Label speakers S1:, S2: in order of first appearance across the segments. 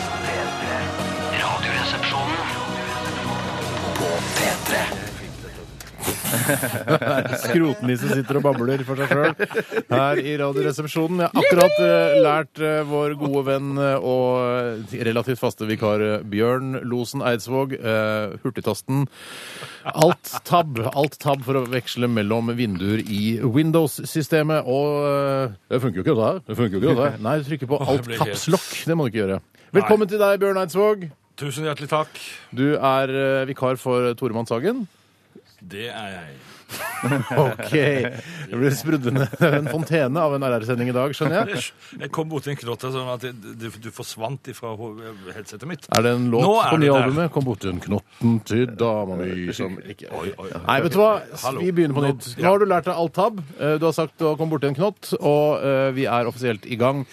S1: P3. Radioresepsjonen på P3.
S2: Skrotnisse sitter og babler for seg sjøl her i Radioresepsjonen. Jeg har akkurat eh, lært eh, vår gode venn eh, og relativt faste vikar eh, Bjørn Losen Eidsvåg eh, hurtigtasten alt-tab. Alt-tab for å veksle mellom vinduer i Windows-systemet. Og eh, det funker jo ikke, dette her. Det funker jo ikke, dette her. Nei, du trykker på
S3: det blir helt-
S2: alt-kapslokk. Det må du ikke gjøre. Velkommen til deg, Bjørn Eidsvåg.
S3: Tusen hjertelig takk.
S2: Du er eh, vikar for Tore Mann Sagen.
S3: Det er jeg.
S2: Ok. Det ble sprudlende en fontene av en RR-sending i dag, skjønner jeg.
S3: Jeg kom borti en knotte sånn at jeg- du, du forsvant ifra ho- headsetet mitt.
S2: Er det en låt
S3: Nå er
S2: på
S3: det
S2: nye
S3: der.
S2: albumet? Kom borti en knotten til dama mi som ikke
S3: Oi, oi, oi.
S2: Nei, vet du hva?
S3: Hallo.
S2: Vi begynner på nytt. Nå har du lært deg alt tab. Eh, Du har sagt å komme borti en knott, og eh, vi er offisielt i gang.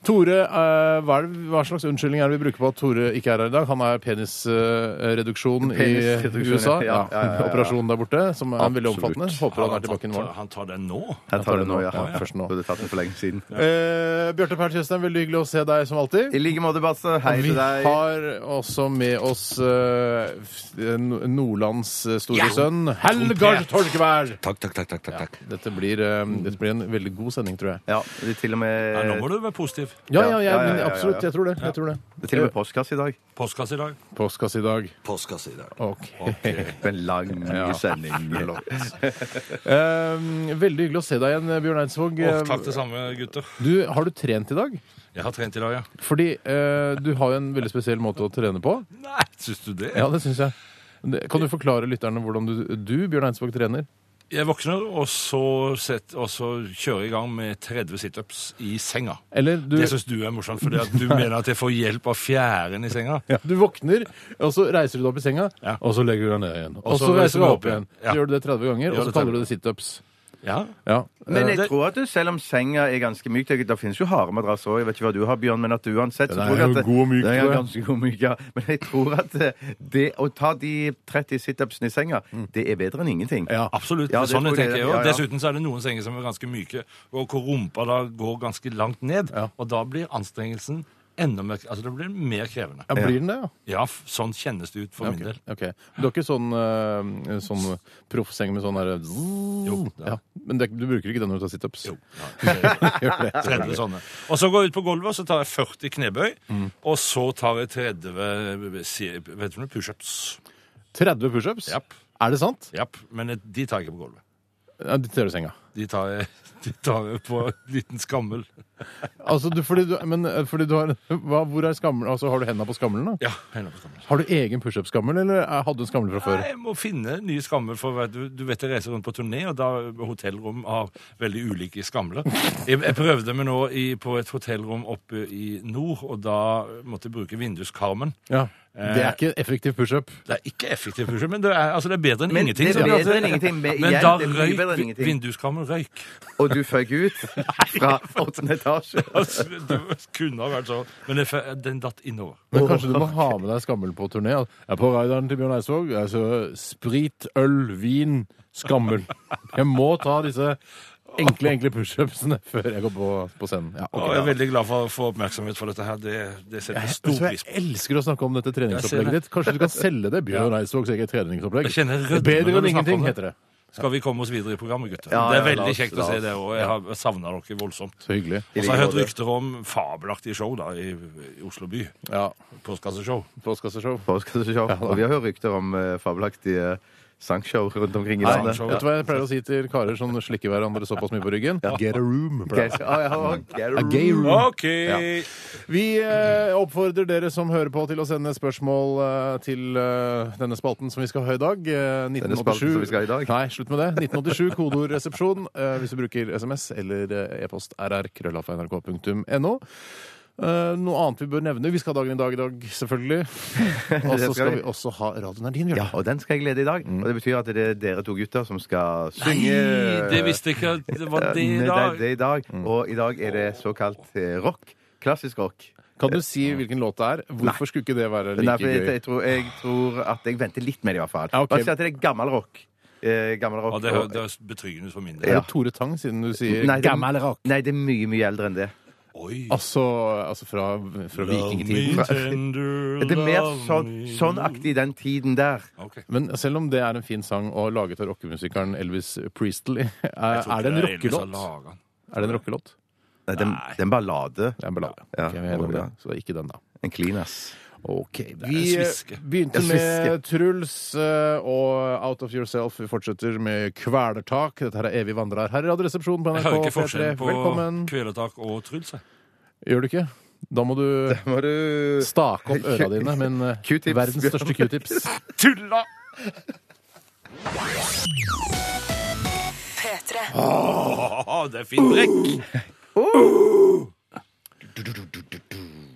S2: Tore, eh, hva, er det, hva slags unnskyldning er det vi bruker på at Tore ikke er her i dag? Han er penisreduksjon i
S4: Penisreduksjon,
S2: USA.
S4: ja.
S2: Ja.
S4: Ja, ja, ja, ja.
S2: Operasjonen der borte, som er veldig
S4: Absolutt.
S2: omfattende. Håper han
S3: han,
S2: er tilbake i
S3: tatt,
S2: morgen.
S3: han tar den nå?
S4: Jeg tar det nå, ja.
S2: Ja, først nå.
S4: Burde tatt det for lenge siden.
S2: Eh, Bjarte Perl Tjøstheim, veldig hyggelig å se deg som alltid.
S4: I like måte, Basse. Hei
S2: Vi
S4: til deg.
S2: har også med oss eh, f- no- Nordlands eh, store sønn, Helgar
S3: Trompet.
S2: Torkvær.
S1: Takk, takk, takk. takk, takk, takk.
S2: Dette blir, eh, dette blir en veldig god sending, tror jeg.
S4: Ja, det er til og med,
S3: Ja, nå må du være positiv.
S2: Ja, ja, ja,
S4: Ja, ja, ja,
S2: men
S4: ja, ja.
S2: absolutt. Jeg tror det. Jeg tror det.
S4: det er til og med postkasse i dag.
S3: Postkasse i dag.
S2: Postkasse i dag.
S1: Postkasse i dag.
S2: Ok.
S4: En lang
S2: Ja.
S4: sending.
S2: Eh, veldig hyggelig å se deg igjen, Bjørn Eidsvåg.
S3: Og takk det samme, gutter.
S2: Du, har du trent i dag?
S3: Jeg har trent i dag, ja.
S2: Fordi eh, du har jo en veldig spesiell måte å trene på.
S3: Nei, syns du det?
S2: Ja, det syns jeg. Det- Kan du forklare lytterne hvordan du, du Bjørn Eidsvåg, trener?
S3: Jeg våkner, og så, set, og så kjører jeg i gang med 30 situps i senga.
S2: Eller du,
S3: Det syns du er morsomt, fordi at du mener at jeg får hjelp av fjæren i senga.
S2: ja, du våkner, og så reiser du deg opp i senga,
S3: Ja.
S2: og så legger du deg ned igjen. Og,
S3: så
S2: så reiser du deg opp
S3: ja.
S2: igjen.
S3: Ja.
S2: Så gjør du det 30 ganger, og
S3: det
S2: så kaller
S3: 30.
S2: du det situps.
S3: Ja,
S2: Ja.
S4: Men
S2: Eh,
S4: jeg tror at det, selv om senga er ganske myk det- Det finnes jo harde madrasser òg, jeg vet ikke hva du har, Bjørn, men at uansett så
S2: Den er
S4: tror jeg at
S2: jo
S4: det-
S2: god og myk,
S4: Den er
S2: tror jeg.
S4: ganske god og myk, ja. Men jeg tror at det, det å ta de 30 situpsene i senga, det er bedre enn ingenting.
S2: Ja.
S3: Absolutt.
S4: Mm. Ja, det
S3: sånn
S4: tror jeg
S3: tenker jeg
S4: det.
S3: også.
S4: Ja, ja.
S3: Dessuten så er det noen senger som er ganske myke, og hvor rumpa da går ganske langt ned.
S2: Ja.
S3: Og da blir anstrengelsen enda mer Altså det blir mer krevende.
S2: ja, blir den det, ja?
S3: Ja, f- sånn kjennes det ut for min del.
S2: Ok. Du har ikke sånn, eh, sånn proffseng med sånn herre
S3: Jo, det er-
S2: ja. Men det, du bruker ikke den når du tar situps?
S3: Jo. Ja, det er- 30 sånne. Og så går jeg ut på gulvet, og så tar jeg 40 knebøy. Og så tar jeg 30 si- vet du noe, pushups.
S2: 30 pushups?
S3: Japp.
S2: Er det sant?
S3: Japp. Men de tar jeg ikke på gulvet.
S2: Ja, det ser du i senga.
S3: De tar jeg, de tar jeg på en liten skammel.
S2: Altså, du, fordi du, men eh, fordi du har hva, Hvor er skammelen? Altså, har du henda på skammelen, da?
S3: Ja, hender på skammel.
S2: Har du egen pushup-skammel, eller eh, hadde du en skammel fra før?
S3: Nei, jeg må finne nye skammer. For vet du, du vet jeg reiser rundt på turné, og da hotellrom har veldig ulike skamler. Jeg, jeg prøvde meg nå i, på et hotellrom oppe i nord, og da måtte jeg bruke vinduskarmen.
S2: Ja. Det er ikke en effektiv pushup.
S3: Det er ikke effektiv pusher, men det er, altså, det er bedre enn
S4: Men
S3: ingenting.
S4: det er
S3: så
S4: bedre enn ingenting, men
S3: men
S4: igjen,
S3: da
S4: det er mye bedre enn
S3: røyk
S4: ingenting.
S3: vinduskarmen røyk.
S4: Og du føk ut fra åttende etasje.
S3: Altså, det kunne ha vært sånn, men det, f- den datt innover.
S2: Men kanskje du må ha med deg skammel på turné? altså. Jeg er på raideren til Bjørn Eidsvåg. Altså, sprit, øl, vin, skammel. Jeg må ta disse enkle enkle pushupsene før jeg går på, på scenen. Ja, ok,
S3: Og jeg er
S2: da.
S3: veldig glad for å få oppmerksomhet for dette her. Det, det setter jeg
S2: Vet
S3: stor
S2: du hva,
S3: pris på.
S2: Jeg elsker å snakke om dette
S3: Jeg ser
S2: treningsopplegget
S3: det.
S2: ditt. Kanskje du kan selge det? Bjørn Eidsvågs eget treningsopplegg.
S3: Jeg kjenner rødmen
S2: Bedre
S3: når
S2: enn
S3: du snakker om
S2: ingenting,
S3: det.
S2: heter det.
S3: Skal vi komme oss videre i programmet, gutter?
S4: Ja,
S3: det er
S4: ja, la
S3: veldig
S4: oss-
S3: kjekt å
S4: la
S3: se
S4: oss.
S3: dere, og jeg har savna dere voldsomt.
S2: Så hyggelig.
S3: Og så har jeg hørt
S4: I like måte.
S3: rykter om fabelaktige show da, i, i Oslo by.
S2: Ja.
S3: Postkasseshow.
S2: Postkasseshow.
S4: Postkasseshow. Og vi har hørt rykter om eh, fabelaktige sangshow rundt omkring i
S2: Nei,
S4: landet.
S3: show.
S2: vet du hva jeg pleier å si til karer som slikker hverandre såpass mye på ryggen? Get a room.
S4: Ok,
S2: pleier jeg å si.
S4: så- ah, ja, og-
S2: A gay
S4: Mm.
S2: room.
S3: OK!
S2: Vi eh, oppfordrer dere som hører på til å sende spørsmål eh, til eh, denne spalten som vi skal ha i dag. Eh, 1987.
S4: Denne spalten som vi skal ha i dag?
S2: Nei, slutt med det. 1987, kodeord resepsjon eh, hvis du bruker SMS eller eh, e-post rr krøllalfa.nrk.no. Eh, noe annet vi bør nevne. Vi skal ha dagen i dag i dag, selvfølgelig. Og så
S4: skal
S2: skal
S4: vi.
S2: vi også ha Radioen er din,
S4: Ja,
S2: Bjørn.
S4: og den skal jeg glede i dag. Og det betyr at det er dere to gutter som skal
S3: Nei,
S4: synge
S3: det visste jeg ikke at det var det i
S4: Nei,
S3: dag.
S4: Det er i dag. Og i dag er det såkalt eh, rock. Klassisk rock.
S2: Kan du si hvilken låt det er? Hvorfor skulle ikke det være
S4: Nei,
S2: like
S4: for jeg,
S2: gøy?
S4: jeg, tror, jeg tror at jeg venter litt med det, i hvert fall.
S2: Ja, ok.
S4: Bare si at det er gammel rock. eh, gammel rock.
S3: Og det, hø-
S4: og-
S3: det er betryggende for min
S2: Er
S3: del.
S4: Ja.
S2: det Tore Tang, siden du sier
S4: Nei, det-
S2: gammel rock?
S4: Nei, det er mye, mye eldre enn det.
S3: Oi!
S2: Altså, altså fra, fra vikingtiden.
S3: Love me tender,
S4: Det er mer
S3: love
S4: sånn,
S3: me.
S4: sånn aktig den tiden der.
S3: Ok.
S2: Men selv om det er en fin sang og laget av rockemusikeren Elvis Priestley, er,
S3: Jeg tror
S2: er det en
S3: ikke Elvis har
S2: rockelåt?
S3: laget den.
S2: Er det en rockelåt?
S4: Nei, det
S3: Nei.
S4: det er en ballade.
S2: Det er en ballade.
S4: Ja,
S2: Ok, vi er enige om
S4: ja.
S2: det. Så det er ikke den, da.
S4: En klinas.
S2: Ok,
S3: en
S2: Vi eh,
S3: sviske.
S2: begynte
S4: En sviske.
S2: med Truls eh, og Out of Yourself. Vi fortsetter med Kvelertak. Dette her er Evig vandrer her i Radioresepsjonen på
S3: Jeg
S2: NRK
S3: hører ikke
S2: P3.
S3: forskjellen på
S2: Velkommen.
S3: kvelertak og Truls. jeg.
S2: Gjør du ikke? Da må du
S4: Må du
S2: stake opp øra dine med en, eh,
S4: Q-tips.
S2: verdens største q-tips.
S3: Tulla!
S5: P3.
S3: Åh, det er fint brekk!
S4: Mm.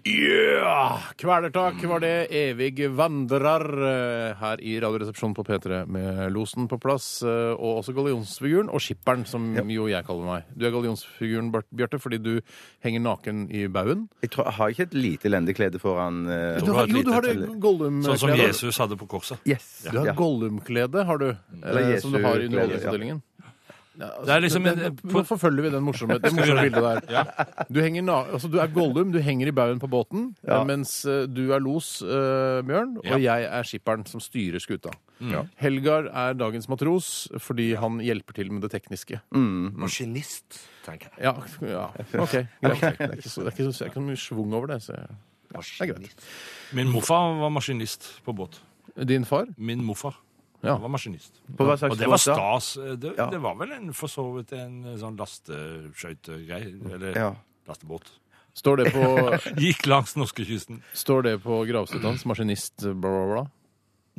S2: Yeah! Kvelertak
S3: Mm.
S2: var det. Evig vandrer eh, her i Radioresepsjonen på P3 med Losen på plass, eh, og også gallionsfiguren og skipperen, som jo jeg kaller meg. Du er gallionsfiguren, Bart- Bjarte, fordi du henger naken i baugen.
S4: Jeg tror, har jeg ikke et lite lendeklede foran eh,
S2: Du har,
S3: har et
S2: jo, du
S3: lite
S2: har det
S4: telle.
S2: Gollum-klede.
S3: Sånn som Jesus hadde på korset.
S4: Yes.
S2: Du har
S4: Ja. Mm.
S2: Gollum-klede, har du. Eh, som du har i
S4: Jesu-klede,
S2: Underholdningsavdelingen. altså,
S3: Det er liksom en,
S2: Den-
S3: på,
S2: Nå forfølger vi den morsomme, det morsomme
S3: gjøre det?
S2: bildet der. Du, henger na altså, du er Gollum, du henger i baugen på båten,
S4: Ja.
S2: eh, mens eh, du er los, eh, Bjørn, og jeg er skipperen som styrer skuta.
S4: Mm.
S2: Helgar er dagens matros fordi han hjelper til med det tekniske.
S4: Mm.
S1: Maskinist, tenker jeg.
S2: Ja, ja. OK. Greit. Det er ikke så- det er ikke så- det er ikke så mye schwung over det. Så. jeg-
S1: Maskinist.
S3: min morfar var maskinist på båt.
S2: Din far?
S3: Min morfar
S2: Ja.
S3: var maskinist.
S4: På hva slags
S3: Og det var
S4: båt da?
S3: stas. Eh, Det,
S4: Ja.
S3: det var vel en, for så vidt en sånn lasteskøytegreie. Eller
S4: Ja.
S3: lastebåt.
S2: Står det på,
S3: Gikk langs norskekysten.
S2: står det på gravstedet hans? Maskinist, bla, bla, bla?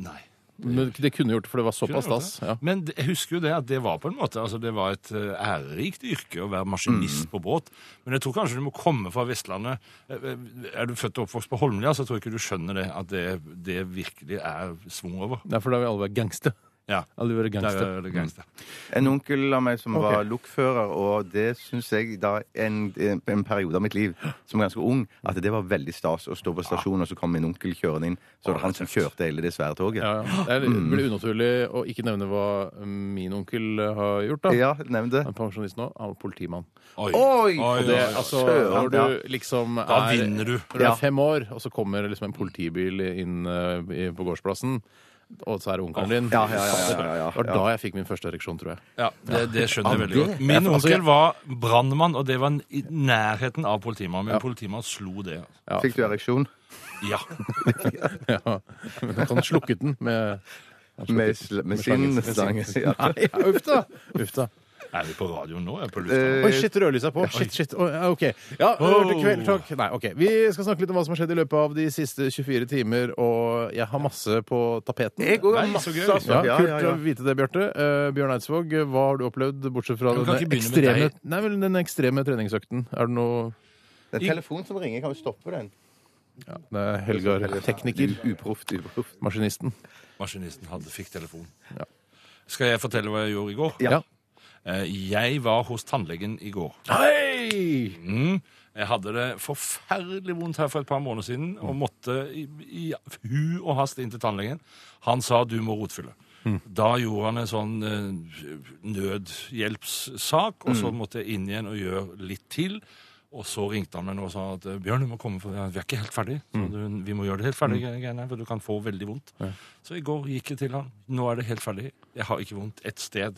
S3: Nei.
S2: Men det kunne gjort det, for det var
S3: Kunne
S2: såpass
S3: gjort
S2: stas.
S3: det.
S2: Ja.
S3: Men det- jeg husker jo det at det var på en måte altså det var et eh, ærerikt yrke å være
S2: Mm.
S3: maskinist på båt. Men jeg tror kanskje du må komme fra Vestlandet. Eh, eh, Er du født og oppvokst på Holmlia, så tror jeg ikke du skjønner det, at det, det virkelig er svung over.
S2: Nei, for da vil alle være gangster.
S3: Ja,
S2: Alle vil være
S3: der
S2: gangster. Mm.
S3: er det gangster.
S4: En onkel av meg som
S2: Ok.
S4: var lokfører, og det syns jeg da en, en periode av mitt liv som ganske ung, at det var veldig stas å stå på stasjonen, og så kom min onkel kjørende inn. Så var det han som kjørte hele det svære toget.
S2: Ja, ja. Det er litt- det blir unaturlig å ikke nevne hva min onkel eh, har gjort. da.
S4: Ja, nevn det.
S2: Han er pensjonist nå. Han var politimann.
S3: Oi!
S4: Oi!
S3: oi,
S2: Det,
S3: oi.
S2: altså,
S4: Søren,
S2: når
S4: ja.
S2: du liksom er,
S3: Da vinner du.
S2: Når du
S4: Ja.
S2: er fem år, og så kommer liksom en politibil inn eh, i- på gårdsplassen, og så er det onkelen din
S4: Ja, ja, ja, ja, ja, ja.
S2: Det var da jeg fikk min første ereksjon, tror jeg.
S3: Ja, det, det skjønner jeg
S2: Ja,
S3: veldig
S2: det-
S3: godt. Min
S2: Altså, jeg-
S3: onkel var brannmann, og det var i nærheten av politimannen. Men politimannen slo det. altså.
S2: Ja.
S4: Fikk du ereksjon?
S3: Ja.
S2: Ja. Men Han slukket den med
S4: Med, sl med sin sang. Ja.
S2: Nei, uff da! Uff da.
S3: Er vi på radioen nå?
S2: Eh.
S3: Er vi på lufta?
S2: Oi, shit, rødlyset er på. Shit, shit. Å, ja, OK. Ja, hørte kveldtalk. Nei, OK. Vi skal snakke litt om hva som har skjedd i løpet av de siste 24 timer, og jeg har masse på tapeten.
S4: Jeg òg har
S3: Nei, så
S4: masse
S3: gøy.
S4: altså.
S2: Ja,
S4: Ja,
S2: Kult
S4: ja, ja.
S2: å vite det, Bjarte. Eh, Bjørn Eidsvåg, hva har du opplevd, bortsett fra
S3: Men
S2: den
S3: kan ikke begynne med
S2: ekstreme,
S3: deg.
S2: nei, vel, den ekstreme treningsøkten? Er det noe
S4: Det er telefonen som ringer. Kan vi stoppe den?
S2: Det er Helgar, tekniker.
S4: Uproft. uproft.
S2: Maskinisten.
S3: Maskinisten hadde, fikk telefon.
S2: Ja.
S3: Skal jeg fortelle hva jeg gjorde i går?
S4: Ja.
S2: Ja.
S3: Eh, Jeg var hos tannlegen i går.
S2: Hei!
S3: Mm. Jeg hadde det forferdelig vondt her for et par måneder siden og måtte i, i hu og hast inn til tannlegen. Han sa du må rotfylle. Da gjorde han en sånn eh, nødhjelpssak, og så måtte jeg inn igjen og gjøre litt til. Og så ringte han meg nå og sa at eh, Bjørn, du må komme, for vi er ikke helt ferdig. Så du, vi må gjøre det helt ferdig, eh, greiene her, for du kan få veldig vondt. Så i går gikk jeg til han. Nå er det helt ferdig. Jeg har ikke vondt ett sted.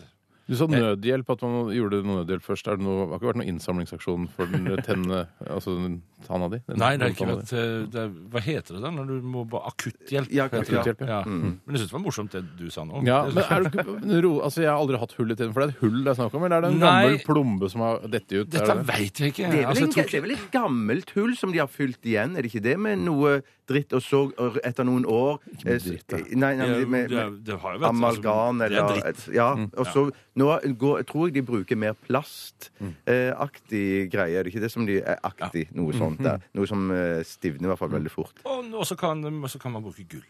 S2: Du sa nødhjelp, at man gjorde noe nødhjelp først. Er det noe, har ikke vært noen innsamlingsaksjon for den tenne, altså den tanna di? Den
S3: Nei, det er ikke
S2: tanna di?
S3: vet, eh, det er, Hva heter det da? Når du må bare akutthjelp?
S4: Ja,
S3: heter det.
S2: akutthjelp, ja. Mm.
S3: Ja. Men jeg syns det var morsomt det du sa nå.
S2: Ja,
S3: Det-
S2: men
S3: sånn.
S2: er du ikke ro, altså Jeg har aldri hatt hull i tiden, for det er et hull det er snakk om? Eller er det en
S3: Nei.
S2: gammel plombe som har dette ut?
S3: Dette
S2: er det det?
S3: veit jeg ikke.
S4: Det er,
S3: Altså,
S4: vel en,
S3: jeg tror
S4: det er vel et gammelt hull som de har fylt igjen? Er det ikke det med noe dritt og så og etter noen år eh, s-
S2: dritt, da.
S4: Nei, nei,
S3: ikke-
S4: med,
S3: det,
S4: med
S3: er- det har jo vært
S4: amalgam
S3: altså, det er
S4: eller
S3: dritt.
S4: Ja.
S2: Mm,
S4: Og så nå går, tror jeg de bruker mer plastaktig greie. Er det ikke det som de er aktig? Noe
S2: Mhm.
S4: sånt der. Noe som eh, stivner i hvert fall veldig fort.
S3: Og og så kan, og så kan man bruke gull.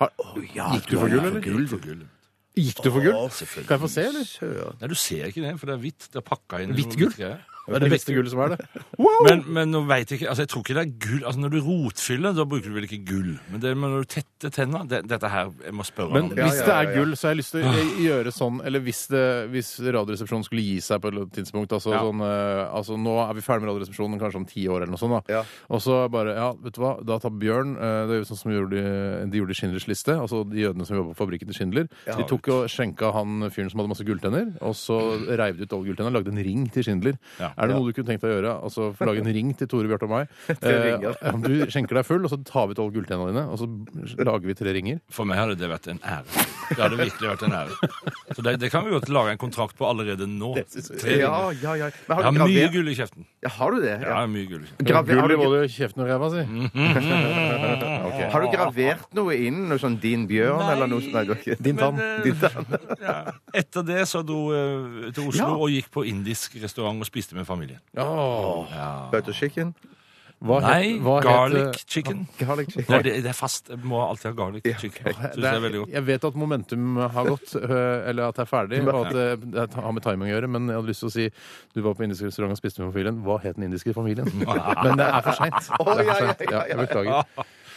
S2: Gikk du for gull, eller?
S3: Gull for gull.
S2: Gikk du for gull?
S3: selvfølgelig.
S2: Kan jeg få se, eller?
S3: Nei, du ser ikke det, for det er hvitt. Det er pakka inn i
S2: Hvitt
S3: noe
S2: gull?
S3: greier.
S2: Det er det beste gullet som er, det.
S3: Men, men nå vet jeg ikke, altså jeg tror ikke det er gull. Altså Når du rotfyller, da bruker du vel ikke gull. Men det men når du tetter tenna det, Dette her, jeg må spørre
S2: Men
S3: om det.
S2: hvis det er gull, så har jeg lyst til å
S3: Ah.
S2: gjøre sånn Eller hvis, det, hvis Radioresepsjonen skulle gi seg på et eller annet tidspunkt altså,
S3: Ja.
S2: sånn, eh, altså Nå er vi ferdig med Radioresepsjonen, kanskje om ti år eller noe sånt. da
S4: Ja.
S2: Og så bare Ja, vet du hva, da tar Bjørn eh, Det er jo sånn som gjorde de, de gjorde i Schindlers liste. Altså de jødene som jobba på fabrikken til Schindler. De tok og skjenka han fyren som hadde masse gulltenner, og så reiv de ut alle gulltennene og lagde en ring til Schindler.
S3: Ja.
S2: Er det noe du kunne tenkt deg å gjøre? Altså få lage en ring til Tore, Bjarte og meg. Eh,
S4: ringer.
S2: om du skjenker deg full, og så tar vi ut alle gulltennene dine, og så lager vi tre ringer.
S3: For meg hadde det vært en ære. Det hadde virkelig vært en ære. Så det, det kan vi godt lage en kontrakt på allerede nå. Tre
S4: Ja,
S3: ringer.
S4: ja, ja.
S3: Jeg
S4: Men
S3: har
S4: har du
S3: mye
S4: gravert?
S3: gull i kjeften.
S4: Ja, Har du det?
S3: Jeg
S4: Ja.
S3: har mye gull i kjeften.
S4: Graver, har,
S2: Gull i
S4: du,
S2: både kjeften og ræva si.
S3: Mm.
S4: har du gravert noe inn? Noe sånn Din Bjørn
S3: Nei.
S4: eller noe sånt? Nei, du har ikke.
S2: Din tann.
S3: Men, eh,
S4: Din tann.
S3: ja. Etter det så dro jeg til Oslo
S4: Ja.
S3: og gikk på indisk restaurant og spiste med familien.
S4: Butter chicken?
S2: Hva het-
S3: Nei,
S2: hva het-
S3: garlic chicken.
S4: Garlic
S3: Nei,
S4: chicken?
S3: det, det er fast. Jeg må alltid ha garlic chicken.
S2: Det
S3: Synes jeg er
S2: er,
S3: veldig godt.
S2: jeg vet at momentum har gått, øh, eller at det er ferdig, og at øh, det har med timing å gjøre, men jeg hadde lyst til å si du var på indisk restaurant og spiste med familien. Hva het den indiske familien? Men det er for seint.
S4: Å, ja, ja, ja,
S2: Ja, jeg beklager.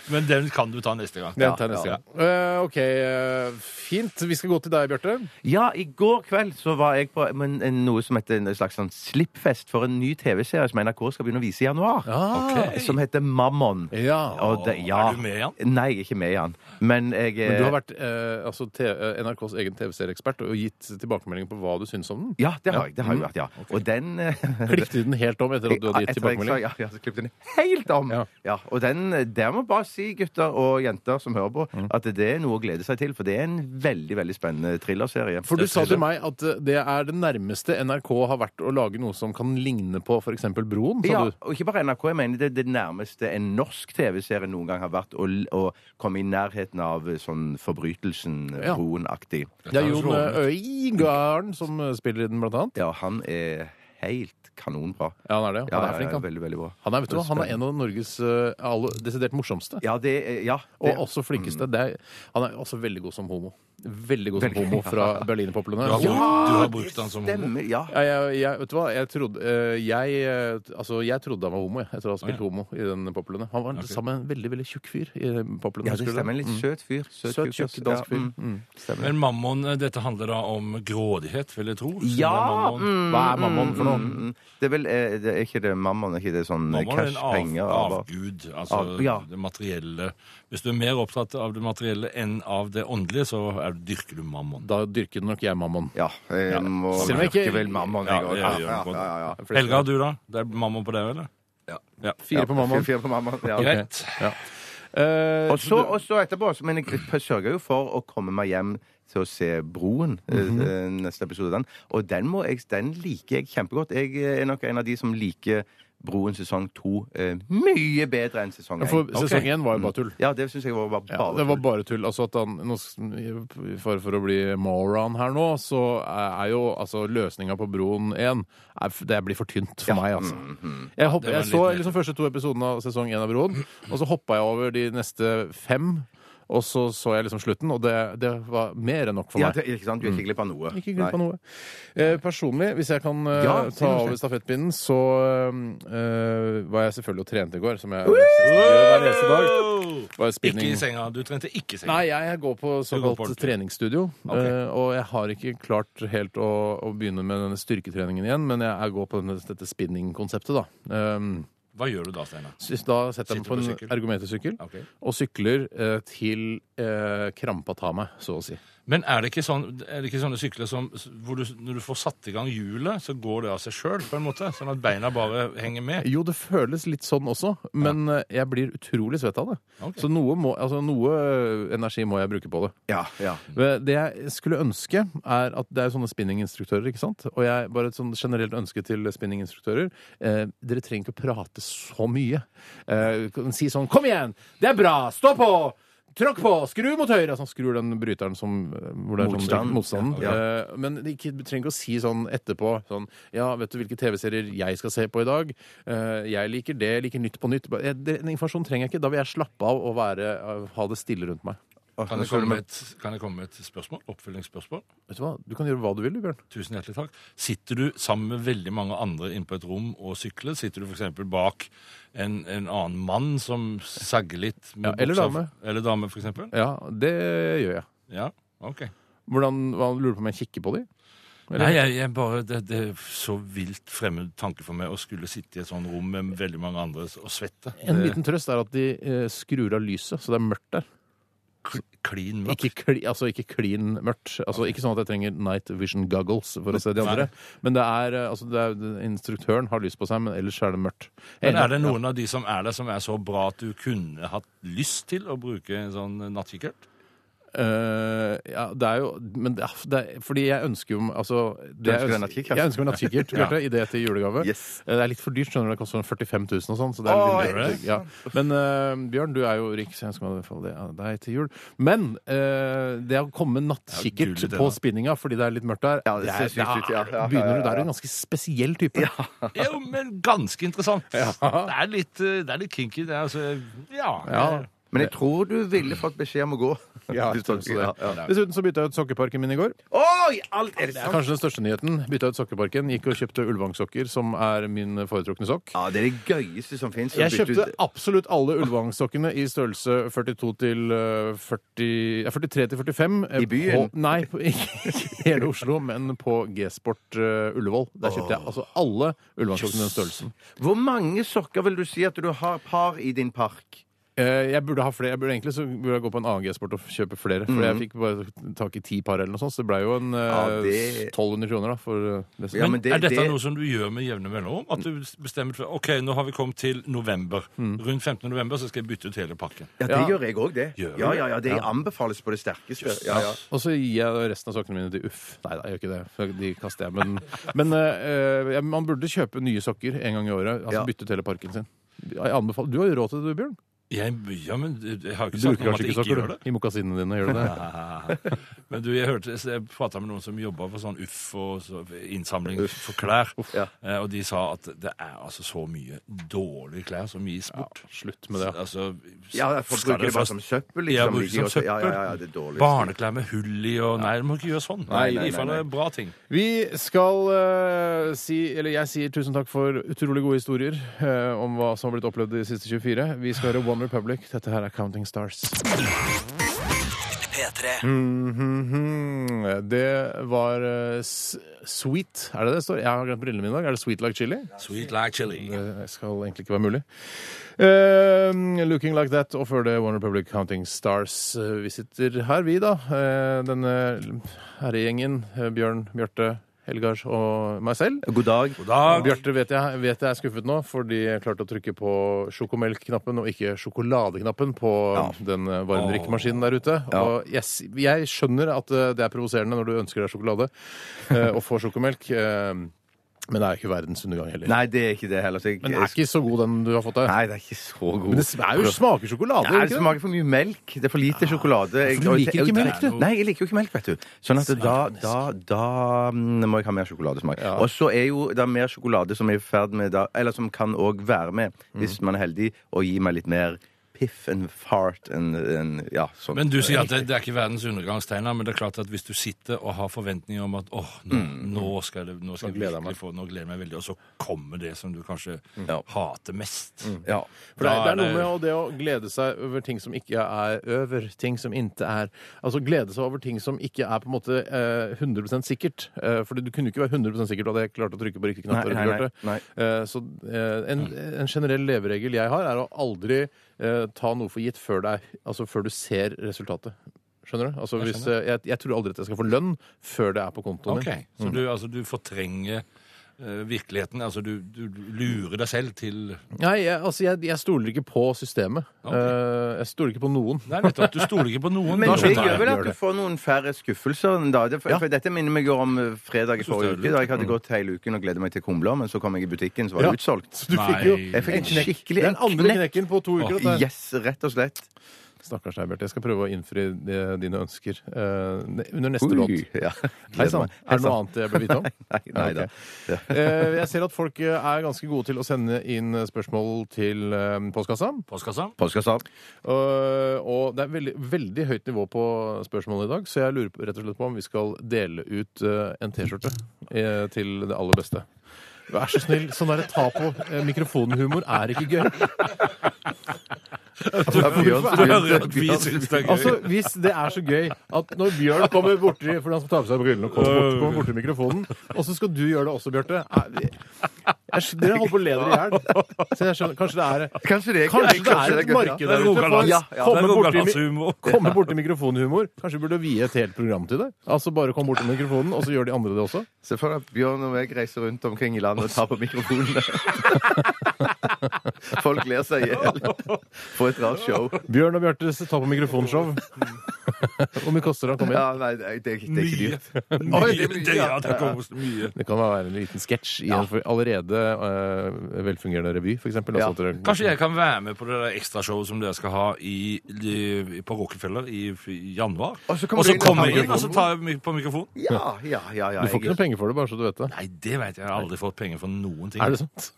S3: Men den kan du ta neste gang.
S2: Den tar jeg neste gang. Øh, OK, øh, fint. Vi skal gå til deg, Bjarte.
S4: Ja, i går kveld så var jeg på men, en- noe som heter en slags sånn slippfest for en ny TV-serie som NRK skal begynne å vise i januar.
S3: Ah.
S4: Eh,
S3: Ok.
S4: Som heter Mammon.
S2: Ah. Ja.
S4: Og det, ja.
S3: Er du med i den?
S4: Nei, jeg er ikke med i den. Men jeg
S2: Men du har vært øh, altså, T- øh, NRKs egen TV-serieekspert og gitt tilbakemelding på hva du syns om den.
S4: eh, Ja, det har jeg, det har jeg vært, ja. Og den eh,
S2: Klikket du den helt om etter at Mm. du hadde gitt
S4: Etter at jeg sa
S2: tilbakemelding?
S4: Ja, ja, så klippet den helt om.
S2: Ja.
S4: Ja. og den, eh, der må jeg bare si, gutter og jenter som hører på,
S2: Mm.
S4: at det er noe å glede seg til. For det er en veldig veldig spennende thrillerserie.
S2: For du sa til meg at eh, det er det nærmeste NRK har vært å lage noe som kan ligne på f.eks. Broen, sa
S4: Ja,
S2: du.
S4: og ikke bare NRK. jeg mener Det er det nærmeste en norsk TV-serie noen gang har vært å, å komme i nærheten av eh, sånn Forbrytelsen, eh,
S2: Ja.
S4: Broen-aktig.
S2: Det er
S3: høres
S2: Jon
S3: lovende
S2: Øigarden som eh, spiller i den, blant annet.
S4: Ja, han er helt kanonbra.
S2: Ja, han er det. Han
S4: Ja,
S2: er flink, han.
S4: Veldig, veldig bra.
S2: Han er, vet du, hva, han er en av Norges eh, aller desidert morsomste.
S4: Ja, det er Ja. Det, Mm.
S2: Og også flinkeste. Det er, han er også veldig god som homo. Veldig god som
S4: Veldig. altså.
S2: homo fra berlinerpoplene.
S3: Du har,
S2: Ja,
S3: du har
S4: det
S3: brukt den som homo.
S4: stemmer. Ja.
S2: jeg, jeg, vet du hva? Jeg trodde, eh, jeg, eh, altså, jeg trodde han var homo, jeg, etter å ha spilt homo i den poplene. Han var sammen med en veldig veldig tjukk fyr i poplene.
S4: ja, det stemmer. En litt søt fyr.
S2: Mm. Søt, tjukk
S4: altså.
S2: dansk fyr.
S4: Ja, mm.
S2: Mm.
S4: Stemmer.
S3: Men mammon, eh, dette handler da om grådighet, vil jeg tro. Så
S4: Ja,
S3: det er Mammon.
S2: Hva er mammon for noe?
S4: Mm, Det er vel eh, det er ikke det mammon, er ikke det sånn eh,
S3: Mammon er
S4: cash,
S3: en
S4: penger
S3: av,
S4: av-
S3: avgud, altså
S4: av- ja.
S3: det materielle. Hvis du er mer opptatt av det materielle enn av det åndelige, så er, dyrker du mammon.
S2: Da dyrker nok jeg mammon.
S4: Ja. Jeg må
S2: Selv om jeg ikke-
S4: merke vel mammon,
S3: Ja,
S4: jeg også.
S3: det
S4: Ja,
S3: gjør
S4: ja,
S3: man.
S4: ja, ja.
S3: Helga, du da? Det er mammon på deg, eller? Ja.
S2: Fire på mammon.
S4: Fire på mammon, ja.
S3: Greit.
S2: Ja. Eh,
S4: Og så, og så etterpå, så- men jeg sørger jo for å komme meg hjem til å se Broen, eh,
S2: Mhm.
S4: eh, neste episode av den. Og den, må jeg, den liker jeg kjempegodt. Jeg eh, er nok en av de som liker Broen sesong to eh, mye bedre enn sesong
S2: Ja, for
S4: én.
S2: sesong én var jo bare tull.
S4: Ja, det syns jeg var bare,
S2: Ja, det var bare tull. Altså at han, nå, s- I fare for å bli moron her nå, så er jo altså løsninga på Broen 1 er, f- Det blir for tynt for meg, altså. Jeg, hopp,
S3: det var
S2: jeg så
S3: litt
S2: liksom første to episodene av sesong én av Broen, og så hoppa jeg over de neste fem. Og så så jeg liksom slutten, og det, det var mer enn nok for
S4: ja,
S2: meg.
S4: det, ikke sant? Du er ikke glipp av noe.
S2: Ikke glipp av noe. Eh, personlig, hvis jeg kan eh,
S4: Ja, si
S2: ta
S4: noe,
S2: over
S4: Stein.
S2: stafettpinnen, så eh, var jeg selvfølgelig og trente i går, som jeg gjør hver eneste dag. Var
S3: Ikke
S2: spinning.
S3: i senga. Du trente ikke i senga.
S2: Nei, jeg går på
S3: går på
S2: såkalt
S3: ordentlig.
S2: treningsstudio. eh, Og jeg har ikke klart helt å, å begynne med denne styrketreningen igjen, men jeg jeg går på denne, dette spinningkonseptet, da. Um,
S3: Hva gjør du da, Steinar?
S2: så da setter jeg meg
S3: Sitter
S2: på
S3: på
S2: en
S3: sykkel?
S2: ergometersykkel
S3: Ok.
S2: og sykler eh, til eh, krampa tar meg, så å si.
S3: Men er det ikke, sånn, er det ikke sånne sykler som hvor du, når du får satt i gang hjulet, så går det av seg sjøl, på en måte? Sånn at beina bare henger med?
S2: Jo, det føles litt sånn også, men eh, jeg blir utrolig svett av det.
S3: Ok.
S2: Så noe, må, altså, noe eh, energi må jeg bruke på det.
S4: Ja, ja.
S2: Men Det jeg skulle ønske, er at det er jo sånne spinninginstruktører, ikke sant? Og jeg bare et sånn generelt ønske til spinninginstruktører. Eh, dere trenger ikke å prate så mye. Eh, kan si sånn Kom igjen! Det er bra! Stå på! Tråkk på! Skru mot høyre! Altså, skrur den bryteren som eh, hvor det er
S4: Motstand.
S2: Sånn, motstanden.
S4: Ja.
S2: Eh, men de ikke, du trenger ikke å si sånn etterpå sånn Ja, vet du hvilke TV-serier jeg skal se på i dag? Eh, jeg liker eh, det, jeg liker Nytt på Nytt. Bare- eh, Den informasjonen trenger jeg ikke. Da vil jeg slappe av og være, ha det stille rundt meg.
S4: Åh,
S3: Kan
S4: nå
S3: jeg
S4: så du
S3: komme med
S4: meg.
S3: et, kan jeg komme med et spørsmål? Oppfølgingsspørsmål?
S2: Vet du hva? Du kan gjøre hva du vil, du, Bjørn.
S3: Tusen hjertelig takk. Sitter du sammen med veldig mange andre inne på et rom og sykler? Sitter du f.eks. bak en, en annen mann som sagger litt? med
S2: Ja, eller
S3: buksa-
S2: dame.
S3: Eller dame, f.eks.?
S2: Ja, det gjør jeg.
S3: Ja, ok.
S2: Hvordan, hva, Lurer du på om jeg kikker på de? Eller-
S3: Nei, jeg, jeg bare, det, det er så vilt fremmed tanke for meg å skulle sitte i et sånt rom med veldig mange andre og svette.
S2: En
S3: Det-
S2: liten trøst er at de eh, skrur av lyset, så det er mørkt der.
S3: Kl- Klin mørkt.
S2: Ikke, kli, altså ikke klin mørkt. Altså Ikke sånn at jeg trenger night vision goggles for å se de andre. Men det er, eh, altså, det er instruktøren har lys på seg, men ellers er det mørkt.
S3: Men er det noen av de som er der, som er så bra at du kunne hatt lyst til å bruke en sånn nattkikkert?
S2: Eh, ja, det er jo Men det er, det er, fordi jeg ønsker jo altså, det
S4: ønsker
S2: jeg
S4: deg
S2: ønsker-
S4: nattkikkert?
S2: Jeg ønsker meg nattkikkert,
S3: Ja.
S2: Bjarte, i det til julegave.
S4: Yes.
S2: Eh, Det er litt for dyrt, skjønner du. Det koster sånn 45 000 og sånn. Så det er
S4: Oi.
S2: litt dyrere. ja. Men eh, Bjørn, du er jo rik, så jeg ønsker meg i hvert fall det av deg til jul. Men eh, det å komme
S3: Ja,
S2: nattkikkert
S3: gul idé,
S2: på
S3: da.
S2: spinninga fordi det er litt mørkt der,
S4: Ja, det
S2: er-
S4: ser sykt ut, ja, ja, ja,
S2: begynner du
S4: ja,
S2: der er
S4: ja.
S2: du en ganske spesiell type.
S3: Jo, men ganske interessant. Det, er litt, eh, det er litt kinky. Det er altså Ja.
S2: Ja.
S4: Men jeg tror du ville fått beskjed om å gå.
S2: Ja,
S4: Hvis
S2: så
S4: du-
S2: det.
S4: ja, ja.
S2: Dessuten så bytta jeg ut sokkeparken min i går.
S4: Oi! Alt er det
S2: Det er
S4: sant?
S2: kanskje den største nyheten. Bytta ut sokkeparken. Gikk og kjøpte Ulvang-sokker, som er min foretrukne sokk.
S4: Ja, det er det gøyeste som fins.
S2: Jeg kjøpte absolutt alle Ulvang-sokkene i størrelse 42 til eh, 40, ja, 43 til 45. eh,
S4: I byen?
S2: På, nei, på, ikke i hele Oslo, men på G-Sport eh, Ullevål. Der kjøpte jeg altså alle Ulvang-sokkene i den størrelsen.
S4: Hvor mange sokker vil du si at du har par i din park?
S2: Eh, Jeg burde ha flere. Jeg burde egentlig så burde jeg gå på en annen G-Sport og kjøpe flere. For jeg fikk bare tak i ti par eller noe sånt, så det blei jo en eh,
S4: Mhm. Ja, det-
S2: 1200 kroner da, for eh, det.
S4: Ja, men det-
S3: er dette
S4: det-
S3: noe som du gjør med jevne mellomrom? At du bestemmer for, ok, nå har vi kommet til november.
S4: Mm.
S3: Rundt 15. november så skal jeg bytte ut hele pakken.
S4: Ja, det
S2: Ja.
S4: gjør jeg òg, det.
S3: Gjør du
S4: Ja, ja, ja, Det anbefales på det sterkeste. Ja, ja.
S2: Og så gir jeg resten av sokkene mine til Uff. Nei da, jeg gjør ikke det. for De kaster jeg. Men, men eh, ja, man burde kjøpe nye sokker en gang i året. Altså
S4: Ja.
S2: bytte ut hele parken sin. Jeg anbefaler. Du har jo råd til det, du, Bjørn.
S3: Jeg, ja, men eh, jeg har jo
S2: Du
S3: ikke sagt
S2: bruker
S3: noe om
S2: kanskje
S3: at
S2: ikke
S3: jeg ikke
S2: sokker
S3: gjør
S2: du.
S3: det.
S2: i mokkasinene dine. Gjør du det?
S3: Men du, jeg hørte, så jeg prata med noen som jobba for sånn UFF og så innsamling for klær.
S4: Ja.
S3: Eh, Og de sa at det er altså så mye dårlige klær som gis bort.
S2: Slutt med det.
S3: Altså,
S4: ja for
S3: skal
S4: bruker det bare
S3: først-
S4: som søppel?
S3: Ja,
S4: Liksom.
S3: bruker det som
S4: Ligger også- Ja, ja, ja,
S3: søppel.
S4: det er dårlig.
S3: Barneklær med hull i og Nei, du må ikke gjøre sånn.
S4: Nei, nei,
S3: I fall
S4: nei,
S3: er det bra ting.
S2: Vi skal eh, si, eller jeg sier tusen takk for utrolig gode historier eh, om hva som har blitt opplevd de siste 24. Vi skal høre One Republic. Dette her er Counting Stars.
S1: P3.
S2: Mhm. Det var eh, s Sweet, er det det står? Jeg har glemt brillene mine i dag. Er det Sweet Like Chili?
S3: Sweet like chili.
S2: Det skal egentlig ikke være mulig. Eh, looking like that, og før det One Republic Counting Stars. Eh, vi sitter her, vi, da. Eh, denne herregjengen. eh, Bjørn, Bjarte, Helgars og meg selv.
S4: God dag.
S3: God dag.
S2: Bjarte vet jeg, vet jeg er skuffet nå, fordi jeg klarte å trykke på sjokomelk-knappen og ikke sjokoladeknappen på den eh, varmdrikkemaskinen der ute. Og yes, jeg skjønner at eh, det er provoserende når du ønsker deg sjokolade eh, og får sjokomelk, eh, men det er jo ikke verdens undergang heller.
S4: Nei, det er ikke det heller. Så jeg,
S2: Men den er ikke så god, den du har fått deg.
S4: Nei, det er ikke så god.
S2: Men det er jo smaker sjokolade. gjør
S4: Nei, det
S2: det ikke det?
S4: smaker for mye melk. Det er for lite sjokolade. Jeg,
S2: for du liker ikke melk, du.
S4: Nei, jeg liker jo ikke melk, vet du. Sånn at da, da, da mm, må jeg ha mer sjokoladesmak. Og så er jo det er mer sjokolade som er i ferd med da, Eller som kan òg være med, hvis man er heldig, og gi meg litt mer piff and fart and, and ja, sånn.
S3: Men du sier at det, det er ikke verdens undergangstegn, her, men det er klart at hvis du sitter og har forventninger om at åh, nå, nå skal, det, nå skal jeg
S2: gleder jeg
S3: virkelig få, nå gleder jeg meg veldig, og så kommer det som du kanskje
S4: Ja.
S3: hater mest.
S4: Mm. ja.
S2: For det, er- det
S3: Da
S2: er noe med å- det å glede seg over ting som ikke er over, ting som inte er Altså glede seg over ting som ikke er på en måte eh, 100 sikkert. Eh, for du kunne jo ikke være 100 sikkert at jeg klarte å trykke på riktig knapp.
S4: Nei,
S2: da du
S4: nei,
S2: klarte.
S4: nei,
S2: Eh, så eh, en, en generell leveregel jeg har, er å aldri eh, ta noe for gitt før, det er, altså, før du ser resultatet. Skjønner du? Altså, jeg, hvis, eh, jeg, jeg tror aldri at jeg skal få lønn før det er på kontoen
S3: Ok, så du, altså, du fortrenger eh, virkeligheten, altså du, du lurer deg selv til...
S2: Nei, jeg, altså, jeg, jeg stoler ikke på systemet. Eh, jeg stoler ikke på noen.
S3: Nei, nettopp, du stoler ikke på noen.
S4: Men
S3: da
S4: det
S3: skjønner
S4: gjør
S3: jeg.
S4: vel
S2: Gjør
S4: at du
S2: det.
S4: får noen færre skuffelser. enn Da. Det, for, for Dette minner meg jo om eh, fredag i
S3: synes
S4: forrige
S3: det er
S4: uke. Da jeg hadde gått hele uken og gledet meg til kumler, men så kom jeg i butikken, så var det
S2: Ja.
S4: utsolgt.
S2: Du fikk jo
S3: Nei.
S4: Jeg fikk en
S2: knekk.
S4: skikkelig
S2: Den
S4: en
S2: andre
S4: knekk.
S2: knekken på to uker. dette her.
S4: Yes, rett og slett.
S2: Stakkars deg, Bjarte. Jeg skal prøve å innfri eh, dine ønsker eh, ne- under neste
S4: Ui,
S2: låt.
S4: Ja.
S2: Hei sann. Er det noe annet jeg bør vite om?
S4: Nei, nei da.
S2: Ok. Eh, Jeg ser at folk eh, er ganske gode til å sende inn eh, spørsmål til eh, postkassa.
S3: Postkassa?
S4: Postkassa.
S2: Og, Eh, og det er veldig, veldig høyt nivå på spørsmålet i dag, så jeg lurer på, rett og slett på om vi skal dele ut eh, en T-skjorte eh, til det aller beste. Vær så snill, sånn der ta på eh, mikrofonen-humor er ikke gøy.
S3: Du hører jo at vi syns det er gøy.
S2: Altså, Hvis det er så gøy at når Bjørn kommer borti fordi han skal ta på seg brillene og kommer bort, kommer borti mikrofonen, og så skal du gjøre det også, Bjarte Nei, vi- jeg skj- Dere holder på å le dere i hjel. Så jeg skjønner- Kanskje det er
S4: Kanskje det er
S2: Kanskje det er et marked
S3: det
S2: der
S3: er
S2: ute for
S3: Rogalands-
S4: Ja, ja.
S3: det er
S2: komme borti mi-
S3: Rogalandshumor.
S2: Komme borti mikrofonhumor. Kanskje vi burde vie et helt program til det? Altså bare kom borti mikrofonen, og så gjør de andre det også?
S4: Se for deg at Bjørn og jeg reiser rundt omkring i landet og tar på mikrofonene. Folk ler seg i hjel. For et rart show.
S2: Bjørn og Bjørtes ta på mikrofonshow. Hvor mye koster det å komme inn?
S4: Ja, nei, det er, det er ikke
S3: Mye.
S4: dyrt. Oi,
S3: Mye.
S4: det blir-
S3: Det- Ja, det kommer så mye.
S2: Det kan være en liten sketsj i en for- allerede eh, velfungerende revy, Altså, f.eks.
S4: Ja.
S3: Kanskje jeg kan være med på det der ekstrashowet som dere skal ha i, i, på Rockefeller i, f- i januar.
S4: Og så kommer
S3: Og så
S4: du inn og
S3: kommer
S4: tar
S3: jeg inn, og så
S4: mikrofonen.
S3: tar jeg mik- på mikrofonen.
S4: Ja, ja, ja. ja
S2: Du får ikke
S4: jeg-
S2: noe penger for det, bare så du vet det.
S3: Nei, det vet jeg. Jeg har aldri fått penger for noen ting.
S2: Er det sånn sant?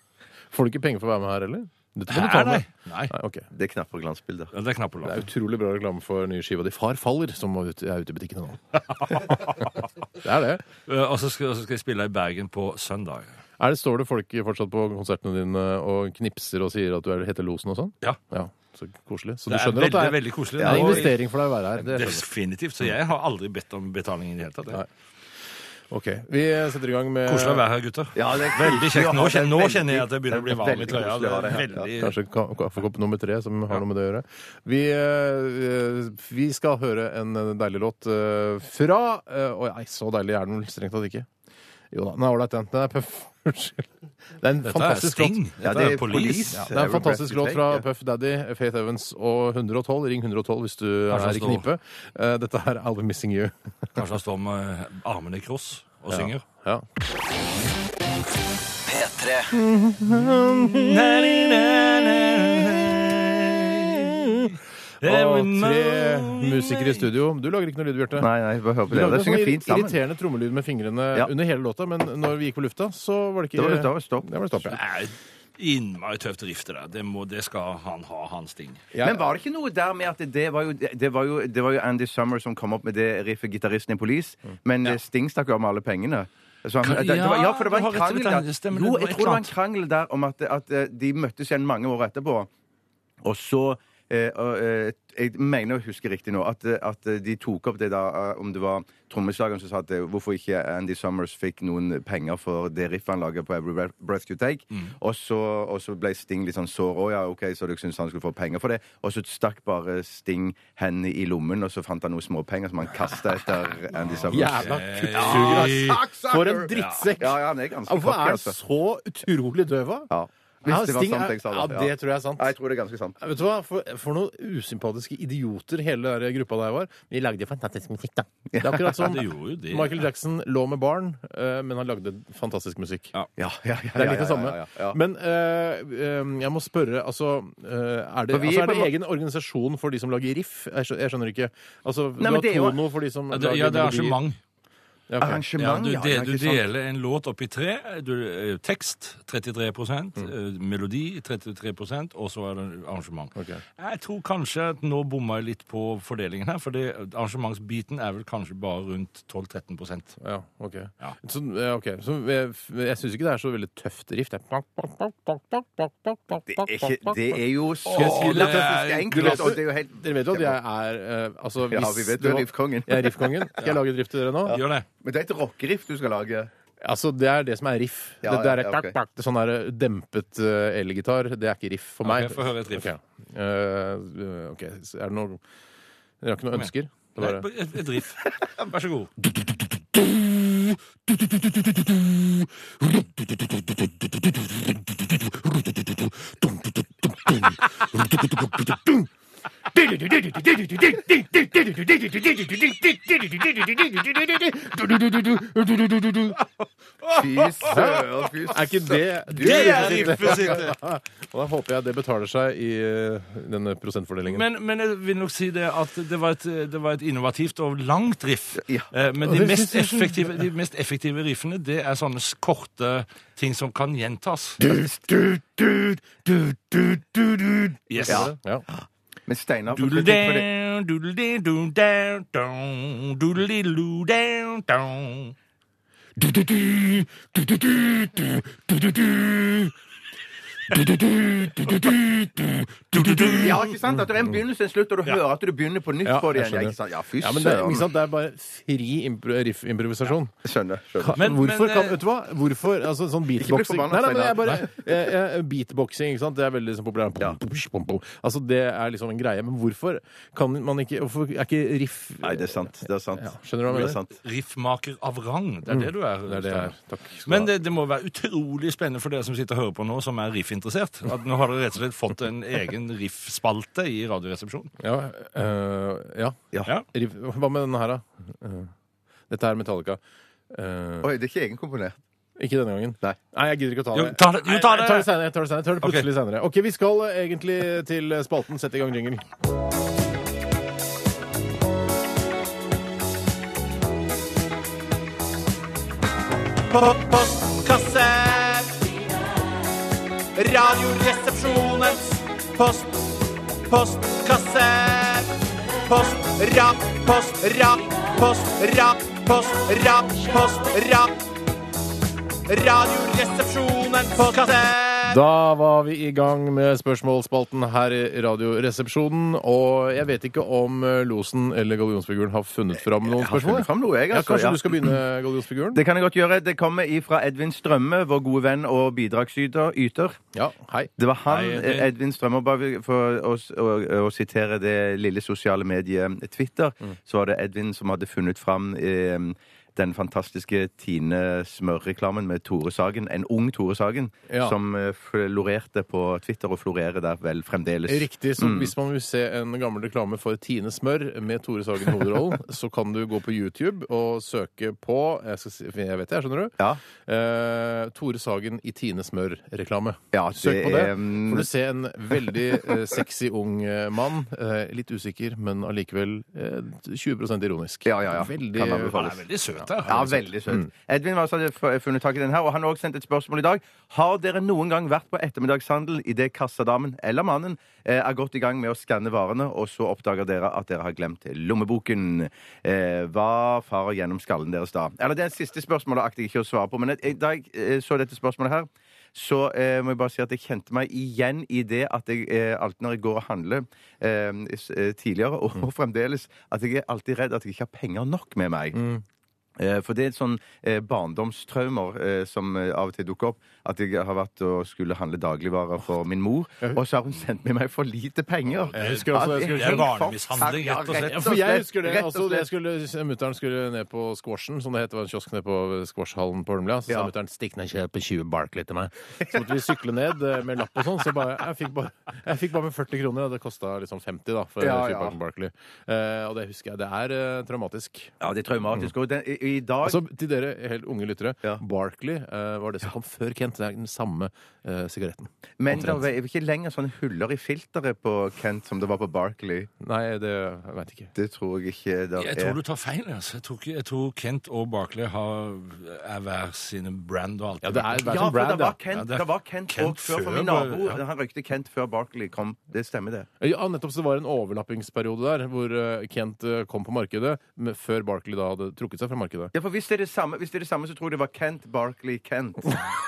S2: Får du ikke penger for å være med her heller? Dette må du ta
S3: Her, nei.
S2: med.
S3: nei.
S2: Nei, ok.
S4: Det er knapper og glansbilder.
S3: Ja, Det er knapper
S2: Det er
S3: langt.
S2: utrolig bra reklame for nye skiva di Far faller, som var ute- er ute i butikkene nå. det er det.
S3: Eh, Og så skal, og så skal jeg spille i Bergen på søndag.
S2: Er det. Står det folk fortsatt på konsertene dine og knipser og sier at du er, heter Losen og sånn?
S3: Ja.
S2: Ja, Så koselig. Så du
S3: Det er
S2: skjønner
S3: veldig,
S2: at det er,
S3: veldig koselig.
S2: det er en
S3: Og-
S2: investering for deg å være her. Det skjønner jeg.
S3: Definitivt. Så jeg har aldri bedt om betaling i det hele tatt. jeg.
S2: Nei. Ok, Vi setter i gang med
S3: Koselig å være her, gutter.
S4: Ja, det er
S3: Veldig kjekt. Nå kjenner, nå
S4: veldig-
S3: kjenner jeg at jeg begynner å bli varm i
S4: veldig
S3: trøya.
S4: koselig
S3: Det
S4: å ha
S3: er
S4: det her.
S3: veldig...
S2: Kanskje ka- kaffekopp nummer tre som har noe med det å gjøre. Vi, eh, vi skal høre en deilig låt eh, fra eh, Oi, nei, så deilig er den vel strengt tatt ikke. Jo da, den er ålreit, den. Den er Puff. Unnskyld. Det er en
S3: Dette er
S2: fantastisk
S3: Sting.
S2: låt.
S4: Ja,
S3: Dette er Police.
S4: police.
S2: Ja, det er en
S4: Every
S2: fantastisk
S4: breath you
S2: låt
S4: take,
S2: fra
S4: ja.
S2: Puff Daddy, Faith Evans og 112. Ring 112 hvis du er
S3: Kanskje
S2: her i
S3: han
S2: knipe. Eh, Dette her er I'll Be Missing You.
S3: Kanskje han står med armene i eh, kross og synger.
S2: Ja.
S1: P3.
S2: Og tre musikere i studio. Du lager ikke noe lyd, Bjarte.
S4: Nei, nei, bare hør på
S2: Du
S4: det.
S2: lagde
S4: Det
S2: en
S4: synger
S2: sånn
S4: fint sammen.
S2: irriterende trommelyd med fingrene
S4: Ja.
S2: under hele låta, men når vi gikk på lufta, så var det ikke
S4: Det var- det var stopp.
S2: Det var det stopp, ja.
S3: Nei, Innmari tøft riff det der. Det, må, det skal han ha, hans ting.
S4: Men var det ikke noe der med at det var jo, det var jo, det var jo Andy Summer som kom opp med det riffet, gitaristen i Police,
S3: Mm.
S4: men eh, Sting stakk jo av med alle pengene. Så han,
S3: Kan-
S4: det, det var, ja, for det var
S3: ja,
S4: en
S3: du har rett i det,
S4: krangel der.
S3: det stemmer, det
S4: Jo,
S3: var
S4: jeg
S3: et
S4: tror det
S3: eller
S4: var en krangel der om at, at eh, de møttes igjen mange år etterpå, og så eh, og, eh, jeg mener å huske riktig nå at, eh, at eh, de tok opp det da eh, om det var trommeslageren som sa at eh, hvorfor ikke Andy Summers fikk noen penger for det riffet han laget på Every Breath- Breath You Take.
S2: Mm.
S4: Og, så, og så ble Sting litt sånn sår. Å ja, OK, så dere syntes han skulle få penger for det? Og så stakk bare Sting hendene i lommen, og så fant han noen småpenger som han kasta etter Andy Summers.
S2: Jævla kuttsuger, ass! For en drittsekk!
S4: Ja, ja, han er ganske
S2: Hvorfor
S4: cocky,
S2: er han
S4: altså.
S2: så utrolig døv, da?
S4: Ja. Hvis
S2: Ja,
S4: det var
S2: Sting
S4: sant,
S2: er-
S4: jeg sa
S2: Ja,
S4: det.
S2: det tror jeg er sant.
S4: Ja, jeg tror det er ganske sant.
S2: Vet du hva, for, for noen usympatiske idioter hele der gruppa der var. Vi lagde fantastisk musikk, da. Det er akkurat som
S3: Det gjorde jo det.
S2: Michael Jackson lå med barn, eh, men han lagde fantastisk musikk.
S3: Ja.
S4: Ja, ja, ja,
S2: Det er
S4: ja,
S2: litt det
S4: ja,
S2: samme.
S4: ja, ja.
S2: Men eh, eh, jeg må spørre altså, eh, er det,
S4: For vi
S2: altså,
S4: er
S2: er
S4: på
S2: det
S4: en må-
S2: egen organisasjon for de som lager riff? Jeg skjønner, jeg skjønner ikke. Altså,
S4: men
S2: du har
S4: det er jo-
S2: Tono for de som
S3: Ja, det, ja, det er
S2: Ja,
S3: arrangement.
S2: ok.
S3: Ja,
S4: Arrangement,
S3: du,
S4: ja. ja,
S3: de- du
S4: ikke sant?
S3: deler en låt opp i tre. Du, eh, tekst 33 eh, melodi 33 og så er det arrangement.
S2: Ok.
S3: Jeg tror kanskje at nå bomma jeg litt på fordelingen her, for det, arrangementsbiten er vel kanskje bare rundt 12-13
S2: Ja, ok.
S3: Ja.
S2: Så, ja, ok. så jeg, jeg syns ikke det er så veldig tøft riff. Det
S4: Det er, ikke, det er jo så
S3: Åh, det er-
S4: fantastisk
S2: Du vet
S4: enkelt.
S2: jo-
S4: Og det er jo helt
S2: Dere vet jo at jeg er eh, altså, hvis
S4: Ja, vi vet du er
S2: var-
S4: riffkongen.
S2: Jeg er riffkongen. Skal jeg lage et riff til dere nå?
S3: Gjør det.
S4: Men det er et rockeriff du skal lage.
S2: Altså, Det er det som er riff.
S4: Ja,
S2: det der er
S4: ja, ok.
S2: kakk, kakk, det sånn der dempet eh, elgitar. Det er ikke riff for meg.
S3: Ok, få høre et riff.
S2: Ok. Eh, ok, så Er det noe Dere har ikke noe ønsker? Det er
S3: Nei,
S2: bare...
S3: Et, et riff. Vær så god.
S4: Fy søren, fy
S2: Er ikke det
S4: Det
S3: er riffesitte!
S2: Og da håper jeg det betaler seg i eh, denne prosentfordelingen.
S3: Men, men jeg vil nok si det at det var et, det var et innovativt og langt riff.
S4: Ja.
S3: Eh, Men
S2: Og
S3: de
S2: det
S3: mest,
S2: synes jeg-
S3: effektive, de mest effektive riffene, det er sånne s- korte ting som kan gjentas. Yes.
S4: Ja.
S2: Ja.
S4: Men Steinar for eksempel, for det-
S3: Doodle-down, doodle-dee-doo, down, down, doodle-dee-loo, down, down.
S4: Ja, ikke sant? At det er en begynnelse og en slutt, og du hører at du begynner på nytt
S2: Ja,
S4: på det
S2: jeg skjønner.
S4: igjen. Ja, ikke sant? Ja, fy
S2: Ja, men det,
S4: søren.
S2: ikke sant? det er bare fri impro riff-improvisasjon.
S4: Skjønner. skjønner.
S3: Men-
S2: Men, hvorfor
S3: men,
S2: kan,
S3: eh,
S2: vet du hva? Hvorfor, altså sånn beatboxing
S4: forbanna,
S2: Nei, nei, men jeg bare jeg, jeg, Beatboxing, ikke sant? Det er veldig liksom, populært. Pom, pom, pom. Altså, det er liksom en greie. Men hvorfor kan man ikke Hvorfor er ikke riff
S4: Nei, det er sant. Det er sant.
S2: Ja, skjønner du hva jeg
S4: Det er
S2: mener?
S4: sant.
S3: Riffmaker av rang. Det er det du er.
S2: Mm. Det er det
S3: Steinar.
S2: her. Takk. skal du
S3: Men
S2: ha.
S3: det, det må være utrolig spennende for dere som sitter og hører på nå, som er riff-interessert. At nå har dere rett og slett fått en egen riff-spalte i Radioresepsjonen.
S2: Ja. øh, ja.
S3: Ja.
S2: Riff. Hva med denne her, da? Øh, Dette er Metallica. Øh,
S4: Oi, det er ikke egenkomponert.
S2: ikke denne gangen.
S4: Nei.
S2: jeg gidder ikke å ta det.
S3: Jo, ta det- jo,
S2: Nei,
S3: ta det!
S2: Jeg tar det senere. Jeg tar det, senere. Jeg tar det plutselig senere. OK, vi skal eh, egentlig til eh, spalten. Sett i gang jingle. Da var vi i gang med spørsmålsspalten her i Radioresepsjonen. Og jeg vet ikke om eh, losen eller gallionsfiguren har funnet fram noen spørsmål.
S4: funnet fram noe, jeg,
S2: ja,
S4: altså,
S2: kanskje
S4: ja.
S2: du skal begynne, gallionsfiguren?
S4: Det kan jeg godt gjøre. Det kommer ifra Edvin Strømme, vår gode venn og bidragsyter. Yter.
S2: Ja, hei.
S4: Det var han, E-
S3: Nei, det-
S4: Edvin Strømmer, bare for å, å, å sitere det lille sosiale mediet Twitter,
S2: Mm.
S4: så var det Edvin som hadde funnet fram eh, den fantastiske Tine Smør-reklamen med Tore Sagen, en ung Tore Sagen,
S2: Ja.
S4: som eh, florerte på Twitter, og florerer der vel fremdeles.
S2: Riktig.
S4: Mm.
S2: Så hvis man vil se en gammel reklame for Tine Smør med Tore Sagen i hovedrollen, så kan du gå på YouTube og søke på Jeg, skal si, jeg vet det, jeg skjønner du.
S4: Ja.
S2: Eh, Tore Sagen i Tine Smør-reklame.
S4: Ja,
S2: Søk
S4: det
S2: på det.
S4: er, mm,
S2: Får du se en veldig eh, sexy ung eh, mann. Eh, litt usikker, men allikevel eh, 20 ironisk.
S4: Ja, ja, ja.
S2: Veldig
S4: Kan anbefales.
S3: Han er veldig søt der.
S4: Ja, veldig søt. Edvin var altså hadde f- funnet tak i den her, og han har også sendt et spørsmål i dag. Har dere noen gang vært på ettermiddagshandel idet kassadamen eller mannen eh, er godt i gang med å skanne varene, og så oppdager dere at dere har glemt lommeboken? Eh, hva farer gjennom skallen deres da? Eller det er siste spørsmålet akter jeg ikke å svare på, men jeg- da jeg eh, så dette spørsmålet her, så eh, må jeg bare si at jeg kjente meg igjen i det at jeg eh, alltid når jeg går og handler eh, s- eh, tidligere, og, og fremdeles, at jeg er alltid redd at jeg ikke har penger nok med meg. Eh, For det er et sånn eh, barndomstraumer eh, som eh, av og til dukker opp. At jeg har vært og skulle handle dagligvarer for min mor, og så har hun sendt med meg for lite penger.
S2: Jeg husker også- jeg husker-
S4: Ja, det er
S3: det er
S4: helt
S3: barnemishandling, rett og slett.
S4: Ja,
S2: Ja, for jeg husker det.
S4: rett og
S2: Altså, jeg
S4: slett.
S2: skulle, mutteren skulle ned på squashen, som det het. Det var en kiosk nede på eh, squashhallen på Holmlia. Så
S4: Ja.
S2: sa mutteren 'stikk ned og kjøp en 20 Barkley til meg'. Så måtte vi sykle ned eh, med lapp og sånn. Så bare, jeg fikk bare, jeg fikk bare med 40 kroner. Og det kosta liksom 50 da, for
S4: Ja,
S2: 20
S4: ja.
S2: pakken Barkley. Eh, og det husker jeg. Det er eh, traumatisk.
S4: Ja, det er traumatisk. Og den, i, i dag
S2: Altså, til dere helt unge lyttere,
S4: Ja.
S2: Barkley eh, var det som kom før Kent. Det er den samme eh, sigaretten.
S4: Men det er jo ikke lenger sånne huller i filteret på Kent som det var på Barkley.
S2: Nei, det jeg veit ikke.
S4: Det tror jeg ikke det
S3: Jeg tror
S4: er.
S3: du tar feil. Altså. Jeg, tror ikke, jeg tror Kent og Barclay har, er hver sine brand og alt.
S2: Ja, det er
S4: Ja,
S2: hver
S4: for
S2: sin
S4: det
S2: brand,
S4: var
S2: ja.
S4: Kent,
S3: Ja, det er
S4: det var Kent,
S3: Kent
S4: og før, for
S3: før
S4: min
S3: bare-
S4: nabo.
S3: ja.
S4: Han røykte Kent før Barkley kom. Det stemmer, det.
S2: Ja, nettopp så det var en overlappingsperiode der, hvor eh, Kent eh, kom på markedet men før Barkley da hadde trukket seg fra markedet.
S4: Ja, for hvis det, er det samme, hvis det er det samme, så tror jeg det var Kent Barkley Kent.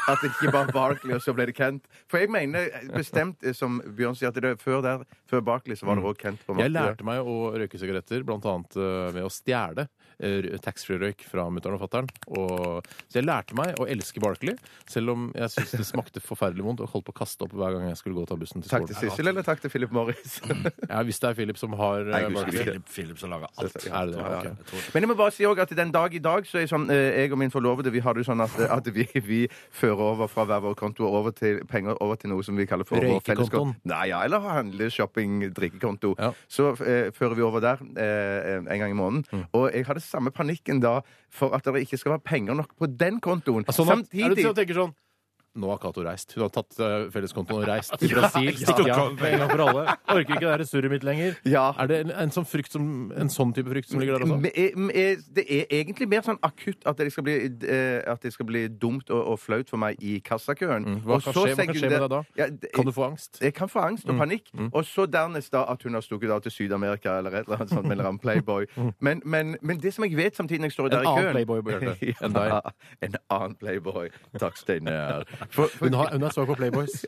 S4: At det ikke var Barkley, og så ble det Kent. For jeg mener bestemt, eh, som Bjørn sier, at det er før, der, før Barkley så var det òg Kent. på
S2: Mm. Jeg
S4: markedet.
S2: lærte meg å røyke sigaretter, blant annet eh, ved å stjele eh, r- taxfree-røyk fra mutter'n og fatter'n. Og, så jeg lærte meg å elske Barkley, selv om jeg syntes det smakte forferdelig vondt og holdt på å kaste opp hver gang jeg skulle gå og ta bussen til
S4: Takk til
S2: skolen.
S4: Sissel, eller takk til Philip Morris?
S2: Ja, hvis det er Philip som har eh,
S4: jeg husker
S2: Barkley.
S4: ikke.
S3: Philip, Philip som lager alt.
S2: Er det det?
S4: Ja, ja.
S2: Ok.
S4: Men jeg må bare si også at den dag i dag så er sånn, eh, jeg og min forlovede eh, vi har det jo sånn at, at vi, vi før øre over fra hver vår konto og over til, penger over til noe som vi kaller for vår
S2: Røykekontoen.
S4: felleskonto. Nei, ja, eller handle, shopping, drikkekonto.
S2: Ja.
S4: Så eh, fører vi over der eh, en gang i måneden.
S2: Mm.
S4: Og jeg hadde samme panikken da for at det ikke skal være penger nok på den kontoen.
S2: Sånn at, er det
S4: Samtidig
S2: sånn at jeg tenker sånn Nå har Cato reist. Hun har tatt eh, felleskontoen og reist til Brasil.
S3: ja.
S2: Stikker av med en gang for alle. Orker ikke det der surret mitt lenger.
S4: Ja.
S2: Er det en, en sånn frykt som, en sånn type frykt som ligger der også?
S4: Men er- men er- eh, Det er egentlig mer sånn akutt at det skal bli, eh, at det skal bli dumt og, og flaut for meg i kassakøen.
S2: Mm. Hva
S4: Og
S2: kan
S4: så
S2: skje, hva kan skje
S4: sekundært-
S2: med deg da?
S4: Ja, det-
S2: Kan du få angst?
S4: jeg kan få angst
S2: Mm.
S4: og panikk. Og så dernest da at hun har stukket av til Syd-Amerika eller et eller annet sånt, eller en playboy. Men, men, men det som jeg vet samtidig når jeg står der i
S2: Mm. En annen
S4: køen
S2: playboy, Bjarte, enn deg.
S4: Ja, en annen playboy. Takk, Steinar. For- for-
S2: Hun, har, hun er svak på Playboys.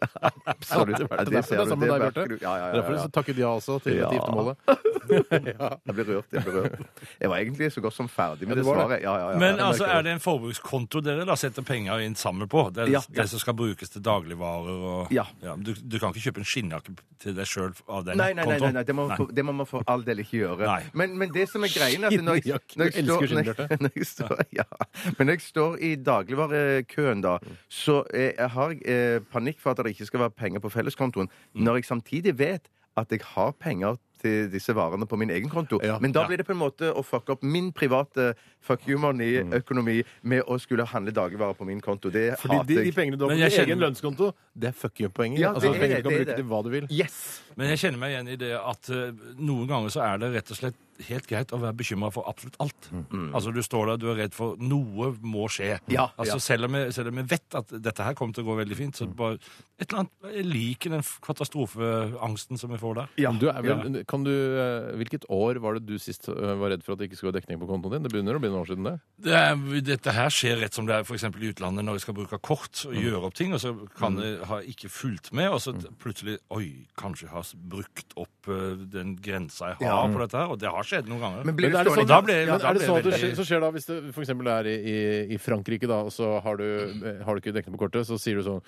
S4: Absolutt.
S2: Det
S4: Ja,
S2: er
S4: det
S2: derfor
S4: ser
S2: det er
S4: du,
S2: sammen med
S4: det
S2: deg,
S4: merker
S2: Bjarte.
S4: du. Ja, ja, ja,
S2: Derfor
S4: ja.
S2: så takket ja også til
S4: Ja.
S2: dette giftermålet.
S4: Jeg ble rørt. Jeg ble rørt. Jeg var egentlig så godt som ferdig med
S2: Ja,
S4: det
S2: du var
S4: svaret. Ja, ja, ja,
S3: Men
S4: Jeg
S3: altså,
S4: merker
S3: er det en forbrukskonto dere da setter penger inn sammen på? Det er
S4: Ja.
S3: det som skal brukes til dagligvarer og
S4: Ja.
S3: du, du kan ikke kjøpe en skinnjakke til deg sjøl av den
S4: Nei, nei, nei,
S3: kontoen?
S4: nei, nei, det, må, det må man for all del ikke gjøre.
S3: Nei.
S4: Men, men det som er greien er at når jeg,
S2: Skinnjakke.
S4: når jeg,
S2: Jeg
S4: står,
S2: elsker
S4: når jeg, når jeg står, ja. Men når jeg står i dagligvarekøen, da,
S2: Mm.
S4: så eh, jeg har jeg eh, panikk for at det ikke skal være penger på felleskontoen.
S2: Mm.
S4: Når jeg samtidig vet at jeg har penger til disse varene på min egen konto.
S2: Ja.
S4: Men da
S3: Ja.
S4: blir det på en måte å fucke opp min private fuck you money-økonomi med å skulle handle dagligvarer på min konto. Det
S2: Mm. Fordi
S4: hater
S2: de, de
S4: jeg.
S2: pengene du har
S3: Men
S2: på
S3: jeg
S2: din egen
S3: kjenner-
S2: lønnskonto, det er fuck you-poenger.
S4: Ja,
S2: altså
S4: det er
S2: penger
S4: det,
S2: du kan
S4: det er
S2: bruke
S4: det.
S2: til hva du vil.
S4: Yes!
S3: Men jeg kjenner meg igjen i det at eh, noen ganger så er det rett og slett helt greit å være bekymra for absolutt alt.
S4: Mm.
S3: Altså Du står der, du er redd for noe må skje.
S4: Ja,
S3: altså
S4: ja. Mm.
S3: Selv om, jeg, selv om jeg vet at dette her kommer til å gå veldig fint, så bare et eller annet, Jeg liker den f- katastrofeangsten som jeg får der.
S4: Ja.
S2: Du er vel, kan du, eh, hvilket år var det du sist eh, var redd for at det ikke skulle være dekning på kontoen din? Det begynner å bli noen år siden det.
S3: Det er, dette her skjer rett som det er for eksempel i utlandet når jeg skal bruke kort
S2: Mm.
S3: og gjøre opp ting, og så kan jeg ha ikke fulgt med, og så t- plutselig Oi, kanskje jeg har s- brukt opp eh, den grensa jeg har på dette her, og det har skjedd noen ganger.
S4: Men blir
S2: Men
S4: du
S2: er det
S4: stående
S2: sånn-
S3: da ble-
S2: Men
S3: da
S2: er det
S3: ble
S2: sånn at det
S3: veldig-
S2: skjer, så skjer da, hvis det f.eks. er i, i, i Frankrike, da, og så har du, eh, har du ikke dekning på kortet, så sier du sånn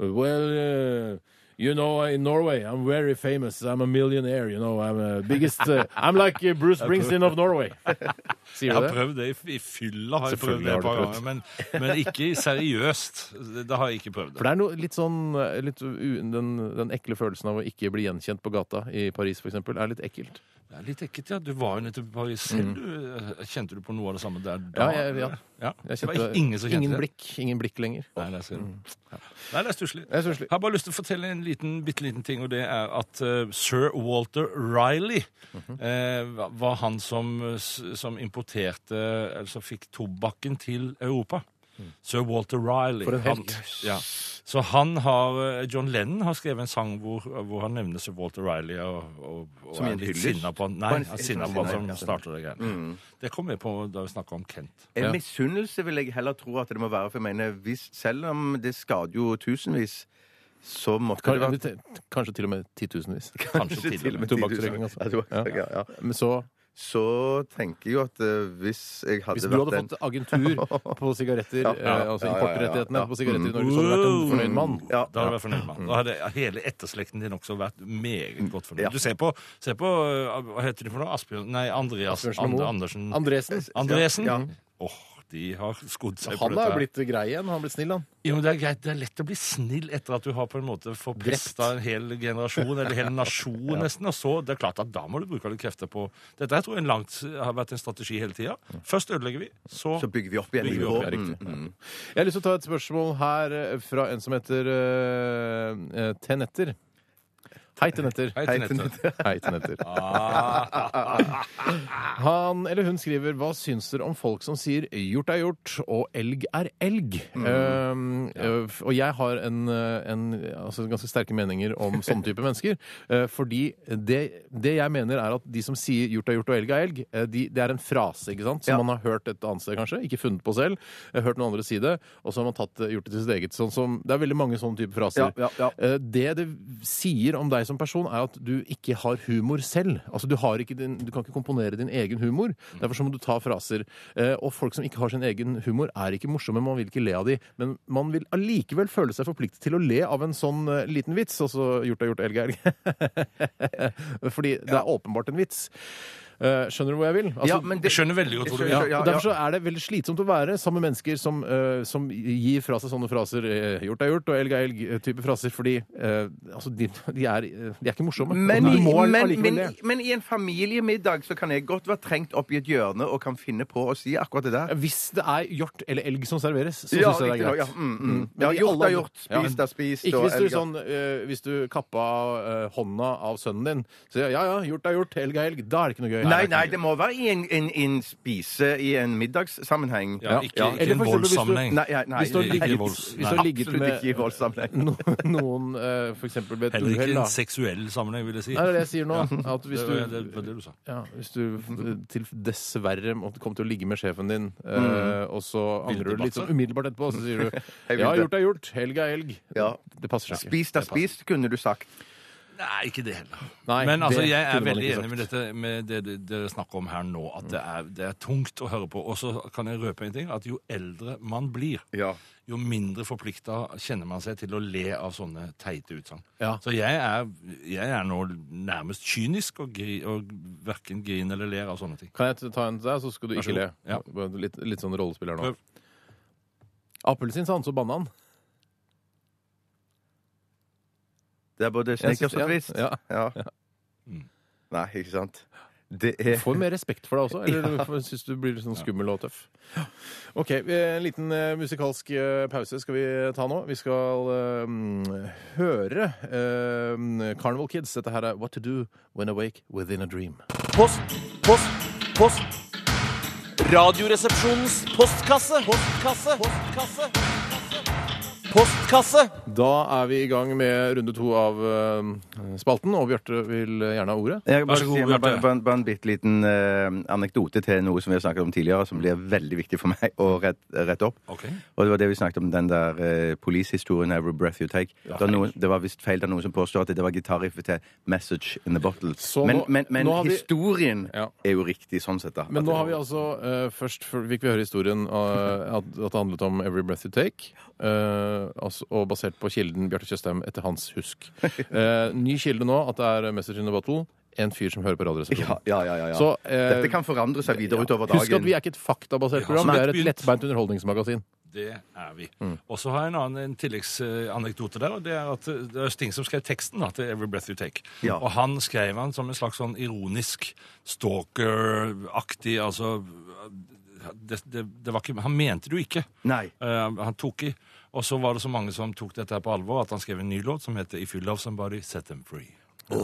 S2: Well, eh, you know, in Norway, I'm very famous. I'm a millionaire, you know. I'm a biggest eh, I'm like eh, Bruce Springsteen of Norway. Sier
S3: Jeg
S2: du
S3: har
S2: det?
S3: prøvd det i, i fylla, har jeg prøvd
S2: Selvfølgelig
S3: det
S2: har
S3: et
S2: du
S3: par
S2: prøvd.
S3: ganger, men, men ikke seriøst. Det, det har jeg ikke prøvd.
S2: For det er noe litt sånn eh, litt, u- den, den ekle følelsen av å ikke bli gjenkjent på gata i Paris, f.eks., er litt ekkelt.
S3: Det er litt ekkelt, ja. Du var jo nettopp i Paris selv. du. eh, Kjente du på noe av det samme der da?
S2: Mm. Ja, jeg- ja.
S3: Ja.
S2: Jeg
S3: det
S2: kjente-
S3: var ingen som kjente
S2: ingen
S3: det?
S2: blikk, Mm. ingen blikk lenger.
S3: Nei, det er, synd. Nei, det er stusslig.
S2: Det er stusslig.
S3: Jeg har bare lyst til å fortelle en liten, bitte liten ting, og det er at eh, sir Walter Riley eh, var han som, eh, s- som importerte Eller som fikk tobakken til Europa. Sir Walter Riley.
S2: For en helt.
S3: Han, ja. Så han har eh, John Lennon har skrevet en sang hvor, hvor han nevner sir Walter Riley og, og, og
S4: Som i
S3: er
S4: en
S3: litt
S4: hyllest?
S3: sinna på han. Nei,
S4: På en-
S3: han er sinna på han
S4: Ja.
S3: som starter det greiene. Det kom jeg på da vi snakka om Kent.
S4: En
S2: Ja.
S4: misunnelse vil jeg heller tro at det må være. For jeg mener, hvis, selv om det skader jo tusenvis, så måtte det være
S2: Kanskje, kanskje til og med titusenvis.
S3: Kanskje til og med.
S2: Tobakksrøyking, altså.
S4: Ja, tobakksrøyking, ja, ja.
S2: Men så
S4: Så tenker jeg jo at eh, hvis jeg hadde
S2: Hvis du
S4: vært
S2: hadde
S4: en
S2: fått agentur på sigaretter,
S4: Ja, ja,
S2: eh, altså
S4: ja, ja, ja,
S2: importrettighetene
S4: ja.
S2: på sigaretter i Norge, så hadde du vært en fornøyd mann.
S4: ja,
S3: Da hadde du vært fornøyd med
S2: Mm.
S3: han. Da hadde hele etterslekten din også vært meget godt fornøyd.
S4: Ja.
S3: Du ser på, se på øh, Hva heter de for noe? Asbjørn Nei, Andreas
S2: Asbjørnsen og
S3: And,
S2: Moe.
S3: Andersen.
S2: Andresen.
S3: Andresen.
S2: Ja.
S3: Åh, de har skodd seg på
S2: Han
S3: dette.
S2: har
S3: her.
S2: blitt grei igjen. Han har blitt snill, han.
S3: Jo, men det, er greit, det er lett å bli snill etter at du har på en måte forpesta en hel generasjon, eller en hel nasjon nesten. Og så, det er klart at da må du bruke litt krefter på Dette her tror jeg langt, har vært en strategi hele tida. Først ødelegger vi, så
S4: så bygger vi opp igjen
S3: Bygger vi
S4: nivået.
S3: opp, ja, riktig.
S4: Mm, mm.
S2: Jeg har lyst til å ta et spørsmål her eh, fra en som heter eh, eh, Tenetter. Hei, Tenetter.
S3: Hei,
S4: Hei,
S3: Tinette.
S2: Hei, Tenetter.
S3: Ah,
S2: Han eller hun skriver Hva syns dere om folk som sier 'gjort er gjort' og 'elg er elg'?
S4: Mm.
S2: Um, ø, Og jeg har en, ø, en, altså ganske sterke meninger om sånne type mennesker. ø, Fordi det, det jeg mener er at de som sier 'gjort er gjort' og 'elg er elg', ø, de, det er en frase ikke sant? som
S4: Ja.
S2: man har hørt et annet sted, kanskje. Ikke funnet på selv. ø, Hørt noen andre si det, og så har man tatt, ø, gjort det til sitt eget. Sånn som, det er veldig mange sånne type fraser.
S4: Ja, ja, ja.
S2: Eh, Det det sier om deg som person, er at du ikke har humor selv. Altså, du, har ikke din, du kan ikke komponere din egen humor. Derfor så må du ta fraser. Eh, Og folk som ikke har sin egen humor, er ikke morsomme. Man vil ikke le av de. Men man vil allikevel føle seg forpliktet til å le av en sånn eh, liten vits. Altså gjort er gjort, elg er elg. Fordi det er åpenbart en vits. Eh, skjønner du hvor jeg vil? Altså,
S4: Ja, men det-
S3: Jeg skjønner veldig godt hvor du vil.
S2: ja,
S4: ja, ja.
S2: og Derfor så er det veldig slitsomt å være sammen med mennesker som, eh, som gir fra seg sånne fraser eh, 'gjort er gjort' og 'elg er elg'-type fraser, fordi eh, altså, de, de, er, eh, de er ikke morsomme.
S4: Men,
S2: du
S4: i-
S2: må
S4: men,
S2: allikevel
S4: men,
S2: det.
S4: men i en familiemiddag så kan jeg godt være trengt opp i et hjørne og kan finne på å si akkurat det der.
S2: Hvis det er hjort eller elg som serveres, så
S4: Ja,
S2: syns jeg det
S4: riktig
S2: er
S4: nok,
S2: greit.
S4: ja, mm, mm.
S2: Men
S4: Ja,
S2: i
S4: gjort
S2: alle
S4: er gjort,
S2: andre-
S4: spist er spist,
S2: Ikke
S4: og
S2: hvis du,
S4: elg er-
S2: sånn, eh, hvis du kappa eh, hånda av sønnen din, så ja, ja, ja, gjort er gjort, elg er elg. Da er det ikke noe gøy.
S4: Nei, nei, det må være i en, en, en spise i en middagssammenheng.
S3: Ja, ikke,
S4: Ja.
S3: ikke
S2: Eller
S3: en
S2: for eksempel hvis du-
S3: voldssammenheng.
S4: Nei, nei, nei,
S2: Hvis du har
S3: Ikke
S2: ligget,
S3: volds.
S2: hvis du har
S3: Nei,
S2: ligget
S4: Absolutt ikke i
S2: med
S4: voldssammenheng.
S2: no, noen eh, for eksempel ved et
S3: Heller ikke
S2: uhell,
S3: i
S2: da.
S3: en seksuell sammenheng, vil jeg si.
S2: Nei, det er det jeg sier nå. At hvis
S3: Det var- det
S2: du,
S3: var det du sa.
S2: ja, hvis du eh, til dessverre måtte komme til å ligge med sjefen din,
S3: Mm.
S2: eh, og så angrer du litt sånn umiddelbart etterpå, så sier du
S4: Jeg vil
S2: ja,
S4: det.
S2: gjort er gjort, helg er elg.
S4: Ja.
S2: Det passer seg ikke.
S4: Spist er spist, kunne du sagt.
S3: Nei, ikke det heller.
S2: Nei,
S3: Men altså,
S2: det
S3: jeg er
S2: kunne man
S3: veldig
S2: ikke sagt.
S3: enig med, dette, med det du- dere snakker om her nå, at det er, det er tungt å høre på. Og så kan jeg røpe en ting, at jo eldre man blir,
S4: Ja.
S3: jo mindre forplikta kjenner man seg til å le av sånne teite utsagn.
S2: Ja.
S3: Så jeg er, jeg er nå nærmest kynisk og, gri, og verken griner eller ler av sånne ting.
S2: Kan jeg ta en til deg, så skal du
S3: Vær så
S2: ikke le?
S3: god. Ja.
S2: Bare Litt, litt sånn rollespill her nå.
S3: Prøv.
S2: Appelsin, sa han, så banna han.
S4: Det er både
S2: Jeg
S4: snickers
S2: synes-
S4: og twist.
S2: Ja.
S4: Ja. Nei, ikke sant. Det er
S2: Får mer respekt for deg også, eller ja. syns du blir litt sånn skummel og tøff? OK, eh, en liten eh, musikalsk eh, pause skal vi ta nå. Vi skal eh, mm, høre eh, Carnival Kids. Dette her er What to do when awake within a dream.
S5: Post, post, post. Radioresepsjonens postkasse. Postkasse. Postkasse. Postkasse.
S2: Da er vi i gang med runde to av eh, spalten, og Bjarte vil eh, gjerne ha ordet.
S4: Jeg vil
S3: Vær
S4: bare
S3: så god,
S4: si meg
S3: Bjarte.
S4: bare, bare, bare en bitte liten eh, anekdote til noe som vi har snakket om tidligere, som blir veldig viktig for meg å rette, rette opp.
S3: Ok.
S4: Og det var det vi snakket om, den der uh, policehistorien Every Breath You Take. det, var noen, det var visst feil av noen som påstår at det var gitarriffet til Message in the Bottle.
S2: Så
S4: men
S2: nå-
S4: men, men
S2: nå har vi-
S4: historien
S2: Ja.
S4: er jo riktig sånn sett, da.
S2: Men nå
S4: At det-
S2: har vi altså eh, Først f- fikk vi høre historien eh, at, at det handlet om Every Breath You Take. eh, altså, og basert på kilden Bjarte Tjøstheim etter hans husk. Eh, ny kilde nå at det er Message in the Bottle. En fyr som hører på
S4: ja,
S2: Radioresepsjonen.
S4: ja, ja, ja.
S2: Så, eh,
S4: Dette kan forandre seg videre utover dagen.
S2: Husk at vi er ikke et faktabasert program,
S3: snart
S2: vi er et
S3: begynt.
S2: lettbeint underholdningsmagasin.
S3: Det er vi. Og så har jeg en annen en tilleggsanekdote der. og Det er at eh, det er Sting som skrev teksten da, til Every Breath You Take.
S4: Ja.
S3: Og han skrev han som en slags sånn ironisk stalker-aktig Altså det, det, det var ikke, Han mente det jo ikke.
S4: Nei.
S3: Eh, han tok i. Og så var det så mange som tok dette her på alvor, at han skrev en ny låt som heter If You Love Somebody, Set Them Free.
S4: Å,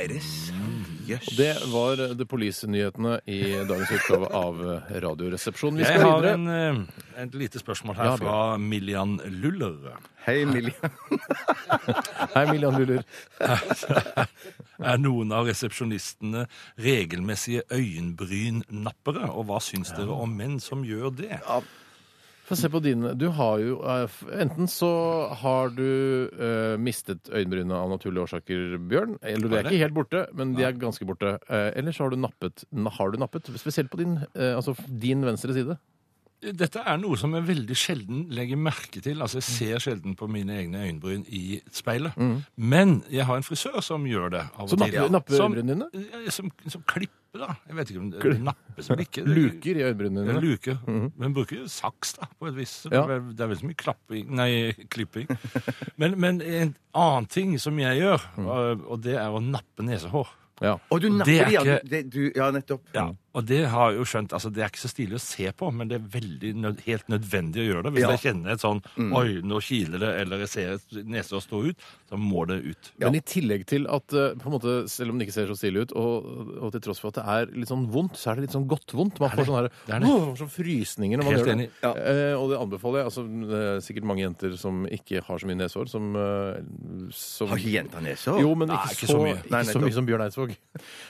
S4: er det sant? Jøss.
S2: Det var eh, The Police-nyhetene i dagens utgave av eh, Radioresepsjonen. Vi
S3: Jeg
S2: skal
S3: har
S2: videre.
S3: en, eh, et lite spørsmål her
S2: Ja, Bjørn.
S3: fra Millian Luller.
S4: Hei, Emilie.
S2: Hei, Millian Luller.
S3: Er noen av resepsjonistene regelmessige øyenbrynnappere? Og hva syns dere om menn som gjør det?
S2: Få se på dine. Du har jo eh, f- Enten så har du eh, mistet øyenbrynene av naturlige årsaker, Bjørn. Eller du er
S3: det?
S2: ikke helt borte, men de er ganske borte. Eh, eller så har du nappet. na- Har du nappet? Spesielt på din, eh, altså f- din venstre side.
S3: Dette er noe som jeg veldig sjelden legger merke til. Altså, Jeg ser sjelden på mine egne øyenbryn i speilet. Men jeg har en frisør som gjør det av og
S2: Så
S3: til.
S2: Mm. napper, napper
S3: Som-
S2: øyenbrynene dine?
S3: Ja, Som, som klipper, da. Jeg vet ikke om det nappes eller ikke. Det-
S2: Luker i øyenbrynene
S3: Det er
S2: dine.
S3: luke. Men bruker jo saks, da, på et vis. Så
S2: Ja.
S3: Det er- det er veldig mye klapping Nei, klipping. men, men en annen ting som jeg gjør, og- og det er å nappe nesehår.
S2: Ja.
S4: Og du
S3: Det er
S4: napper de, ja.
S3: ikke-
S4: Du, det, du, ja, nettopp.
S3: Ja, og det har jeg jo skjønt, altså det er ikke så stilig å se på, men det er veldig nød, helt nødvendig å gjøre det. Hvis
S4: Ja.
S3: jeg kjenner et sånn, oi, nå kiler det, eller jeg ser et nese stå ut, så må det ut.
S2: Men i tillegg til at eh, på en måte, selv om det ikke ser så stilig ut, og, og til tross for at det er litt sånn vondt, så er det litt sånn godt vondt. Man får sånne, her,
S3: er det.
S2: Åh, sånn frysninger når man gjør
S3: Helt
S2: det.
S3: enig.
S4: Ja.
S2: Eh, og det anbefaler jeg. Altså, det er sikkert mange jenter som ikke har så mye nesehår, som, eh, som
S4: Har ikke jenta nesehår?
S2: jo, men
S3: Nei,
S2: ikke,
S3: ikke
S2: så,
S3: så mye.
S2: Ikke
S4: Nei,
S2: så mye
S4: nettopp.
S2: som Bjørn Eidsvåg.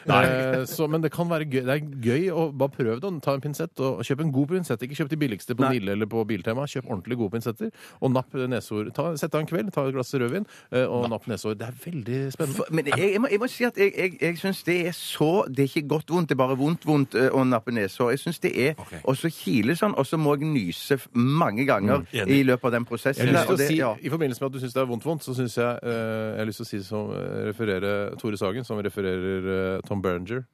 S2: Eh, så, men det kan være gøy. Det er gøy å bare prøve det. Ta en pinsett og kjøp en god pinsett. Ikke kjøp de billigste på Nille eller på Biltema. Kjøp ordentlig gode pinsetter. Og napp nesehår. Ta- Sett deg en kveld, ta et glass rødvin eh, og napp nesehår. Det er veldig spennende.
S4: For, men jeg, jeg, må, jeg må si at jeg, jeg, jeg syns det er så Det er ikke godt vondt, det er bare vondt vondt eh, å nappe nesehår. Jeg syns det er
S3: Ok.
S4: Og så kile sånn, og så må jeg nyse f- mange ganger
S3: Enig.
S4: i løpet av den prosessen.
S2: Mm, Jeg har lyst til
S4: der, og
S2: å si,
S4: det- ja.
S2: I forbindelse med at du syns det er vondt vondt, så syns jeg eh, Jeg har lyst til å si som eh, referere Tore Sagen, som refererer eh, Tom Berenger.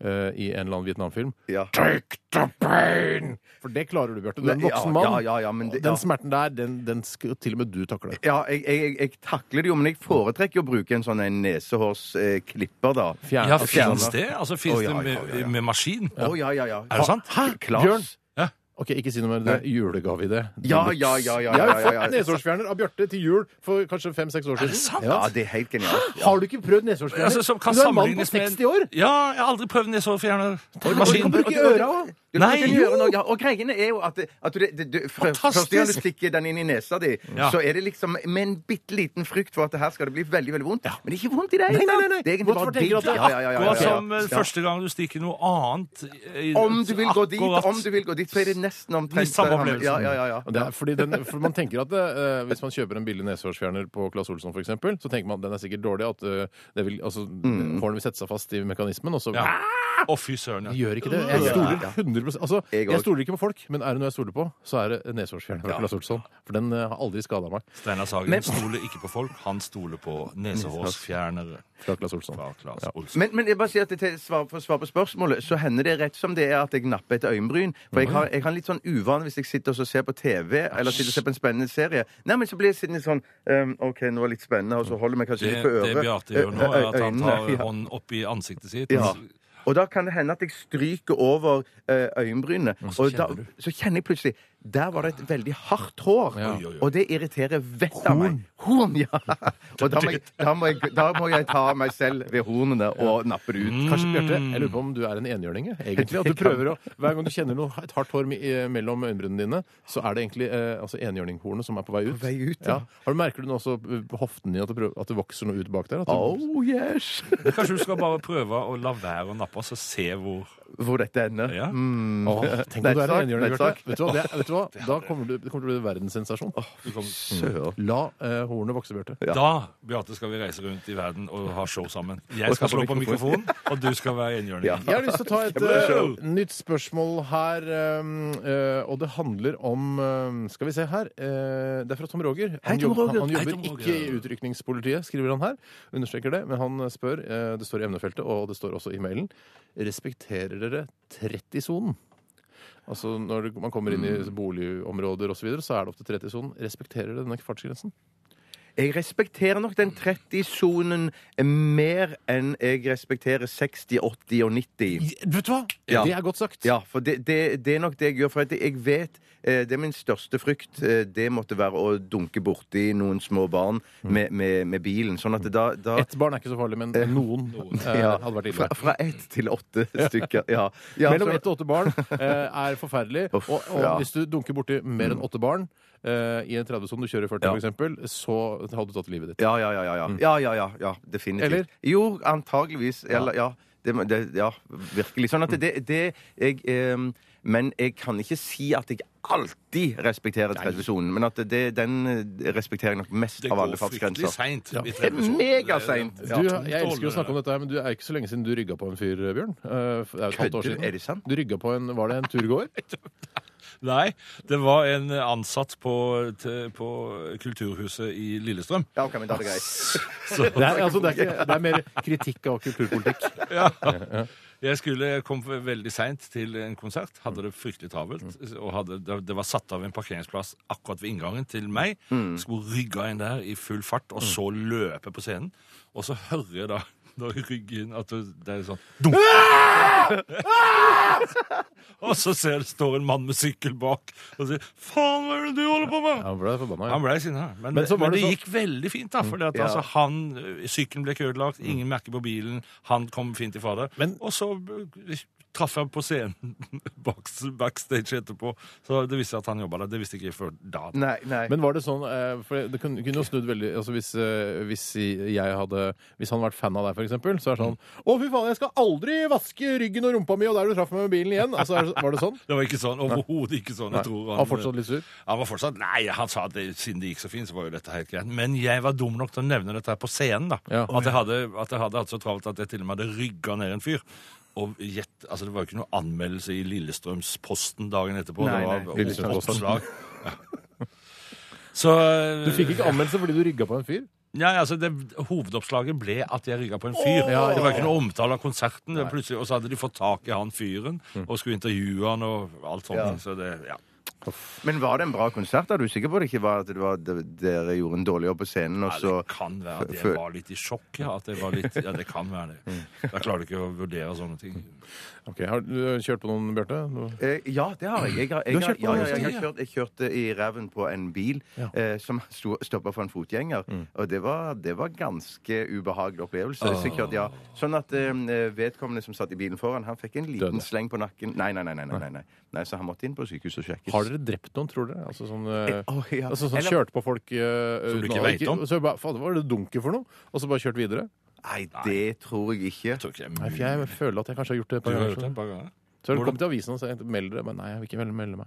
S2: eh, i en eller annen Vietnamfilm.
S4: Ja.
S2: Take the pain! For det klarer du, Bjarte. Du er en
S4: Nei,
S2: voksen
S4: ja,
S2: mann.
S4: ja, ja, ja, men det-
S2: den
S4: ja.
S2: smerten der, den, den skal til og med du takle.
S4: Ja, jeg, jeg, jeg, jeg takler det jo, men jeg foretrekker å bruke en sånn en nesehårsklipper, da.
S2: Fjern.
S3: Ja,
S2: altså,
S3: fins det? Altså, fins
S4: Å, ja,
S3: det med,
S4: ja, ja, ja.
S3: med maskin?
S4: Å, ja, ja, ja.
S3: Er det sant?
S4: Hæ? Klas?
S2: Bjørn?
S3: Ja.
S2: Ok, ikke si noe mer. om Det julegaveidé.
S4: Ja, ja, ja, ja,
S2: Jeg har
S4: ja,
S2: jo
S4: ja,
S2: fått
S4: ja.
S2: nesehårsfjerner av Bjarte til jul for kanskje fem-seks år siden.
S3: sant?
S4: Ja, det er helt genialt. Ja.
S2: Har du ikke prøvd nesehårsfjerner?
S3: Altså, som kan
S2: du er en mann på
S3: sammenlignes med en-
S2: 60 år!
S3: Ja, jeg har aldri prøvd nesehårfjerner.
S2: Du kan
S3: Maskin.
S2: bruke øra òg!
S4: Du
S3: Nei,
S4: kan
S3: jo!
S4: gjøre noe, ja, og greiene er jo at, det- at du, det, du, fra,
S3: Fantastisk!
S4: Første gang du stikker den inn i nesa di,
S3: Ja.
S4: så er det liksom med en bitte liten frykt for at det her skal det bli veldig veldig vondt. Men det er ikke vondt i det hele
S2: Nei, nei,
S4: tatt.
S2: nei, nei.
S4: Det er egentlig
S2: Hvorfor
S4: bare
S2: tenker du at
S4: digg.
S2: det er
S4: Ja, ja, ja, ja,
S3: Akkurat
S4: ja, ja.
S3: som eh, første gang du stikker noe annet. i-
S4: Om du vil gå dit,
S3: akkurat.
S4: om du vil gå dit, så er det nesten omtrent
S3: Litt samme
S4: det samme.
S3: opplevelse.
S4: Ja, ja, ja, ja.
S2: Og Det er fordi den, for man tenker at det, eh, Hvis man kjøper en billig nesehårsfjerner på Claes Olsson, for eksempel, så tenker man at den er sikkert dårlig. At eh, det vil, altså, hårene vil sette seg fast i mekanismen. Og så
S3: Ja. Å, fy søren.
S2: Jeg
S3: Ja.
S2: gjør ikke det. Jeg stoler 100 altså,
S4: Jeg
S2: Jeg
S4: også.
S2: stoler ikke på folk, men er det noe jeg stoler på, så er det nesehårsfjerner fra Claes Olsson. For den eh, har aldri skada meg.
S3: Steinar Sagen stoler ikke på folk, han stoler på nesehårsfjernere
S2: Fra Claes Olsson.
S3: fra Claes Olsen.
S4: Men, men jeg bare sier at til svar, for å svare på spørsmålet, så hender det rett som det er at jeg napper et øyenbryn. For jeg har, jeg har en litt sånn uvane hvis jeg sitter og så ser på TV eller sitter og ser på en spennende serie. Nei, men så blir jeg sittende sånn ehm, OK, nå er det litt spennende, og så holder jeg meg kanskje
S3: Det,
S4: litt på øret.
S3: det Bjarte gjør nå, er at han
S4: Øynene,
S3: tar
S4: ja.
S3: hånden opp i ansiktet sitt.
S4: Ja. Og da kan det hende at jeg stryker over eh, øyenbrynene. Og,
S3: så
S4: da,
S3: kjenner du.
S4: så kjenner jeg plutselig Der var det et veldig hardt hår.
S3: Oi, oi, oi.
S4: Og det irriterer vettet av meg. Horn, ja. Og da må, jeg, da, må jeg, da må jeg ta meg selv ved hornene og nappe det
S3: Mm.
S4: ut.
S2: Kanskje, Bjarte, jeg lurer på om du er en enhjørning, jeg, egentlig. At du prøver å, Hver gang du kjenner noe, et hardt hår mi- eh, mellom øyenbrynene dine, så er det egentlig eh, altså enhjørninghornet som er på vei ut.
S4: vei ut,
S2: ja.
S4: ja.
S2: Har du Merker du nå også eh, på hoften din at det, prøver, at det vokser noe ut bak der? At du,
S4: Oh yes!
S3: Kanskje du skal bare prøve å la være å nappe, så se hvor
S4: Hvor dette ender. Mm.
S3: ja.
S2: Åh, tenk om du er
S4: Nettsak,
S2: en enhjørning,
S4: nettsak.
S2: Bjarte. Vet du hva? Det, vet du hva? Da kommer du, det kommer til å bli verdenssensasjon.
S4: Søren.
S2: La eh, hornet vokse, Bjarte.
S3: Da, Bjarte, skal vi reise rundt i verden og ha show sammen. Jeg skal slå på mikrofonen, og du skal være enhjørning.
S4: Ja.
S2: Jeg har lyst til å ta et
S4: Kjempebra show.
S2: eh, nytt spørsmål her, um, eh, og det handler om eh, Skal vi se her. eh, det er fra Tom Roger. Han,
S4: Hei, Tom
S2: jobb- han,
S4: Roger.
S2: han
S3: Hei,
S2: jobber
S3: Tom Roger.
S2: ikke i utrykningspolitiet, skriver han her. Understreker det, men han spør. eh, det står i emnefeltet, og det står også i mailen. Respekterer dere 30-sonen? Altså Når det- man kommer inn i boligområder osv., så, videre, så er det opp til 30-sonen. Respekterer dere denne fartsgrensen?
S4: Jeg respekterer nok den 30-sonen mer enn jeg respekterer 60, 80 og 90.
S2: Vet du hva?
S4: Ja.
S2: Det er godt sagt.
S4: Ja, for det, det, det er nok det jeg gjør. For at jeg vet eh, Det er min største frykt. eh, Det måtte være å dunke borti noen små barn
S2: Mm.
S4: med, med, med bilen. Sånn at det da, da
S2: Ett barn er ikke så farlig, men noen, eh,
S4: ja,
S2: hadde vært ille.
S4: fra, fra ett til åtte stykker. Ja. ja
S2: Mellom
S4: så-
S2: ett og åtte barn eh, er forferdelig.
S4: Uff,
S2: og og
S4: ja.
S2: hvis du dunker borti mer enn åtte barn eh, i en 30-sone du kjører i 40,
S4: Ja.
S2: for eksempel, så hadde du tatt livet ditt.
S4: Ja, ja, ja. ja, ja.
S3: Mm.
S4: ja, ja, ja, ja definitivt.
S2: Eller?
S4: Jo, antageligvis. Eller, ja. Det, må- det, ja, virkelig. Sånn at
S3: Mm.
S4: det, det jeg, ehm, Men jeg kan ikke si at jeg alltid respekterer tradisjonen. Men at det, den eh, respekterer jeg nok mest
S3: Det
S4: av
S3: går
S4: alle
S3: fryktelig
S4: fartsgrenser.
S3: seint. i
S4: Det er
S3: 30-sonen.
S4: Megaseint!
S2: Du,
S4: Ja.
S2: jeg elsker å snakke om dette, her, men du er ikke så lenge siden du rygga på en fyr, Bjørn. Eh, for Det er jo et halvt år
S4: Kødder du?
S2: siden.
S4: Er det sant?
S2: Du rygga på en Var det en turgåer?
S3: Nei, det var en ansatt på, til, på Kulturhuset i Lillestrøm.
S4: Ja, ok, men da er det greit.
S2: Det er, altså, det, er ikke, det er mer kritikk av kulturpolitikk.
S3: Jeg skulle jeg kom veldig seint til en konsert, hadde det fryktelig travelt. og hadde, det- Det var satt av en parkeringsplass akkurat ved inngangen til meg. Skulle rygge inn der i full fart, og så løpe på scenen. Og så hører jeg da når jeg rygger inn at det det er sånn dunk. Og så ser, står en mann med sykkel bak og sier 'Faen, hva er det du holder på med?'
S2: Ja, ble jeg forbanna,
S3: Han
S2: ja.
S3: ble sinna, men,
S2: Men
S3: men,
S2: så var
S3: det
S2: det så- Mm,
S3: gikk veldig fint. da, fordi at altså, han, ø, Sykkelen ble ikke ødelagt, ingen merker på bilen, han kom fint i fader.
S2: Men-
S3: Og så ø, traff jeg ham på scenen bak- backstage etterpå, så det visste jeg at han jobba der. Det visste ikke jeg før da.
S4: Nei, nei.
S2: Men var det sånn eh, For det kunne kunne jo snudd veldig altså hvis, eh, hvis jeg hadde Hvis han hadde vært fan av deg, for eksempel, så er det sånn Å, fy faen, jeg skal aldri vaske ryggen og rumpa mi og der du traff meg med bilen igjen. Altså, er det- var det sånn?
S3: Det var ikke sånn, overhodet ikke sånn. Jeg tror
S2: Han var fortsatt litt sur.
S3: Han var fortsatt Nei, han sa at det, siden det gikk så fint, så var jo dette helt greit. Men jeg var dum nok til å nevne dette her på scenen, da.
S2: Ja.
S3: At, jeg hadde, at jeg hadde hatt så travelt at jeg til og med hadde rygga ned en fyr. Og gjett, altså Det var jo ikke noe anmeldelse i Lillestrømsposten dagen etterpå.
S4: Nei, nei,
S3: det var
S2: Lillestrømsposten.
S3: oppslag. Ja. Så
S2: Du fikk ikke anmeldelse fordi du rygga på en fyr?
S3: Nei, altså det, Hovedoppslaget ble at jeg rygga på en fyr.
S2: ja,
S3: Det var ikke noe omtale av konserten. Det var plutselig, og så hadde de fått tak i han fyren og skulle intervjue han og alt sånt. Så det, ja.
S4: Men var det en bra konsert? Er du sikker på det ikke var at det var, det, dere gjorde en dårlig jobb på scenen? Og
S3: Ja,
S4: så,
S3: det kan være at jeg
S4: før-
S3: var litt i sjokk. Ja, at jeg var litt, ja det kan være
S4: Mm.
S3: det. Jeg klarer ikke å vurdere sånne ting.
S2: Ok, Har du kjørt på noen, Bjarte? Noe-
S4: Eh, ja, det har jeg. Jeg har, jeg,
S2: Du har kjørt på
S4: ja, ja,
S2: den,
S4: jeg,
S3: ja.
S4: har kjørt, jeg kjørte i ræven på en bil eh, som stoppa for en fotgjenger. Og det var, det var ganske ubehagelig opplevelse. Så jeg kjørte, ja. Sånn at eh, vedkommende som satt i bilen foran, han fikk en liten
S2: Døde.
S4: sleng på nakken. Nei, nei, nei, nei, nei, nei, nei. nei. Så han måtte inn på sykehus og sjekkes.
S2: Har dere drept noen, tror dere? Altså sånn, eh,
S4: Å, ja.
S2: altså, sånn
S4: Eller-
S2: kjørt på folk eh,
S3: Som du
S2: uten å-
S3: ikke vet om?
S2: og Så bare, faen, hva var det dunket for noe? Og så bare kjørt videre?
S4: Nei, det tror jeg ikke.
S3: Jeg tror ikke det er
S2: Nei, for
S3: mulig.
S2: jeg føler at jeg kanskje har gjort det et
S3: Du
S2: par
S3: har
S2: ganger.
S3: hørt det
S2: sånn.
S3: et par ganger?
S2: Så har du kommet til avisen og sagt meld dere. Men nei, jeg vil ikke vel- melde meg.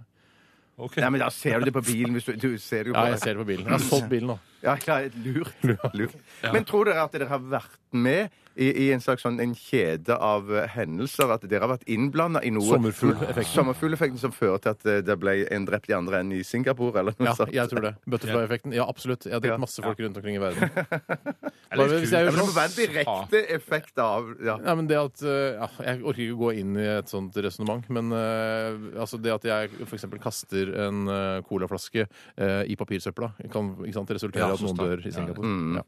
S3: Ok.
S4: Nei, men altså, Da ser du det på bilen. Hvis du, du ser det jo
S2: Ja,
S4: på-
S2: jeg ser det på bilen. Jeg har solgt bilen nå.
S4: Ja, ja, et lur. lur. Men tror dere at dere har vært med i, i en slags sånn en kjede av eh, hendelser? At dere har vært innblanda i noe
S2: Sommerfugleffekten.
S4: Sommerfugleffekten som fører til at eh, det ble en drept i andre enden i Singapore, eller noe
S2: Ja,
S4: sånt?
S2: jeg tror det. Butterfly-effekten. Ja, absolutt. Jeg har drept
S4: Ja.
S2: masse folk rundt omkring i verden.
S3: Det er
S2: Bare
S3: litt
S2: hvis
S3: kult.
S2: jeg
S4: Ja,
S2: gjør
S4: men det
S2: sånn
S4: må være en direkte effekt av ja.
S2: Nei, men det at, eh, ja, Jeg orker ikke gå inn i et sånt resonnement, men eh, altså det at jeg f.eks. kaster en eh, colaflaske eh, i papirsøpla, kan ikke sant, resultere i
S3: Ja,
S2: at
S3: Mm.
S2: noen
S3: så
S2: dør
S3: sterkt.
S2: i Singapore. Ja.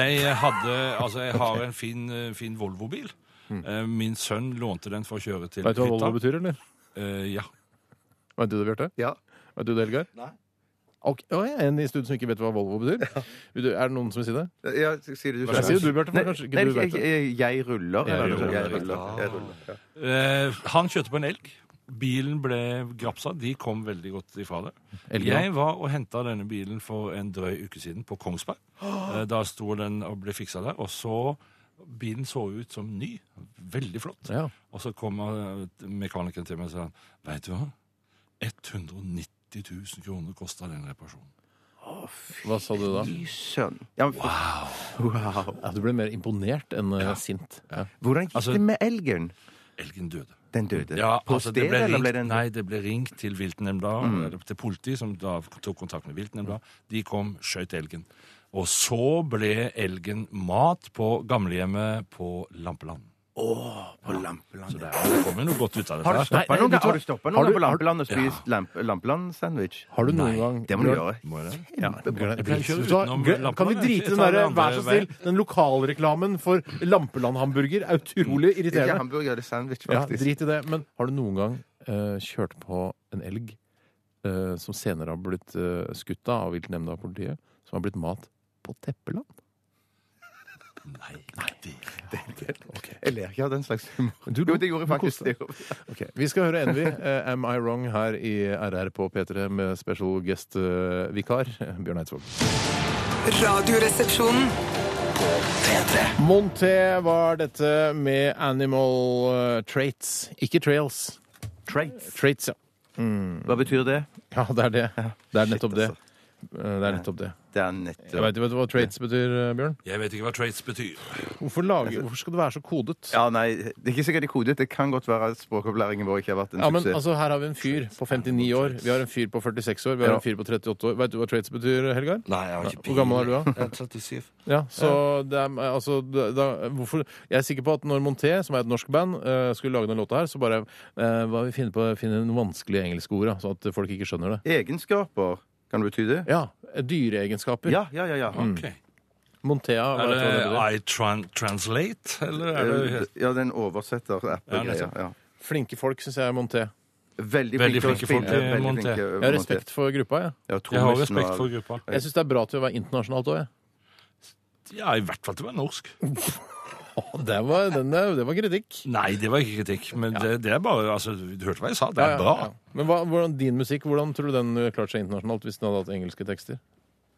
S3: Jeg hadde, altså jeg har en fin, eh, fin Volvo-bil.
S4: Mm.
S3: Eh, Min sønn lånte den for å kjøre til
S2: Vet du hva Volvo
S3: hytta.
S2: betyr, eller?
S3: Eh, Ja.
S2: Vet du det, Bjarte?
S4: ja.
S2: Vet du det, Helgar?
S5: Nei.
S2: Ok, å, jeg er en i studio som ikke vet hva Volvo betyr. Vil du- Er det noen som vil si det?
S4: ja Sier du
S2: Jeg sier du, Bjarte, for
S4: Nei,
S2: kanskje ikke
S4: nei,
S2: du vet
S4: jeg,
S2: det.
S4: jeg, jeg ruller.
S2: Jeg
S4: eller noe sånt.
S2: ruller.
S4: Jeg ruller. Jeg ruller. Ja.
S3: Eh, Han kjørte på en elg. Bilen ble grapsa. De kom veldig godt ifra det.
S2: Elgra.
S3: Jeg var og henta denne bilen for en drøy uke siden på Kongsberg. Eh, Da sto den og ble fiksa der. Og så Bilen så ut som ny. Veldig flott.
S2: Ja.
S3: Og så kom eh, mekanikeren til meg og sa Veit du hva? 190 000 kroner kosta den reparasjonen.
S2: Hva sa du da?
S4: Fy søren. Ja, men- wow.
S2: Ja, du ble mer imponert enn eh, sint. Ja.
S4: Hvordan gikk
S3: Altså-
S4: det med elgen?
S3: Elgen døde.
S4: Den døde?
S3: Ja,
S4: På
S3: altså, det ble
S4: stedet, eller
S3: ringt,
S4: ble Mm. den
S3: Nei, det ble ringt til viltnemnda, eller til politi, som da tok kontakt med
S4: Mm.
S3: viltnemnda. De kom, skjøt elgen. Og så ble elgen mat på gamlehjemmet på Lampeland.
S4: på lampeland?
S3: Så det er- det kommer noe godt ut av
S4: Har du
S3: dette. her.
S4: stoppa noen,
S2: vet du
S4: gang-
S2: hva?
S4: har du stoppet
S2: Har
S4: noen
S2: du-
S4: gang på Lampeland og spist lamp, Lampeland-sandwich?
S2: Har du noen
S3: Nei,
S2: gang
S4: Det må du gjøre.
S3: Må jeg det?
S2: Ja, glem-
S3: Jeg pleier å kjøre
S2: Vet du hva?
S3: utenom
S2: Glem-
S3: Lampeland,
S2: Kan vi
S3: jeg.
S2: drite
S3: Jeg
S2: den
S3: tar
S2: derre
S3: den andre
S2: vær så snill, den lokalreklamen for Lampeland-hamburger er utrolig
S4: Mm. Ikke
S2: irriterende.
S4: hamburger, det er sandwich,
S2: Ja,
S4: faktisk.
S2: drit i det. Men har du noen gang eh, kjørt på en elg eh, som senere har blitt eh, skutt av av viltnemnda og politiet, som har blitt mat på Teppeland?
S3: Nei, nei, det
S4: jeg ler ikke av den slags humor.
S2: Du lo.
S4: Jo, det gjorde jeg
S2: Du
S4: faktisk.
S2: koste
S4: Det
S2: deg.
S4: gjorde. jeg.
S2: Ok, Vi skal høre Envy, eh, Am I Wrong, her i RR på P3 med special guest-vikar eh, Bjørn Eidsvåg.
S6: Radioresepsjonen.
S2: Monté var dette med Animal eh, Traits, ikke Trails. Traits, ja.
S4: Hva betyr det?
S2: Ja, det er det. Det er nettopp det.
S4: altså.
S2: Eh, Det er nettopp det.
S4: Det er nettopp
S2: Jeg vet, vet du hva traits betyr, eh, Bjørn?
S3: Jeg vet ikke hva traits betyr.
S2: Hvorfor, lage, hvorfor skal det være så kodet?
S4: Ja, nei, det er ikke sikkert det er kodet. Det kan godt være at språkopplæringen vår ikke har vært en
S2: Ja, men
S4: suksess.
S2: altså, Her har vi en fyr på 59 år, vi har en fyr på 46 år, vi har en fyr på 38 år. Vet du hva traits betyr, Helgar?
S1: Nei, jeg har ikke
S2: Hvor gammel er du, da?
S1: Jeg er 37.
S2: Ja, så det er, altså, da, da- hvorfor, Jeg er sikker på at når Monté, som er et norsk band, eh, skulle lage denne låta her, så bare eh, Hva vi finner på finne noen vanskelige engelske ord, da, sånn at folk ikke skjønner det.
S4: Egenskaper, kan det bety det?
S2: Ja. Dyreegenskaper.
S4: Ja, ja, Hm. ja. ja.
S3: Ok.
S2: Montea. vet
S3: Er
S2: du hva det betyr?
S3: det I tran translate, eller er
S4: Eh,
S3: det
S4: Ja, den oversetter-appen.
S3: Ja,
S4: Ja,
S3: nettopp.
S4: ja.
S2: Flinke folk, syns jeg er Monté.
S4: Veldig
S3: Veldig
S4: flinke
S3: flinke folk
S4: til å spille,
S3: i
S4: veldig
S3: Monté.
S4: flinke,
S3: Jeg
S4: eh,
S2: Jeg har
S4: Monté.
S2: respekt for gruppa, jeg.
S4: Ja,
S3: Jeg har
S4: trommisen
S3: respekt
S4: og-
S3: for gruppa.
S2: Jeg syns det er bra at vi var internasjonalt òg, jeg.
S3: Ja, i hvert fall til å være norsk.
S2: Det var, den, er- det var kritikk.
S3: Nei, det var ikke kritikk, men det, det er bare altså, Du hørte hva jeg sa. Det
S2: Ja,
S3: er
S2: ja,
S3: bra.
S2: ja. Men hva, hvordan, din musikk, hvordan tror du den eh, klarte seg internasjonalt hvis den hadde hatt engelske tekster?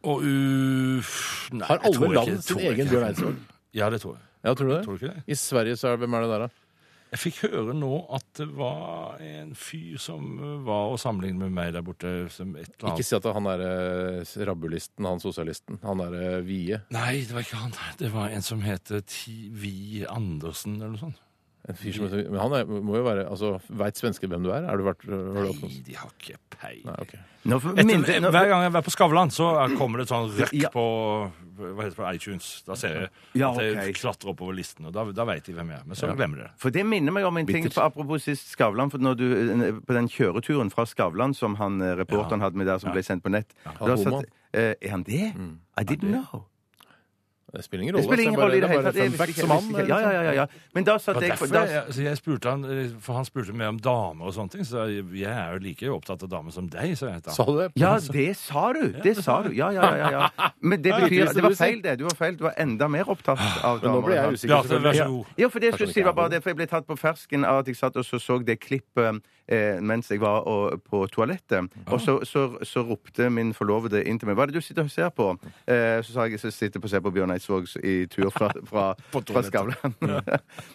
S3: Og uff nei,
S2: Har
S3: jeg
S2: alle
S3: tror ikke-
S2: land
S3: jeg tror
S2: sin egen
S3: ikke.
S2: Bjørn Eidsvåg?
S3: Ja, det tror jeg.
S2: Ja, tror du det?
S3: Tror du ikke det?
S2: I Sverige så er hvem er det der, da?
S3: Jeg fikk høre nå at det var en fyr som eh, var å sammenligne med meg der borte som et eller
S2: Ikke
S3: annet.
S2: si at det er han derre rabbulisten, han sosialisten. Han derre Vie.
S3: Nei, det var ikke han. Det var en som heter T. V. Andersen eller noe sånt.
S2: En fyr som, men han er, må jo være altså, Veit svensker hvem du er? Er du vært, har du hatt noe?
S3: Nei, de har ikke peiling.
S2: Nei, ok.
S4: Nå får-
S3: Etter,
S4: mindre- nå-
S3: hver gang jeg har vært på Skavlan, så er- kommer det et sånn røkk
S4: Ja.
S3: på hva heter det, på iTunes. Da ser jeg
S4: Ja,
S3: at jeg
S4: ok.
S3: klatrer oppover listen, og da, da veit de hvem jeg er. Men så glemmer de det.
S4: For det minner meg om en ting, for apropos sist Skavlan. For når du, eh, på den kjøreturen fra Skavlan som han, eh, reporteren hadde med der, som ble sendt på nett da
S2: homo.
S4: satt- eh, Er han det? I didn't know.
S2: Det spiller ingen
S4: Det
S2: rolle.
S4: spiller ingen rolle i det hele tatt.
S2: Det
S4: Jeg
S2: er bare fun
S4: visste
S2: fact som
S4: ikke- jeg
S2: han. eh,
S4: visste ikke- Ja, ja, ja, ja. Men da satt
S3: Det var
S4: jeg for,
S3: derfor
S4: da,
S3: jeg, så jeg spurte han, eh, for han spurte mer om damer og sånne ting, så jeg, jeg er jo like opptatt av damer som deg, sa jeg. da.
S2: Sa du det?
S4: Ja, det sa du! Det sa du. Ja, ja, ja. ja, ja. Men det betyr Det var feil, det. Du var feil. Du var enda mer opptatt av
S2: Men nå ble jeg usikker.
S3: Bjarte, vær
S2: selvfølgelig.
S3: så god.
S4: Ja, for det jeg skulle
S2: Kanskje
S4: si
S2: det
S4: var
S2: ikke
S4: bare
S2: er
S4: det, for jeg ble tatt på fersken av at jeg satt og så, så det klippet eh, mens jeg var og, på toalettet. Og så, så, så ropte min forlovede inn til meg 'Hva er det du sitter og ser på?' Eh, så sa jeg så sitter jeg og ser på Bjørn Eidsvåg i tur fra, fra, fra Skavlan.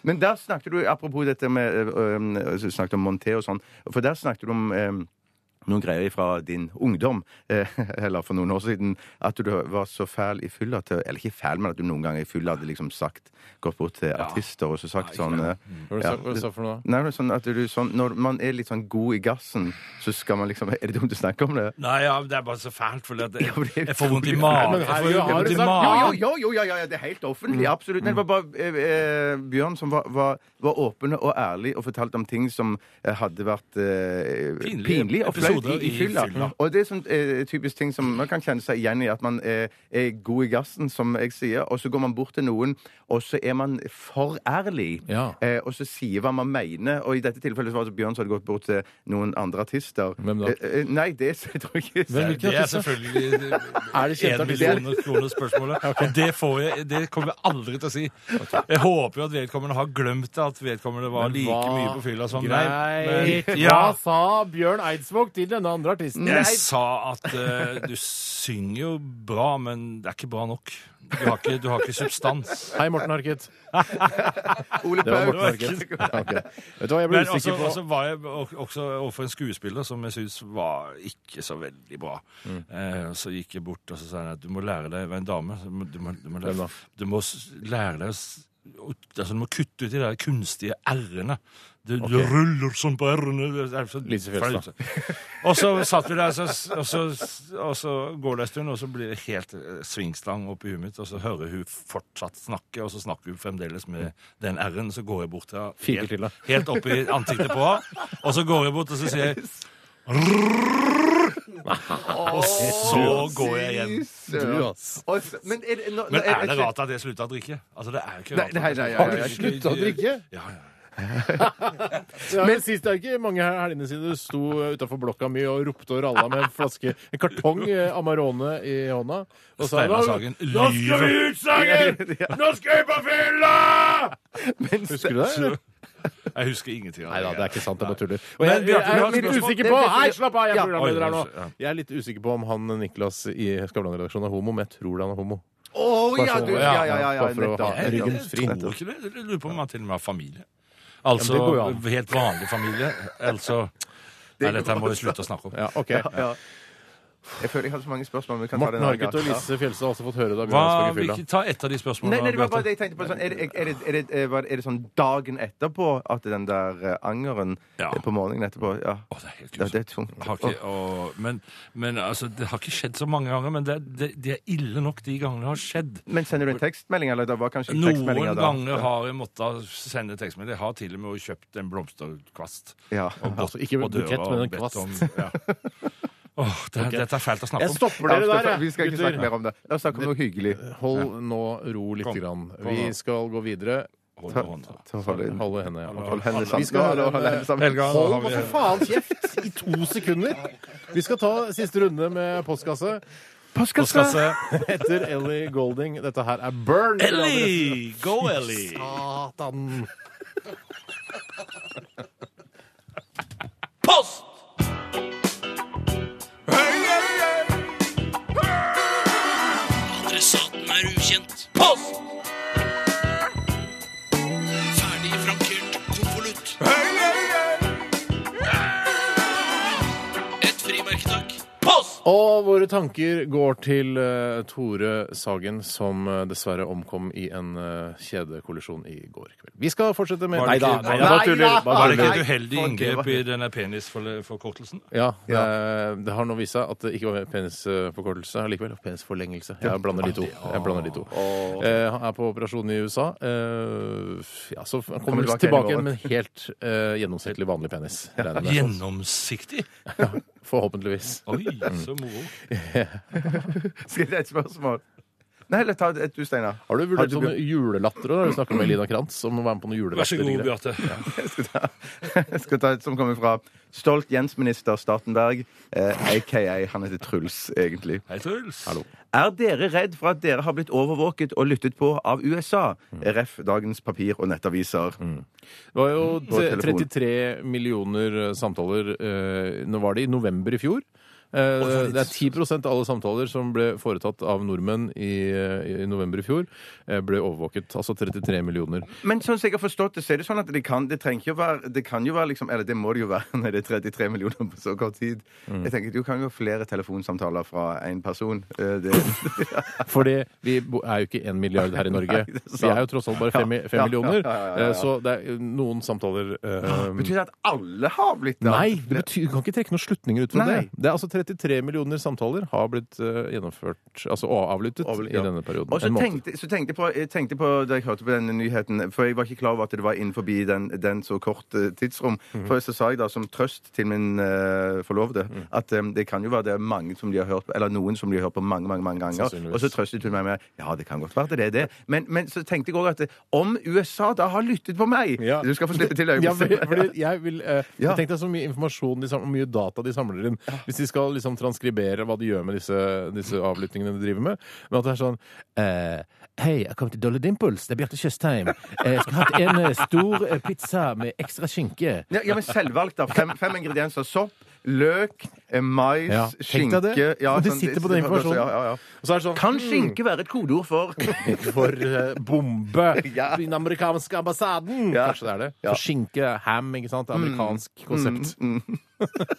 S4: Men der snakket du, apropos dette med eh, um, så snakket om Monté og sånn, for der snakket du om eh, noen greier fra din ungdom, eh, eller for noen år siden, at du var så fæl i fylla til Eller ikke fæl, men at du noen ganger i fylla hadde liksom sagt Gått bort til artister og så sagt sånn eh,
S2: Hva var det du sa- hva var det du sa for noe da?
S4: Nei, men sånn at du sånn Når man er litt sånn god i gassen, så skal man liksom Er det dumt å snakke om det?
S3: Nei, ja, det er bare så fælt, for jeg,
S4: Ja, det er-
S3: jeg får vondt i
S2: Nei, men
S3: magen. Jeg
S2: herregud,
S3: får jo
S2: har du
S3: vondt i
S2: sagt-
S4: Jo, jo,
S3: magen.
S4: jo, jo, ja, ja, ja, det er helt offentlig. Absolutt. Men det var bare eh, eh, Bjørn som var, var, var åpen og ærlig og fortalte om ting som eh, hadde vært eh,
S3: Pinlige
S4: pinlig, og flaut i,
S3: episoder
S4: i
S3: i
S4: fylla.
S3: fylla.
S4: Og det er sånn eh, typisk ting som man kan kjenne seg igjen i, at man eh, er god i gassen, som jeg sier, og så går man bort til noen, og så er man for ærlig.
S2: Ja.
S4: Eh, og så sier hva man mener. Og i dette tilfellet så var det altså Bjørn som hadde gått bort til noen andre artister.
S2: Hvem da?
S4: Eh, eh, nei, det tror jeg ikke.
S2: Hvem-
S3: Det er selvfølgelig
S2: Er det kjente
S3: en million kroner spørsmålet. Og det, får jeg, det kommer jeg aldri til å si. Jeg håper jo at vedkommende har glemt at vedkommende var
S2: Men
S3: like
S2: hva-
S3: mye på fylla som meg.
S2: Greit.
S3: Men-
S2: Hva
S3: Ja,
S2: sa Bjørn Eidsvåg til denne andre artisten?
S3: jeg sa at eh, du synger jo bra, men det er ikke bra nok. Du har ikke, du har ikke substans.
S2: Hei, Morten Harket.
S4: Ole
S2: Det var
S4: Paus.
S2: Morten Harket. Ok. Vet du hva, jeg ble
S3: Men også,
S2: usikker
S3: også
S2: på
S3: var jeg og- også overfor en skuespiller som jeg syns var ikke så veldig bra.
S2: Mm.
S3: Eh, så gikk jeg bort og så sa han at du må lære deg å være en dame. Du må, du må, du må,
S2: Hvem da?
S3: lære, du må s- lære deg å s- å- altså, Du må kutte ut de der kunstige r-ene. Du, du ruller sånn på r-ene. Det er så
S2: Lise Fjeldstad.
S3: flaut. Og så satt vi der, så, og, så, og så går det en stund, og så blir det helt eh, svingstang opp i huet mitt, og så hører hun fortsatt snakke, og så snakker hun fremdeles med den r-en, så går jeg bort til henne,
S2: Fiker til
S3: helt,
S2: deg.
S3: helt opp i ansiktet på henne, og så går jeg bort, og så sier jeg Og så går jeg hjem.
S4: Søren. Og så- Men er det, nå- nå-
S3: Men
S4: jeg-
S3: er det
S4: jeg-
S3: rart at jeg slutta å drikke? Altså, det er jo ikke
S4: Nei,
S3: rart.
S4: nei, nei, ja,
S2: Har
S4: ja,
S2: du
S4: ja.
S2: slutta å drikke?
S3: Ja, ja.
S2: Ja, men sist er det ikke mange her- helgene siden du sto utafor blokka mi og ropte og ralla med en flaske, en kartong eh, Amarone i hånda. Og sa
S3: Steinar Sagen lyver.
S2: ut, Sagen! Nå skal vi på fylla! Husker du det? eller?
S3: Jeg husker ingenting av
S2: Nei da, det er ikke sant. Jeg bare tuller. Og
S3: Men
S2: jeg, jeg,
S3: Bjarte, du har
S2: er
S3: et
S2: litt
S3: spørsmål?
S2: usikker på
S4: Det- det-
S2: Hei, slapp av! Jeg
S4: Ja.
S2: er programleder her nå.
S3: Oi, ja.
S2: Jeg er litt usikker på om han Niklas i Skavlan-redaksjonen er homo, men jeg tror han er homo.
S4: Å ja, du! Ja, ja, ja. ja,
S2: Bare for å
S4: nettopp,
S2: ha
S3: Jeg,
S4: nettopp.
S2: ryggen
S3: jeg
S2: fri.
S3: tror ikke det. Jeg lurer på om han til og med har familie. Altså
S2: Ja, men det går jo an.
S3: helt vanlig familie. Altså Nei, dette her må vi slutte å snakke om.
S2: Ja, ok.
S4: Ja. Jeg føler jeg hadde så mange spørsmål. Men vi kan ta det
S2: Morten
S4: en annen
S2: Harket og
S4: gang.
S2: Lise Fjelstad har også fått høre det.
S3: Hva,
S2: Bjørn Eidsvåg i
S3: vi,
S2: fylla.
S3: ta ett av de
S4: Ja.
S3: spørsmålene.
S4: Nei, nei, det var bare
S3: Bjarte.
S4: det jeg tenkte på. Sånn, er, det, er, det, er, det, er, det, er det sånn dagen etterpå at den der eh, angeren
S3: Ja.
S4: eh, på morgenen etterpå Ja.
S3: Å, det er helt
S4: Ja,
S3: grusomt.
S4: det er tungt.
S3: Jeg har ikke, å, men, men altså, det har ikke skjedd så mange ganger, men det, det, det er ille nok de gangene det har skjedd.
S4: Å, Men sender du en tekstmelding, eller? Det var kanskje ikke
S3: Noen
S4: tekstmeldinger da.
S3: ganger har jeg måttet sende tekstmelding. Jeg har til og med kjøpt en blomsterkvast.
S4: Ja.
S3: Og gått
S2: Altså, ikke
S3: på døra
S2: bukett, men
S3: og
S2: en
S3: bedt
S2: kvast.
S3: om- Ja. Åh, det, Dette er fælt å snakke
S2: Jeg
S3: om.
S2: stopper
S4: Ja,
S2: dere
S4: skal-
S2: der, jeg,
S4: vi skal ikke snakke
S2: gutter.
S4: mer om det. La oss snakke om noe hyggelig.
S2: Hold nå ro litt.
S3: Kom.
S2: Grann. Vi
S3: Kom nå.
S2: skal gå videre.
S3: Hold på hånda.
S4: Så holder jeg-
S2: Holde henne. Ja.
S4: Hold hendene
S2: Vi
S4: sammen.
S2: skal
S4: Nå, nå, hold hendene sammen.
S3: Helga, nå har
S2: Hold nå
S3: vi-
S2: for faen kjeft i to sekunder! Vi skal ta siste runde med postkasse
S3: Postkasse.
S2: etter Ellie Golding. Dette her er Burn.
S3: Ellie! Go, Ellie!
S2: Satan!
S5: Post!
S6: Adressaten er ukjent.
S5: Post!
S6: Ferdig frankert konvolutt. Et frimerke, takk.
S5: Post!
S2: Og Og våre tanker går til eh, Tore Sagen, som eh, dessverre omkom i en eh, kjedekollisjon i går kveld. Vi skal fortsette med
S3: Var det ikke-
S2: Nei da, bare tuller.
S3: Var
S2: Bare
S3: det ikke
S2: tuller.
S3: et uheldig
S4: Nei,
S3: inngrep
S4: fuck,
S3: i
S4: det
S3: denne penisforkortelsen?
S2: Ja, det, det har nå vist seg at det ikke var penisforkortelse likevel. Penisforlengelse. Jeg blander de to. Jeg blander de to. Eh, han er på operasjon i USA. Eh, ja, så han kommer
S4: tilbake
S2: tilbake
S4: igjen i
S2: igjen med en helt eh, gjennomsnittlig vanlig penis. regner jeg med.
S3: Gjennomsiktig?
S2: Forhåpentligvis.
S3: Oi, så moro.
S4: Skal det et spørsmål? Nei, eller ta et du, Steinar.
S2: Har du
S4: Har
S2: vurdert
S4: du
S2: sånn julelatter òg? Du snakker med Elina Krantz om å være med på noen
S3: Vær så god,
S2: julelatter.
S3: Bjarte.
S4: Jeg skal ta, jeg skal ta et som kommer fra stolt Jens-minister Statenberg, eh, aka han heter Truls, egentlig.
S3: Hei, Truls.
S4: Er dere redd for at dere har blitt overvåket og lyttet på av USA? Ref. dagens papir og nettaviser.
S2: Det var jo
S4: På
S2: tre-
S4: telefon.
S2: 33 millioner eh, samtaler eh, Nå var det i november i fjor. Eh, Det er 10 av alle samtaler som ble foretatt av nordmenn i, eh, i november i fjor, eh, ble overvåket. Altså 33 millioner.
S4: Men sånn som jeg har forstått det, så er det sånn at det kan, det trenger ikke å være Det kan jo være liksom Eller det må det jo være når det er 33 millioner på så kort tid. Jeg tenker Du kan jo ha flere telefonsamtaler fra én person. Eh, Det,
S2: Fordi vi bo- er jo ikke én milliard her i Norge.
S4: Nei, det er sant.
S2: Vi er jo tross alt bare fem, i- fem
S4: Ja, ja,
S2: millioner.
S4: ja, ja, ja, ja.
S2: Eh, Så det er noen samtaler eh,
S4: betyr det at alle har blitt det?
S2: Nei, det betyr, du kan ikke trekke noen slutninger ut fra
S4: Nei.
S2: det. Det er altså 33 millioner samtaler har blitt eh, gjennomført, altså og avlyttet,
S4: Overlytt,
S2: i
S4: ja.
S2: denne perioden.
S4: Og så
S2: En måned.
S4: tenkte, så tenkte jeg på, jeg tenkte på da jeg hørte på denne nyheten, for jeg var ikke klar over at det var innenfor den, den så kort eh, tidsrom.
S2: Mhm.
S4: For så sa jeg da som trøst til min eh, forlovede at eh, det kan jo være det er mange som de har hørt på, eller noen som de har hørt på mange, mange, mange ganger.
S2: Sannsynligvis.
S4: Og så trøstet hun meg med ja, det kan godt være det er det. Men, men så tenkte jeg òg at eh, om USA da har lyttet på meg
S2: Ja.
S4: Du skal få slippe til
S2: Ja,
S4: øyeblikket.
S2: fordi, fordi jeg vil eh,
S4: Ja.
S2: Tenk deg så mye informasjon de samler, og mye data de samler inn. Hvis de skal liksom transkribere hva de gjør med disse, disse avlyttingene de driver med. Men at det er sånn eh, Hei, jeg kom til Dolly Dimples. Det er Bjarte Tjøstheim. Jeg skulle hatt en eh, stor eh, pizza med ekstra skinke.
S4: Ja, ja, men selvvalgt, da. Fem, fem ingredienser. Sopp, løk, eh, mais,
S2: Ja, tenk
S4: skinke
S2: deg det.
S4: ja,
S2: Og de
S4: sånn-
S2: sitter på den informasjonen.
S4: Ja, ja, ja.
S2: Og så er det sånn
S4: Kan skinke være et kodeord for
S2: For eh, bombe
S4: Ja.
S2: i den amerikanske ambassaden!
S4: Ja.
S2: Kanskje det er det.
S4: Ja.
S2: For skinke, ham, ikke sant? Amerikansk konsept.
S4: Mm, mm.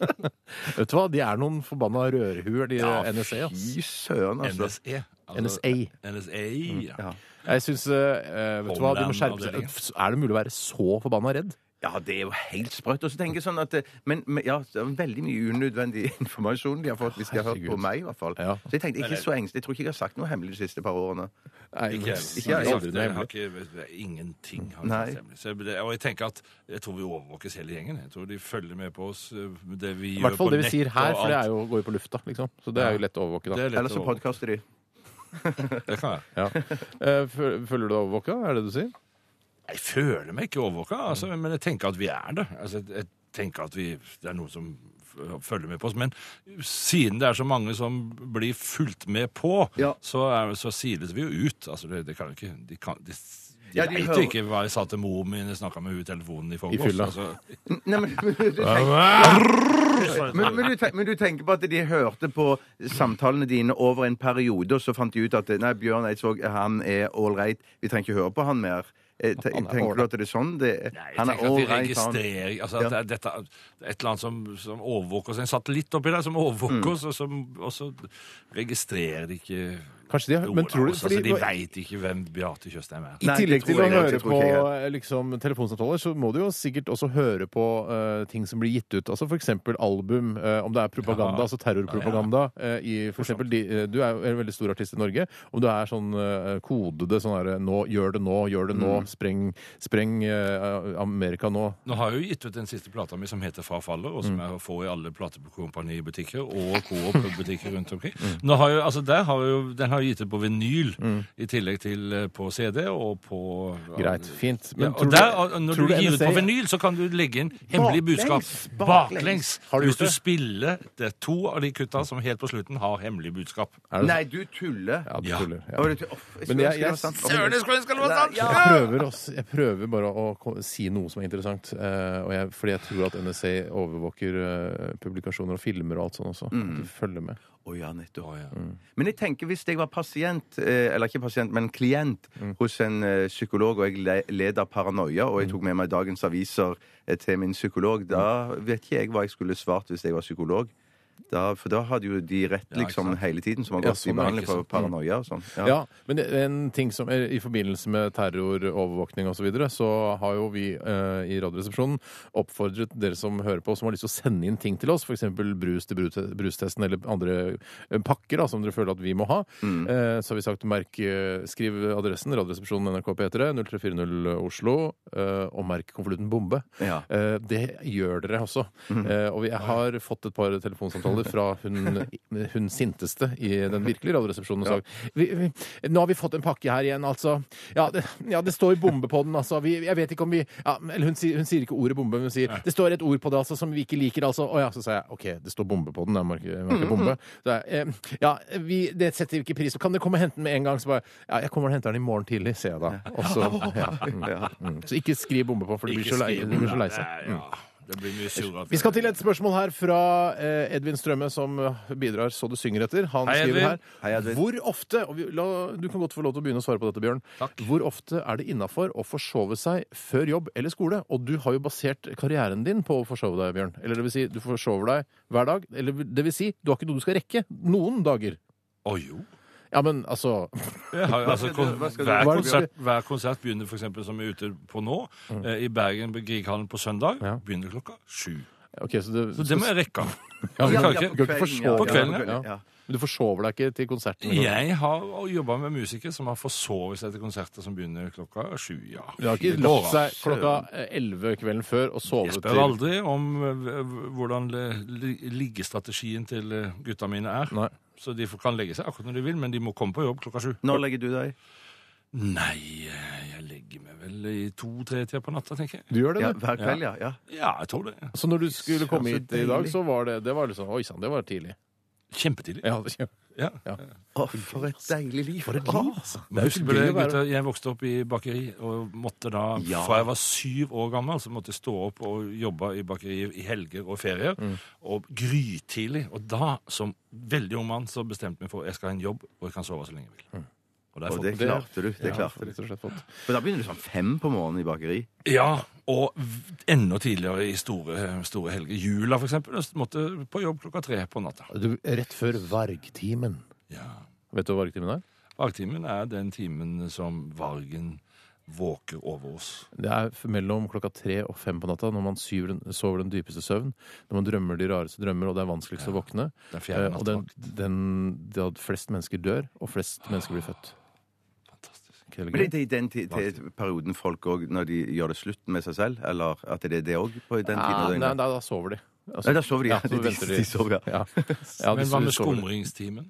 S2: Vet du hva, de er noen forbanna rørehuer, de eh, NSA. ass.
S4: Fy søren, altså.
S3: NSE.
S2: NSA.
S3: NSA, ja.
S2: Jeg syns eh, Vet du hva, du må skjerpe seg. Er det mulig å være så forbanna redd?
S4: Ja, det er jo helt sprøtt. Og så tenker jeg sånn at eh, Men, men ja, det er veldig mye unødvendig informasjon de har fått, hvis de har hørt på
S2: Herregud.
S4: meg, i hvert fall.
S2: Ja.
S4: Så jeg tenkte, jeg er ikke så engstelig. Jeg tror ikke jeg har sagt noe hemmelig de siste par årene.
S2: Nei,
S3: Ikke jeg.
S2: men-
S4: ikke jeg.
S2: Nei, aldri noe
S3: Jeg har
S2: hemmelig.
S3: ikke, det er ingenting har
S4: Nei.
S3: jeg sagt. Så jeg- det- Og jeg tenker at jeg tror vi overvåkes hele gjengen. Jeg tror de følger med på oss. eh, Det vi
S2: I
S3: gjør
S2: hvert fall
S3: på
S2: det vi
S3: nett
S2: sier her,
S3: og
S2: for det er
S3: alt.
S2: jo, går jo på lufta. liksom. Så det er jo lett å overvåke.
S3: Det
S2: da.
S3: er lett
S4: Eller så
S3: å-
S4: podkaster de.
S3: Det kan jeg.
S2: Ja. Eh, fø- Føler du deg overvåka? Er det det du sier?
S3: Jeg føler meg ikke overvåka, altså, men jeg tenker at vi er det. Altså, jeg- jeg tenker at vi, Det er noen som f- følger med på oss. Men siden det er så mange som blir fulgt med på,
S4: Ja.
S3: så, er, så siles vi jo ut. Altså, det, det kan jo ikke De, kan, de, de
S4: Ja, de
S3: vet jo
S4: hører-
S3: ikke hva jeg sa til mor min da jeg snakka med henne i telefonen i
S2: I
S3: forgårs.
S2: fylla.
S3: altså.
S4: Nei, men, men, du tenker, men, men, du tenker, men du tenker på at de hørte på samtalene dine over en periode, og så fant de ut at eh, nei, Bjørn Eidsvåg, han er ålreit, vi trenger ikke høre på han mer. Eh, te-
S2: Han er
S4: Tenker du at det er sånn? Det,
S3: Nei, jeg
S4: han
S3: tenker
S4: er
S3: at de
S4: ålreit, han.
S3: registrerer altså, at
S4: Ja.
S3: det er dette, er Et eller annet som, som overvåker oss. En satellitt oppi der som overvåker
S4: Mm.
S3: oss, og, som, og så registrerer de ikke
S2: Kanskje de har,
S3: noen
S2: men tror
S3: av
S2: du,
S3: oss.
S2: fordi,
S3: altså, de veit ikke hvem Beate Tjøstheim er.
S2: I
S4: Nei, det
S2: tillegg til
S4: tror
S2: å
S4: jeg ikke,
S2: høre
S4: det tror
S2: på
S4: ikke jeg
S2: eh, liksom, telefonsamtaler, så må du jo sikkert også høre på eh, ting som blir gitt ut. Altså F.eks. album, eh, om det er propaganda,
S3: Ja. altså
S2: altså terrorpropaganda. eh, i, for eksempel, de, eh, du er jo en veldig stor artist i Norge. Om du er sånn eh, kodede sånn her, nå, Gjør det nå, gjør det nå,
S3: Mm.
S2: spreng, spreng eh, Amerika nå.
S3: Nå har jeg jo gitt ut den siste plata mi som heter Far faller, og
S2: Mm.
S3: som jeg får i alle platekompanibutikker og Coop-butikker rundt omkring. Nå har jeg, altså der har jeg jo, Den har jeg gitt ut på vinyl, i tillegg til eh, på CD og på
S2: Greit, fint. Mm.
S3: Ja,
S2: Men
S3: og
S2: tror du-
S3: der, og når
S2: tror
S3: du gir ut
S2: NSA
S3: på vinyl, så kan du legge inn hemmelig budskap baklengs.
S2: Har du
S3: Hvis
S2: gjort
S3: du
S2: det?
S3: spiller det er to av de kutta som helt på slutten har hemmelig budskap.
S2: Er det-
S4: Nei, du tuller.
S2: Ja, du
S3: Ja.
S2: tuller. Ja.
S4: Å, det- å, jeg
S2: Men jeg-
S4: skulle ønske det
S2: jeg-
S4: var sant.
S3: Søren, jeg skulle ønske det var
S4: Nei,
S3: sant!
S4: ja.
S2: Jeg prøver, også, jeg prøver bare å ko- si noe som er interessant. eh, og jeg, fordi jeg tror at NSA overvåker eh, publikasjoner og filmer og alt sånt også. At de følger med.
S4: Å ja, nettopp. Mm.
S3: Å, ja.
S4: Men jeg tenker hvis jeg var pasient, eh, eller ikke pasient, men klient hos en eh, psykolog, og jeg le- led av paranoia, og jeg tok med meg dagens aviser eh, til min psykolog, da vet ikke jeg hva jeg skulle svart hvis jeg var psykolog. Da, for da hadde jo de rett
S3: ikke
S4: liksom
S3: sant.
S4: hele tiden, som har
S2: Ja,
S4: gått
S2: sånn,
S4: i behandling
S2: ikke
S4: for
S2: sant.
S4: paranoia og sånn.
S2: Ja. men det- en ting som er, I forbindelse med terror, overvåkning osv., så, videre, så har jo vi eh, i Radioresepsjonen oppfordret dere som hører på, som har lyst til å sende inn ting til oss, f.eks. brus til brute- brustesten eller andre eh, pakker da, som dere føler at vi må ha. Eh, så har vi sagt merk, eh, skriv adressen Radioresepsjonen NRK P3 0340 Oslo, eh, og merk konvolutten bombe.
S4: Ja.
S2: Eh, det gjør dere også. Eh, og vi- jeg har fått et par telefonsamtaler fra hun, hun sinteste i den virkelige Radioresepsjonen. og sagt, Vi, vi, nå har vi fått en pakke her igjen, altså. Ja, det, ja, det står bombe på den, altså. Vi, jeg vet ikke om vi ja, men- Eller hun, sier- hun sier ikke ordet bombe, men hun sier det står et ord på det altså, som vi ikke liker, altså. Å ja, så sa jeg OK, det står bombe på den. Jeg merker, merker bombe. Så jeg, eh, ja, vi, det setter vi ikke pris på. Kan dere komme og hente den med en gang? Så bare Ja, jeg kommer og henter den i morgen tidlig, sier jeg da. Og så, ja, mm, mm. så ikke skriv bombe på, for du blir så lei- du blir så lei seg. Mm.
S3: Nei, ja. Det blir mye surr.
S2: Vi skal til et spørsmål her fra eh, Edvin Strømme, som eh, bidrar så du synger etter. Han
S3: Hei,
S2: skriver
S3: Edvin.
S2: her Hvor ofte og vi, la, Du kan godt få lov til å begynne å svare på dette, Bjørn.
S3: Takk.
S2: Hvor ofte er det innafor å forsove seg før jobb eller skole? Og du har jo basert karrieren din på å forsove deg, Bjørn. Eller det vil si, du forsover deg hver dag. Eller det vil si, du har ikke noe du skal rekke noen dager.
S3: Å jo.
S2: Ja, men altså
S3: Jeg har jo, altså,
S4: skal
S3: kon
S4: du- hva skal du-
S2: hva
S3: hver,
S2: er det du Mm.
S3: konsert, hver konsert begynner for eksempel, som vi er ute på nå, eh, i Bergen på Grieghallen på søndag,
S2: Ja.
S3: begynner klokka sju.
S2: OK, så du,
S3: Så det må jeg rekke.
S2: ja, men
S3: Ja,
S2: du,
S3: ja,
S2: kan
S3: på
S2: ikke- du kan ikke
S4: kvelden, ja.
S2: forsove
S3: På kvelden,
S2: deg.
S4: ja.
S2: Ja. Men du forsover deg ikke til konserten? eller noe.
S3: Jeg har jobba med musikere som har forsovet seg til konserter som begynner klokka sju. ja.
S2: Du har ikke
S3: Det går
S2: lagt
S3: an.
S2: seg klokka 11 kvelden før og sovet
S3: Jeg
S2: til
S3: spør aldri om eh, v- hvordan eh, li- liggestrategien til eh, gutta mine er.
S2: Nei.
S3: Så de får- kan legge seg akkurat når de vil, men de må komme på jobb klokka sju.
S4: Når legger du deg?
S3: Nei, eh, jeg legger meg vel i to-tre-tida på natta, tenker jeg.
S2: Du gjør det,
S4: Ja,
S2: du.
S4: hver kveld, ja. ja.
S3: Ja, jeg tror det. ja.
S2: Så når du skulle komme
S4: Ja, så
S2: hit i dag,
S4: deilig.
S2: så var det, det var liksom Oi sann, det var tidlig.
S3: Kjempetidlig.
S2: Ja, det-
S3: Ja.
S4: Å, for et deilig liv. For et
S2: Det er jo
S3: Husker
S2: så
S3: du det,
S2: gøy å være
S3: gutta? Jeg vokste opp i bakeri, og måtte da,
S4: Ja.
S3: fra jeg var syv år gammel, så måtte jeg stå opp og jobbe i bakeriet i helger og ferier,
S2: Mm.
S3: og grytidlig. Og da, som veldig ung mann, så bestemte jeg meg for at jeg skal ha en jobb, og jeg kan sove så lenge
S2: Mm.
S3: jeg vil. Og det har jeg
S4: Og
S3: fått
S4: det klarte du. det
S2: Ja,
S4: klarte du.
S2: rett og slett fått.
S4: Men da begynner du sånn fem på morgenen i bakeri.
S3: Ja, og v- enda tidligere i store, store helger. Jula, for eksempel. Jeg måtte på jobb klokka tre på natta.
S2: Du, rett før vargtimen.
S3: Ja.
S2: Vet du hva vargtimen er?
S3: Vaktimen er den timen som vargen våker over oss.
S2: Det er f- mellom klokka tre og fem på natta, når man syver den, sover den dypeste søvn, når man drømmer de rareste drømmer, og det er vanskeligst å våkne.
S3: Den fjerde
S2: Eh, og den,
S3: nattevakt.
S2: den, da flest mennesker dør, og flest mennesker blir født.
S3: Fantastisk.
S2: Ikke det
S4: Men det
S2: gøy?
S4: det er i den ti- til perioden folk òg, når de gjør det slutt med seg selv, eller at det er det òg på den tiden
S2: Ah,
S4: av
S2: nei,
S4: døgnet?
S2: da, da sover de. Altså,
S4: Nei, da sover de.
S2: Ja,
S4: Ja,
S2: så
S4: de,
S2: venter de.
S4: de sover, ja.
S2: ja. Ja, de
S3: Men hva med
S2: sover-
S3: skumringstimen?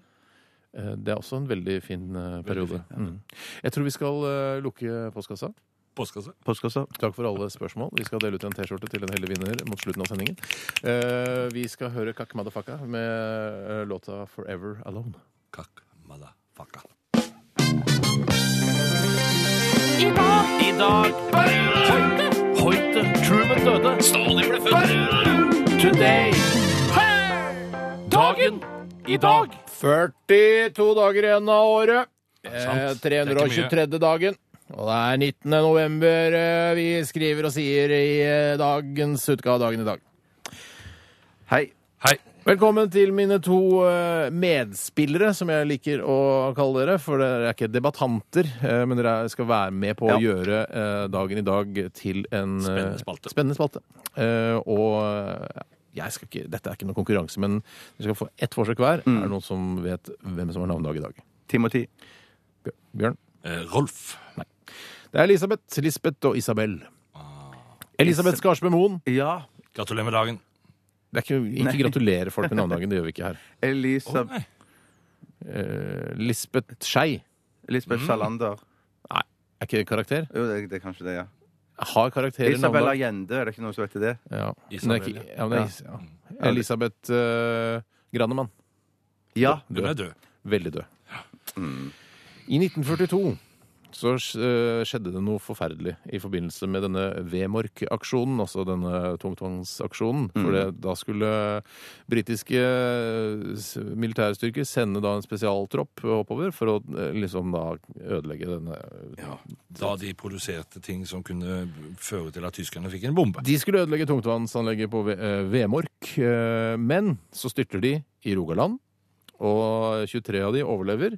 S2: Eh, Det er også en veldig fin eh, periode. Mm. Jeg tror vi skal eh, lukke postkassa.
S3: Postkasse?
S4: Postkassa.
S2: Takk for alle spørsmål. Vi skal dele ut en T-skjorte til en heldig vinner mot slutten av sendingen. Eh, Vi skal høre Kakk Madafaka med eh, låta 'Forever Alone'.
S3: Kakk, motherfucker.
S5: I dag Hoite Hoite Truman døde
S6: Stalin ble født.
S5: Today Dagen I dag
S2: 42 dager igjen av året. Eh,
S3: sant. Det er ikke mye.
S2: 323. dagen. Og det er 19. november eh, vi skriver og sier i eh, dagens utgave av Dagen i dag.
S4: Hei.
S3: Hei.
S2: Velkommen til mine to eh, medspillere, som jeg liker å kalle dere. For dere er ikke debattanter, eh, men dere skal være med på å gjøre eh, dagen i dag til en eh,
S3: Spennende spalte.
S2: spennende spalte. Eh, Og eh, jeg skal ikke, dette er ikke noen konkurranse, men dere skal få ett forsøk hver. Er det noen som vet hvem som har navnedag i dag?
S4: Timothy.
S2: Bjørn?
S3: Eh, Rolf.
S2: Det er Elisabeth, Lisbeth og Isabel. Elisabeth Skarsbø Moen.
S4: Ja.
S3: Gratulerer med dagen.
S2: Det er ikke, ikke gratulerer folk med navnedagen, det gjør vi ikke her.
S3: Å,
S4: Elisa,
S3: nei.
S2: Eh, Lisbeth Skei.
S4: Lisbeth Salander.
S2: Nei, er ikke det karakter?
S4: Jo, det, det er kanskje det, ja.
S2: Har karakterer
S4: Isabel
S2: navnedag?
S4: Allende, er det ikke noen som vet det?
S2: Ja.
S3: Isabel,
S2: Nei, ikke- ja, men det er
S4: ja.
S2: is- ja. Elisabeth eh, Granemann.
S4: Ja.
S3: Hun er død.
S2: Mm. Veldig død. I 1942 så eh, skjedde det noe forferdelig i forbindelse med denne Vemork-aksjonen, altså denne tungtvannsaksjonen. For det, da skulle britiske s- militærstyrker sende da en spesialtropp oppover for å eh, liksom da ødelegge denne
S3: Da de produserte ting som kunne føre til at tyskerne fikk en bombe.
S2: De skulle ødelegge tungtvannsanlegget på Ve- eh, Vemork, eh, men så styrter de i Rogaland, og 23 av de overlever,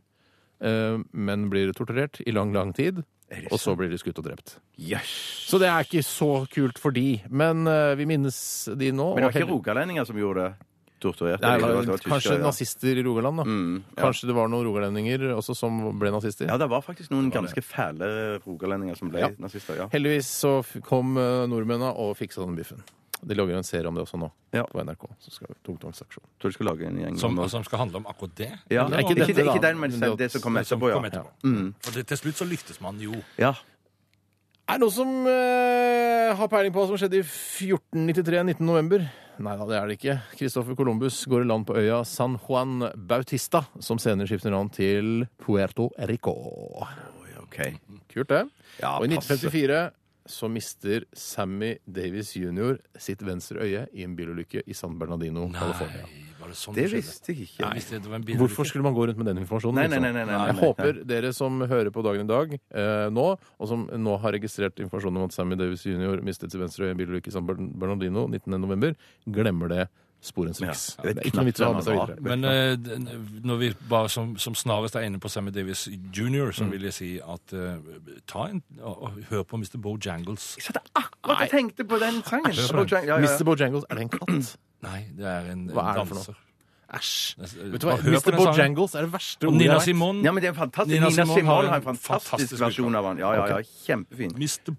S2: eh, men blir torturert i lang, lang tid, og så blir de skutt og drept. Så det er ikke så kult for de, men eh, vi minnes de nå.
S4: Men
S2: og
S4: det var ikke
S2: heller-
S4: rogalendinger som gjorde det? Torturerte?
S2: Nei,
S4: de,
S2: det var
S4: det var tyskere,
S2: kanskje
S4: ja.
S2: nazister i Rogaland, da.
S4: Mm, ja.
S2: Kanskje det var noen rogalendinger også som ble nazister.
S4: Ja, det var faktisk noen ganske fæle rogalendinger som ble
S2: Ja.
S4: nazister. Ja.
S2: Heldigvis så f- kom eh, nordmennene og fiksa den biffen. De lager en serie om det også nå,
S4: Ja.
S2: på NRK. Så skal vi tungtvannsaksjon.
S4: Tror du skulle lage en gjeng
S3: Som,
S4: om-
S3: som skal handle om akkurat det.
S4: ja.
S3: Eller
S4: ikke,
S3: om-
S4: ikke,
S2: dette, da.
S4: den, men
S2: Men det-
S4: det som kom
S3: det som
S4: etterpå, ja.
S3: kom etterpå.
S2: Mm.
S3: For det, til slutt så lyktes man jo.
S4: ja.
S2: Er det noen som eh, har peiling på hva som skjedde i 1493, 19. november? Nei da, det er det ikke. Christoffer Columbus går i land på øya San Juan Bautista, som senere skifter navn til Puerto Rico.
S4: OK.
S2: Kult, det.
S4: Ja,
S2: Og i
S4: passe.
S2: 1954 så mister Sammy Davis jr. sitt venstre øye i en bilulykke i San Bernardino, California.
S3: var det sånn
S4: Det
S3: skjedde?
S4: visste jeg ikke.
S3: Jeg visste det var en bil-
S2: Hvorfor skulle man gå rundt med den informasjonen?
S4: Nei, nei,
S2: liksom?
S4: nei, nei, nei, nei,
S2: Jeg
S4: nei.
S2: håper dere som hører på Dagen i dag eh, nå, og som nå har registrert informasjonen om at Sammy Davis jr. mistet sitt venstre øye i en bilulykke i San Bern- Bernardino 19.11., glemmer det sporenstreks.
S4: Ja,
S2: det
S4: det
S2: er ikke noe vits å ha med seg
S4: knapt
S2: videre.
S3: Men eh, den- når vi bare som, som snarest er inne på Sammy Davis jr.,
S2: Mm.
S3: så vil jeg si at eh, ta en og, og hør på Mr. Bojangles.
S4: Jeg satt akkurat og tenkte på den sangen. Ja, ja, ja.
S2: Mr. Bojangles, er det en katt?
S3: Nei, det er en,
S2: Hva er
S3: en
S2: det for noe?
S3: danser.
S2: Æsj.
S3: Det er-
S2: Vet du hva,
S3: bare hør på
S2: Mr.
S3: den sangen.
S2: Bojangles er det verste
S3: Og
S2: ordet jeg
S3: Nina
S2: vet.
S3: Simone.
S4: Ja, men det er en fantastisk.
S3: Nina
S4: Nina,
S3: Simone
S4: Simone
S3: har
S4: har
S3: en
S4: en fantastisk,
S3: fantastisk
S4: versjon av han. Ja, ja, ja, kjempefin.
S3: Mr.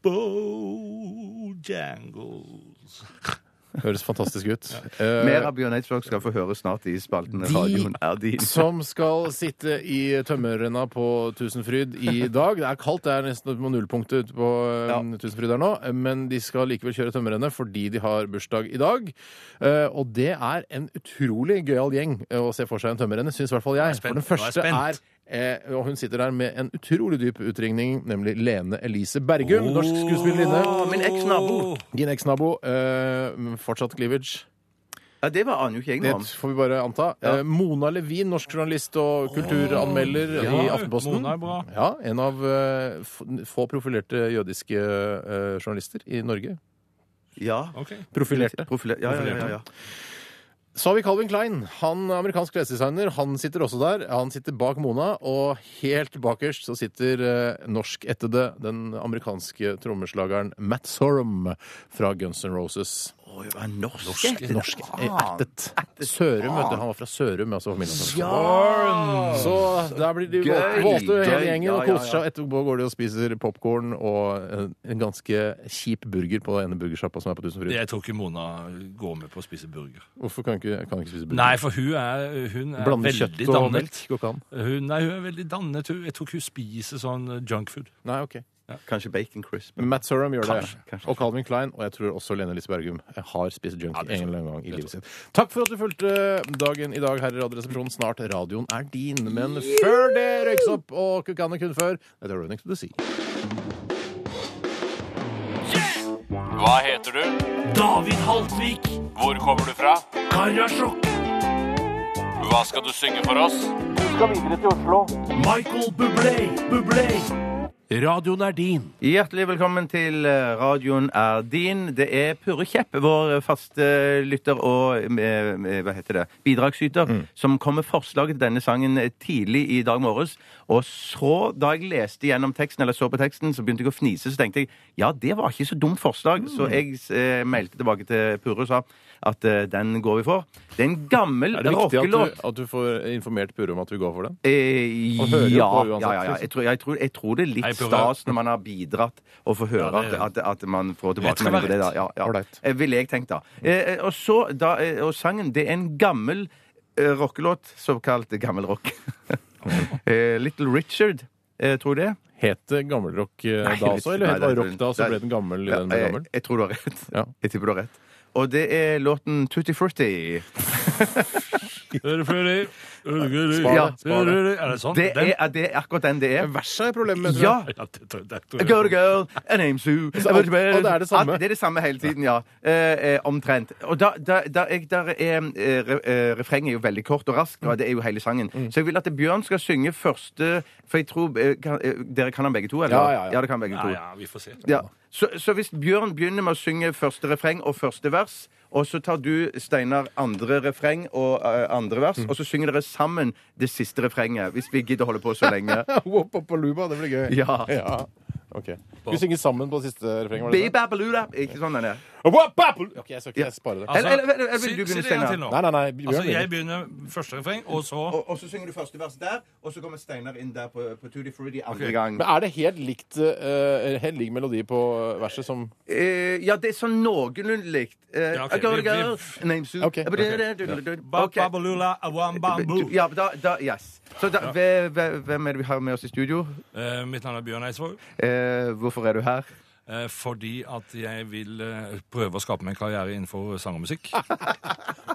S3: Bojangles.
S2: Høres fantastisk ut.
S4: Mer
S2: Eh,
S4: av Bjørn Eidsvåg skal få høre snart i spalten.
S2: De-
S4: radioen er din.
S2: som skal sitte i tømmerrenna på Tusenfryd i dag. Det er kaldt, det er nesten på nullpunktet ute på eh,
S4: Ja.
S2: Tusenfryd her nå. Men de skal likevel kjøre tømmerrennet fordi de har bursdag i dag. Eh, Og det er en utrolig gøyal gjeng eh, å se for seg en tømmerrenne, syns i hvert fall jeg.
S3: spent.
S2: For den
S3: Nå er jeg
S2: første er
S3: spent.
S2: eh, og hun sitter der med en utrolig dyp utringning, nemlig Lene Elise Bergum. Norsk skuespillerinne.
S4: Å, Min eksnabo.
S2: Din eksnabo. eh, men Fortsatt cleavage.
S4: Ja, det var aner jo ikke jeg
S2: Det
S4: noe om.
S2: får vi bare anta. Eh, Mona Levin, norsk journalist og kulturanmelder i
S3: ja,
S2: Aftenposten.
S3: Mona er bra.
S2: Ja, en av eh, f- få profilerte jødiske eh, journalister i Norge.
S4: Ja.
S3: Ok.
S2: Profilerte.
S4: Profilert. Ja, ja, ja, ja, ja.
S2: Så har vi Calvin Klein. Han er amerikansk klesdesigner. Han sitter også der. Han sitter bak Mona, og helt bakerst så sitter eh, norskættede, den amerikanske trommeslageren Matt Sorum fra Guns N' Roses.
S4: Å, det var en norsk.
S2: Norsk ættet. Sørum, vet du. Han var fra Sørum, altså familien hans. Så der blir de våte,
S4: Gøy,
S2: våte hele
S4: gøy,
S2: gjengen og
S4: ja, ja,
S2: koser seg. Etterpå går de og spiser popkorn og en- en ganske kjip burger på den ene burgersjappa som er på Tusenfryd.
S3: Jeg tror ikke Mona går med på å spise burger.
S2: Hvorfor kan ikke, kan ikke spise burger?
S3: Nei, for hun er, hun er
S2: Blande
S3: veldig
S2: kjøtt og
S3: dannet.
S2: melk går ikke an.
S3: Hun, nei, hun er veldig dannet. Hun, jeg tror ikke hun spiser sånn junkfood.
S2: Nei, ok.
S4: Kanskje Bacon Crisp.
S2: Matt Sorum gjør det.
S4: Kanskje, kanskje.
S2: Og Calvin Klein, og jeg tror også Lene Lise Bergum har spist junk en eller annen gang i livet sitt. Takk for at du fulgte dagen i dag her i Radioresepsjonen. Snart radioen er din. Men før det røykes opp, og kukkane kun før, dette er Running to the Sea.
S5: Hva heter du? David Haltvik. Hvor kommer du fra? Karasjok. Hva skal du synge for oss? Du skal videre til Oslo. Michael Bublé, Bublé. Radioen er din.
S4: Hjertelig velkommen til eh, radioen er din. Det er Purre Kjepp, vår eh, faste lytter og eh, eh, hva heter det, bidragsyter,
S2: Mm.
S4: som kom med forslaget til denne sangen eh, tidlig i dag morges. Og så, da jeg leste gjennom teksten, eller så på teksten, så begynte jeg å fnise. Så tenkte jeg ja, det var ikke så dumt forslag.
S2: Mm.
S4: Så jeg eh, meldte tilbake til Purre og sa at eh, den går vi for. Det er en gammel
S2: Er det viktig at
S4: rockelåt.
S2: du, at du får informert Purre om at vi går for den?
S4: Eh,
S2: Og hører jo
S4: ja,
S2: på
S4: ja,
S2: uansett,
S4: ja, ja. Jeg tror, jeg, tror, jeg tror det er
S3: Nei,
S4: litt
S3: prøv å-
S4: stas når man har bidratt, å få høre
S3: Ja, det er-
S4: at, at, at man får
S3: Det skal
S4: tilbakemelding
S3: være
S4: på det. Da. Ja, ja.
S2: Ålreit.
S4: Eh, Ville jeg tenkt, da. Eh, eh, og så, da eh, Og sangen, det er en gammel eh, rockelåt, såkalt gammel rock. eh, Little Richard, eh, tror du det?
S2: Het det gammelrock eh,
S4: Nei,
S2: da
S4: jeg vet
S2: også,
S4: ikke.
S2: eller het
S4: Nei,
S2: det eh,
S4: det er-
S2: rock da, så
S4: det er-
S2: ble den gammel i
S4: Ja,
S2: den ble
S4: jeg,
S2: gammel?
S4: jeg tror du har rett.
S2: Ja.
S4: Jeg tipper du har rett. Og det er låten Tutti Frutti.
S3: Ørefløyler. Ørefløyler.
S4: Ja.
S3: Ørefløyler. Er det sånn?
S4: Det
S3: Den?
S4: er, er det er akkurat den det er.
S2: Verset er problemet med, tror jeg.
S4: Ja!
S3: Ja, det tror jeg- det tror
S4: A
S3: jeg.
S4: Girl, girl, a name Sue.
S2: Så alt- og det er det samme?
S4: Alt- Det er det samme hele tiden, ja. Eh, eh, omtrent. Og da, da, da, jeg, der er eh, re, eh, Refrenget er jo veldig kort og raskt,
S2: Mm.
S4: og det er jo hele sangen. Så jeg vil at Bjørn skal synge første For jeg tror eh, kan, eh, Dere kan han begge to, eller?
S2: Ja, ja, ja.
S4: det kan begge
S3: Ja,
S4: to.
S3: ja, vi får se.
S4: Ja. Så, så hvis Bjørn begynner med å synge første refreng og første vers, og så tar du, Steinar, andre refreng og eh, andre vers,
S2: Mm.
S4: og så synger dere sammen det siste refrenget. Hvis vi gidder å holde på så lenge.
S2: Wop, wop, og luba, det blir gøy.
S4: Ja.
S2: Ok. Skal vi synge sammen på siste refreng? var det det?
S4: Bibabalula. Ikke sånn den er.
S2: Wop, wop, og- Ok, jeg skal ikke jeg sparer det.
S4: Eller- eller- eller- eller vil
S3: Altså, si-
S4: du begynne,
S3: si det en
S4: Steinar?
S3: til nå.
S2: Nei, nei, nei. Bjørn
S3: Altså,
S2: begynner.
S3: jeg begynner første refreng, og så
S4: Og, og så synger du første vers der, og så kommer Steinar inn der på, på Tutti Frutti andre gang.
S2: Men er det helt likt eh, helt lik melodi på verset som
S4: Eh, ja, det er sånn noenlunde likt. Eh,
S3: Ja, ok,
S4: I got a
S3: vi-
S4: girl,
S3: vi-
S4: name's Sue.
S2: Ok.
S4: Ok.
S3: Babalula, awambambu.
S4: Ja, da, da, yes. Så da, hve- hve- hvem er det vi har med oss i studio?
S3: Eh, Mitt navn er Bjørn Eidsvåg.
S4: Eh, hvorfor er du her?
S3: eh, Fordi at jeg vil eh, prøve å skape meg en karriere innenfor sang og musikk.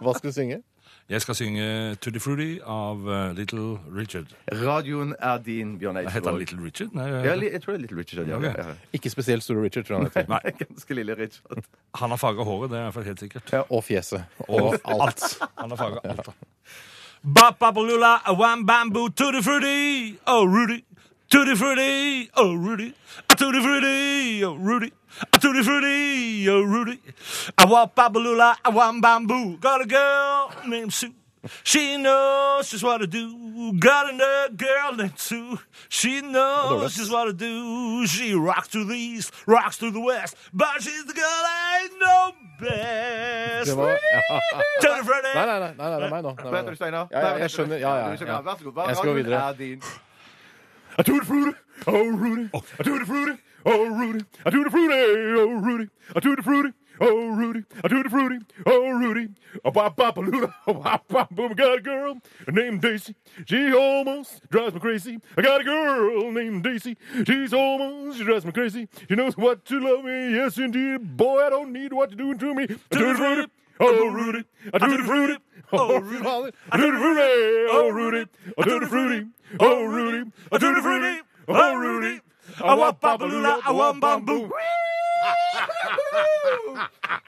S2: Hva skal du synge?
S3: Jeg skal synge Tutti Frutti av eh, Little Richard.
S4: Radioen er din, Bjørn
S3: Heter han
S4: Eidsvåg.
S3: Little Richard? Nei,
S4: Ja, li- jeg tror det er Little Richard. Ja.
S3: Ok.
S4: Ja, ja.
S2: Ikke spesielt Store Richard, tror jeg han heter.
S3: Nei,
S4: Ganske lille Richard.
S3: han har farga håret, det er i hvert fall helt sikkert.
S2: Og fjeset. Og alt.
S3: Han har farga alt, da. Ba-ba-ba-lula, one bamboo, tutti frutti, oh Rudy. Tutti frutti, oh Rudy. A tutti frutti, oh Rudy. A tutti frutti, oh Rudy. I want babalula, I want bamboo. Got a girl named Sue. She knows just what to do. Got another girl named Sue. She knows just what to do. She rocks to the east, rocks to the west. But she's the girl I know best.
S2: Det var, ja.
S3: Tutti frutti.
S2: Nei, nei, nei, nei, det er meg nå. Det er
S4: Hva
S2: meg
S4: heter du,
S2: nå.
S4: Steinar?
S2: Ja, ja, jeg skjønner. Ja, ja,
S4: Du skjønner.
S2: ja.
S4: Vær så god. Hva-
S2: Jeg skal gå
S4: radioen
S2: videre.
S4: er din.
S2: A tutti frutti, oh Rudy. A tutti frutti, oh Rudy. A tutti frutti, oh Rudy. A tutti frutti, oh Rudy. A tutti frutti, oh Rudy. A wop wop a lula, a wop wop boom. I got a girl named Daisy. She almost drives me crazy. I got a girl named Daisy. She's almost she drives me crazy. She knows what to love me. Yes, indeed. Boy, I don't need what you're doing to me. A tutti frutti. Oh Rudy, a tutti frutti, oh Rudy, a tutti frutti, oh Rudy, a tutti frutti, oh Rudy, a tutti frutti, oh Rudy, a wop babalula, a wop bamboo.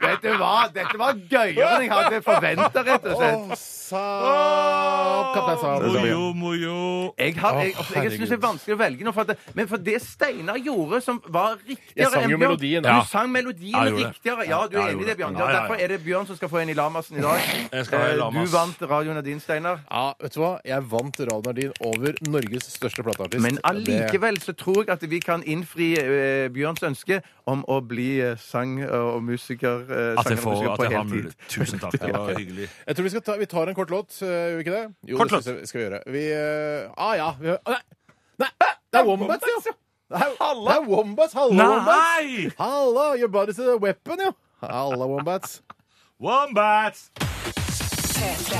S4: Vet du hva? Dette var gøyere enn jeg hadde forventa, rett og slett.
S2: Saab, kaptein Saab.
S3: Mojo, mojo.
S4: Jeg, har, jeg, altså,
S2: Åh,
S4: jeg, jeg synes det er
S2: herregud.
S4: vanskelig å velge nå, for at, men for det Steinar gjorde, som var riktigere
S2: Jeg sang
S4: enn
S2: jo
S4: Bjørn-
S2: melodien,
S4: Du
S2: ja.
S4: sang melodien
S3: Ja, jeg gjorde det.
S4: riktigere. Ja, du
S3: Ja,
S4: er
S3: jeg
S4: enig i
S3: gjorde
S4: det,
S3: det.
S4: Bjørn.
S3: Ja, ja, ja.
S4: Derfor er det Bjørn som skal få en i Lamassen i dag.
S3: Jeg skal ha en
S4: Eh,
S3: i Lamas.
S4: Du vant radioen av din, Steinar.
S2: Ja, vet du hva? Jeg vant Radio Nardin over Norges største plateartist.
S4: Men allikevel så tror jeg at vi kan innfri eh, Bjørns ønske om å bli eh, sang- og musiker. eh,
S3: At jeg,
S4: sanger og
S3: får,
S4: musiker på
S3: at jeg har
S4: heltid.
S3: mulighet. Tusen takk, det var hyggelig.
S2: Jeg tror vi skal ta, vi tar en kort låt, eh, gjør vi ikke det? Jo,
S3: Kort
S2: det skal, vi- skal vi gjøre. Vi eh, Ah ja. Vi, ah, nei. nei! Det er Wombats, jo! Det er, det er Wombats, Halla, Wombats!
S3: Nei!
S2: Halla, your body's a weapon, jo! Halla, Wombats.
S3: Wombats!
S4: Ja,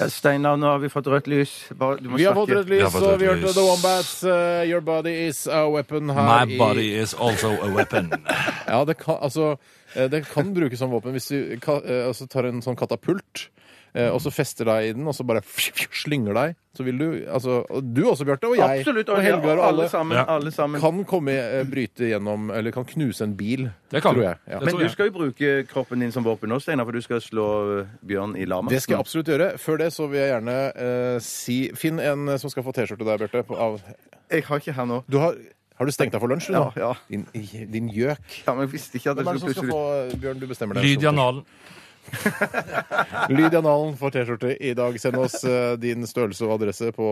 S4: Eh, Steinar, nå har vi fått rødt lys. Bare, du må
S2: Vi har fått
S4: snakke.
S2: rødt
S3: Vi
S2: lys,
S3: har fått
S2: og vi
S3: rødt
S2: hørte
S3: lys.
S2: The Wombats. eh, your body is a weapon her
S3: My body is also a weapon.
S2: i Ja, det kan, altså, eh, det kan brukes som våpen hvis du ka, eh, altså, tar en sånn katapult. eh, Og så fester deg i den, og så bare slynger deg. Så vil du altså, og Du også, Bjarte, og jeg.
S4: Absolutt.
S2: og Helgar og alle.
S4: sammen.
S3: Ja.
S4: Alle sammen.
S2: kan komme, eh, bryte gjennom, eller kan knuse en bil.
S3: Det kan
S2: tror
S3: du.
S2: jeg. Ja.
S3: Det
S4: Men
S3: tror
S4: du
S3: jeg.
S4: skal jo bruke kroppen din som våpen også, Steinar, for du skal slå eh, Bjørn i lama.
S2: Det skal jeg absolutt gjøre. Før det så vil jeg gjerne eh, si Finn en som skal få T-skjorte der, Bjarte. på- av-
S4: Jeg har ikke her nå.
S2: Du har, har du stengt deg for lunsj, du nå?
S4: Ja, ja.
S2: Din, i- din gjøk.
S4: Ja, men jeg visste ikke at
S2: Hvem er
S4: jeg
S2: det som
S4: skulle
S2: skal
S4: plutselig
S2: få Bjørn, du bestemmer det.
S3: Lydia Nalen.
S2: Lydia Nalen får T-skjorte i dag. Send oss eh, din størrelse og adresse på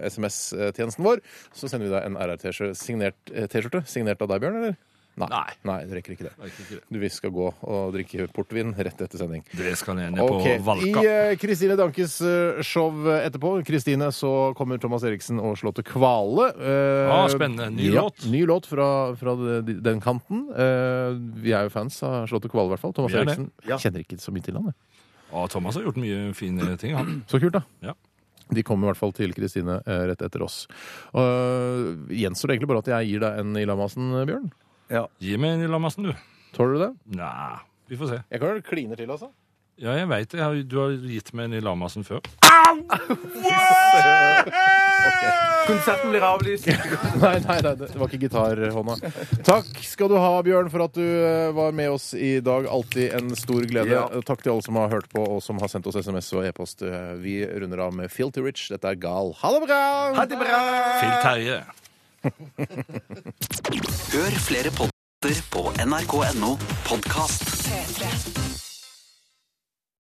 S2: eh, SMS-tjenesten vår. Så sender vi deg en RR-T-skjorte signert, eh, T-skjorte signert av deg, Bjørn, eller?
S3: Nei.
S2: Nei, du rekker ikke det.
S3: rekker ikke det.
S2: Du, vi skal gå og drikke portvin rett etter sending.
S3: Det skal jeg ned på
S2: Ok, I
S3: Valka.
S2: eh, Kristine Dankes eh, show etterpå, Kristine, så kommer Thomas Eriksen og Slåtte Kvale. Eh,
S3: Ah, spennende. Ny låt.
S2: Ny låt fra, fra de- den kanten. Eh, vi er jo fans av Slåtte Kvale, i hvert fall. Thomas
S3: Vi er det.
S2: Eriksen kjenner ikke så mye til han. jeg.
S3: Og Thomas har gjort mye fine ting, han.
S2: Så kult, da.
S3: Ja.
S2: De kommer i hvert fall til Kristine eh, rett etter oss. Uh, gjenstår det egentlig bare at jeg gir deg en i lamasen, Bjørn?
S3: Gi meg en i Lamassen, du.
S2: Tåler du det?
S3: Nei, vi får se.
S2: Jeg kan vel kline til, altså.
S3: Ja, jeg veit det. Jeg har- Du har gitt meg en i lamasen før.
S4: Konserten blir avlyst.
S2: Nei, nei, nei, det var ikke gitarhånda. Takk skal du ha, Bjørn, for at du eh, var med oss i dag. Alltid en stor glede.
S4: Ja.
S2: Og Takk til alle som har hørt på, og som har sendt oss SMS og e-post. Eh, Vi runder av med Filty Rich. Dette er Gal. Ha det bra!
S4: Ha det bra!
S3: Til Terje.
S7: Hør flere podder på nrk.no podkast.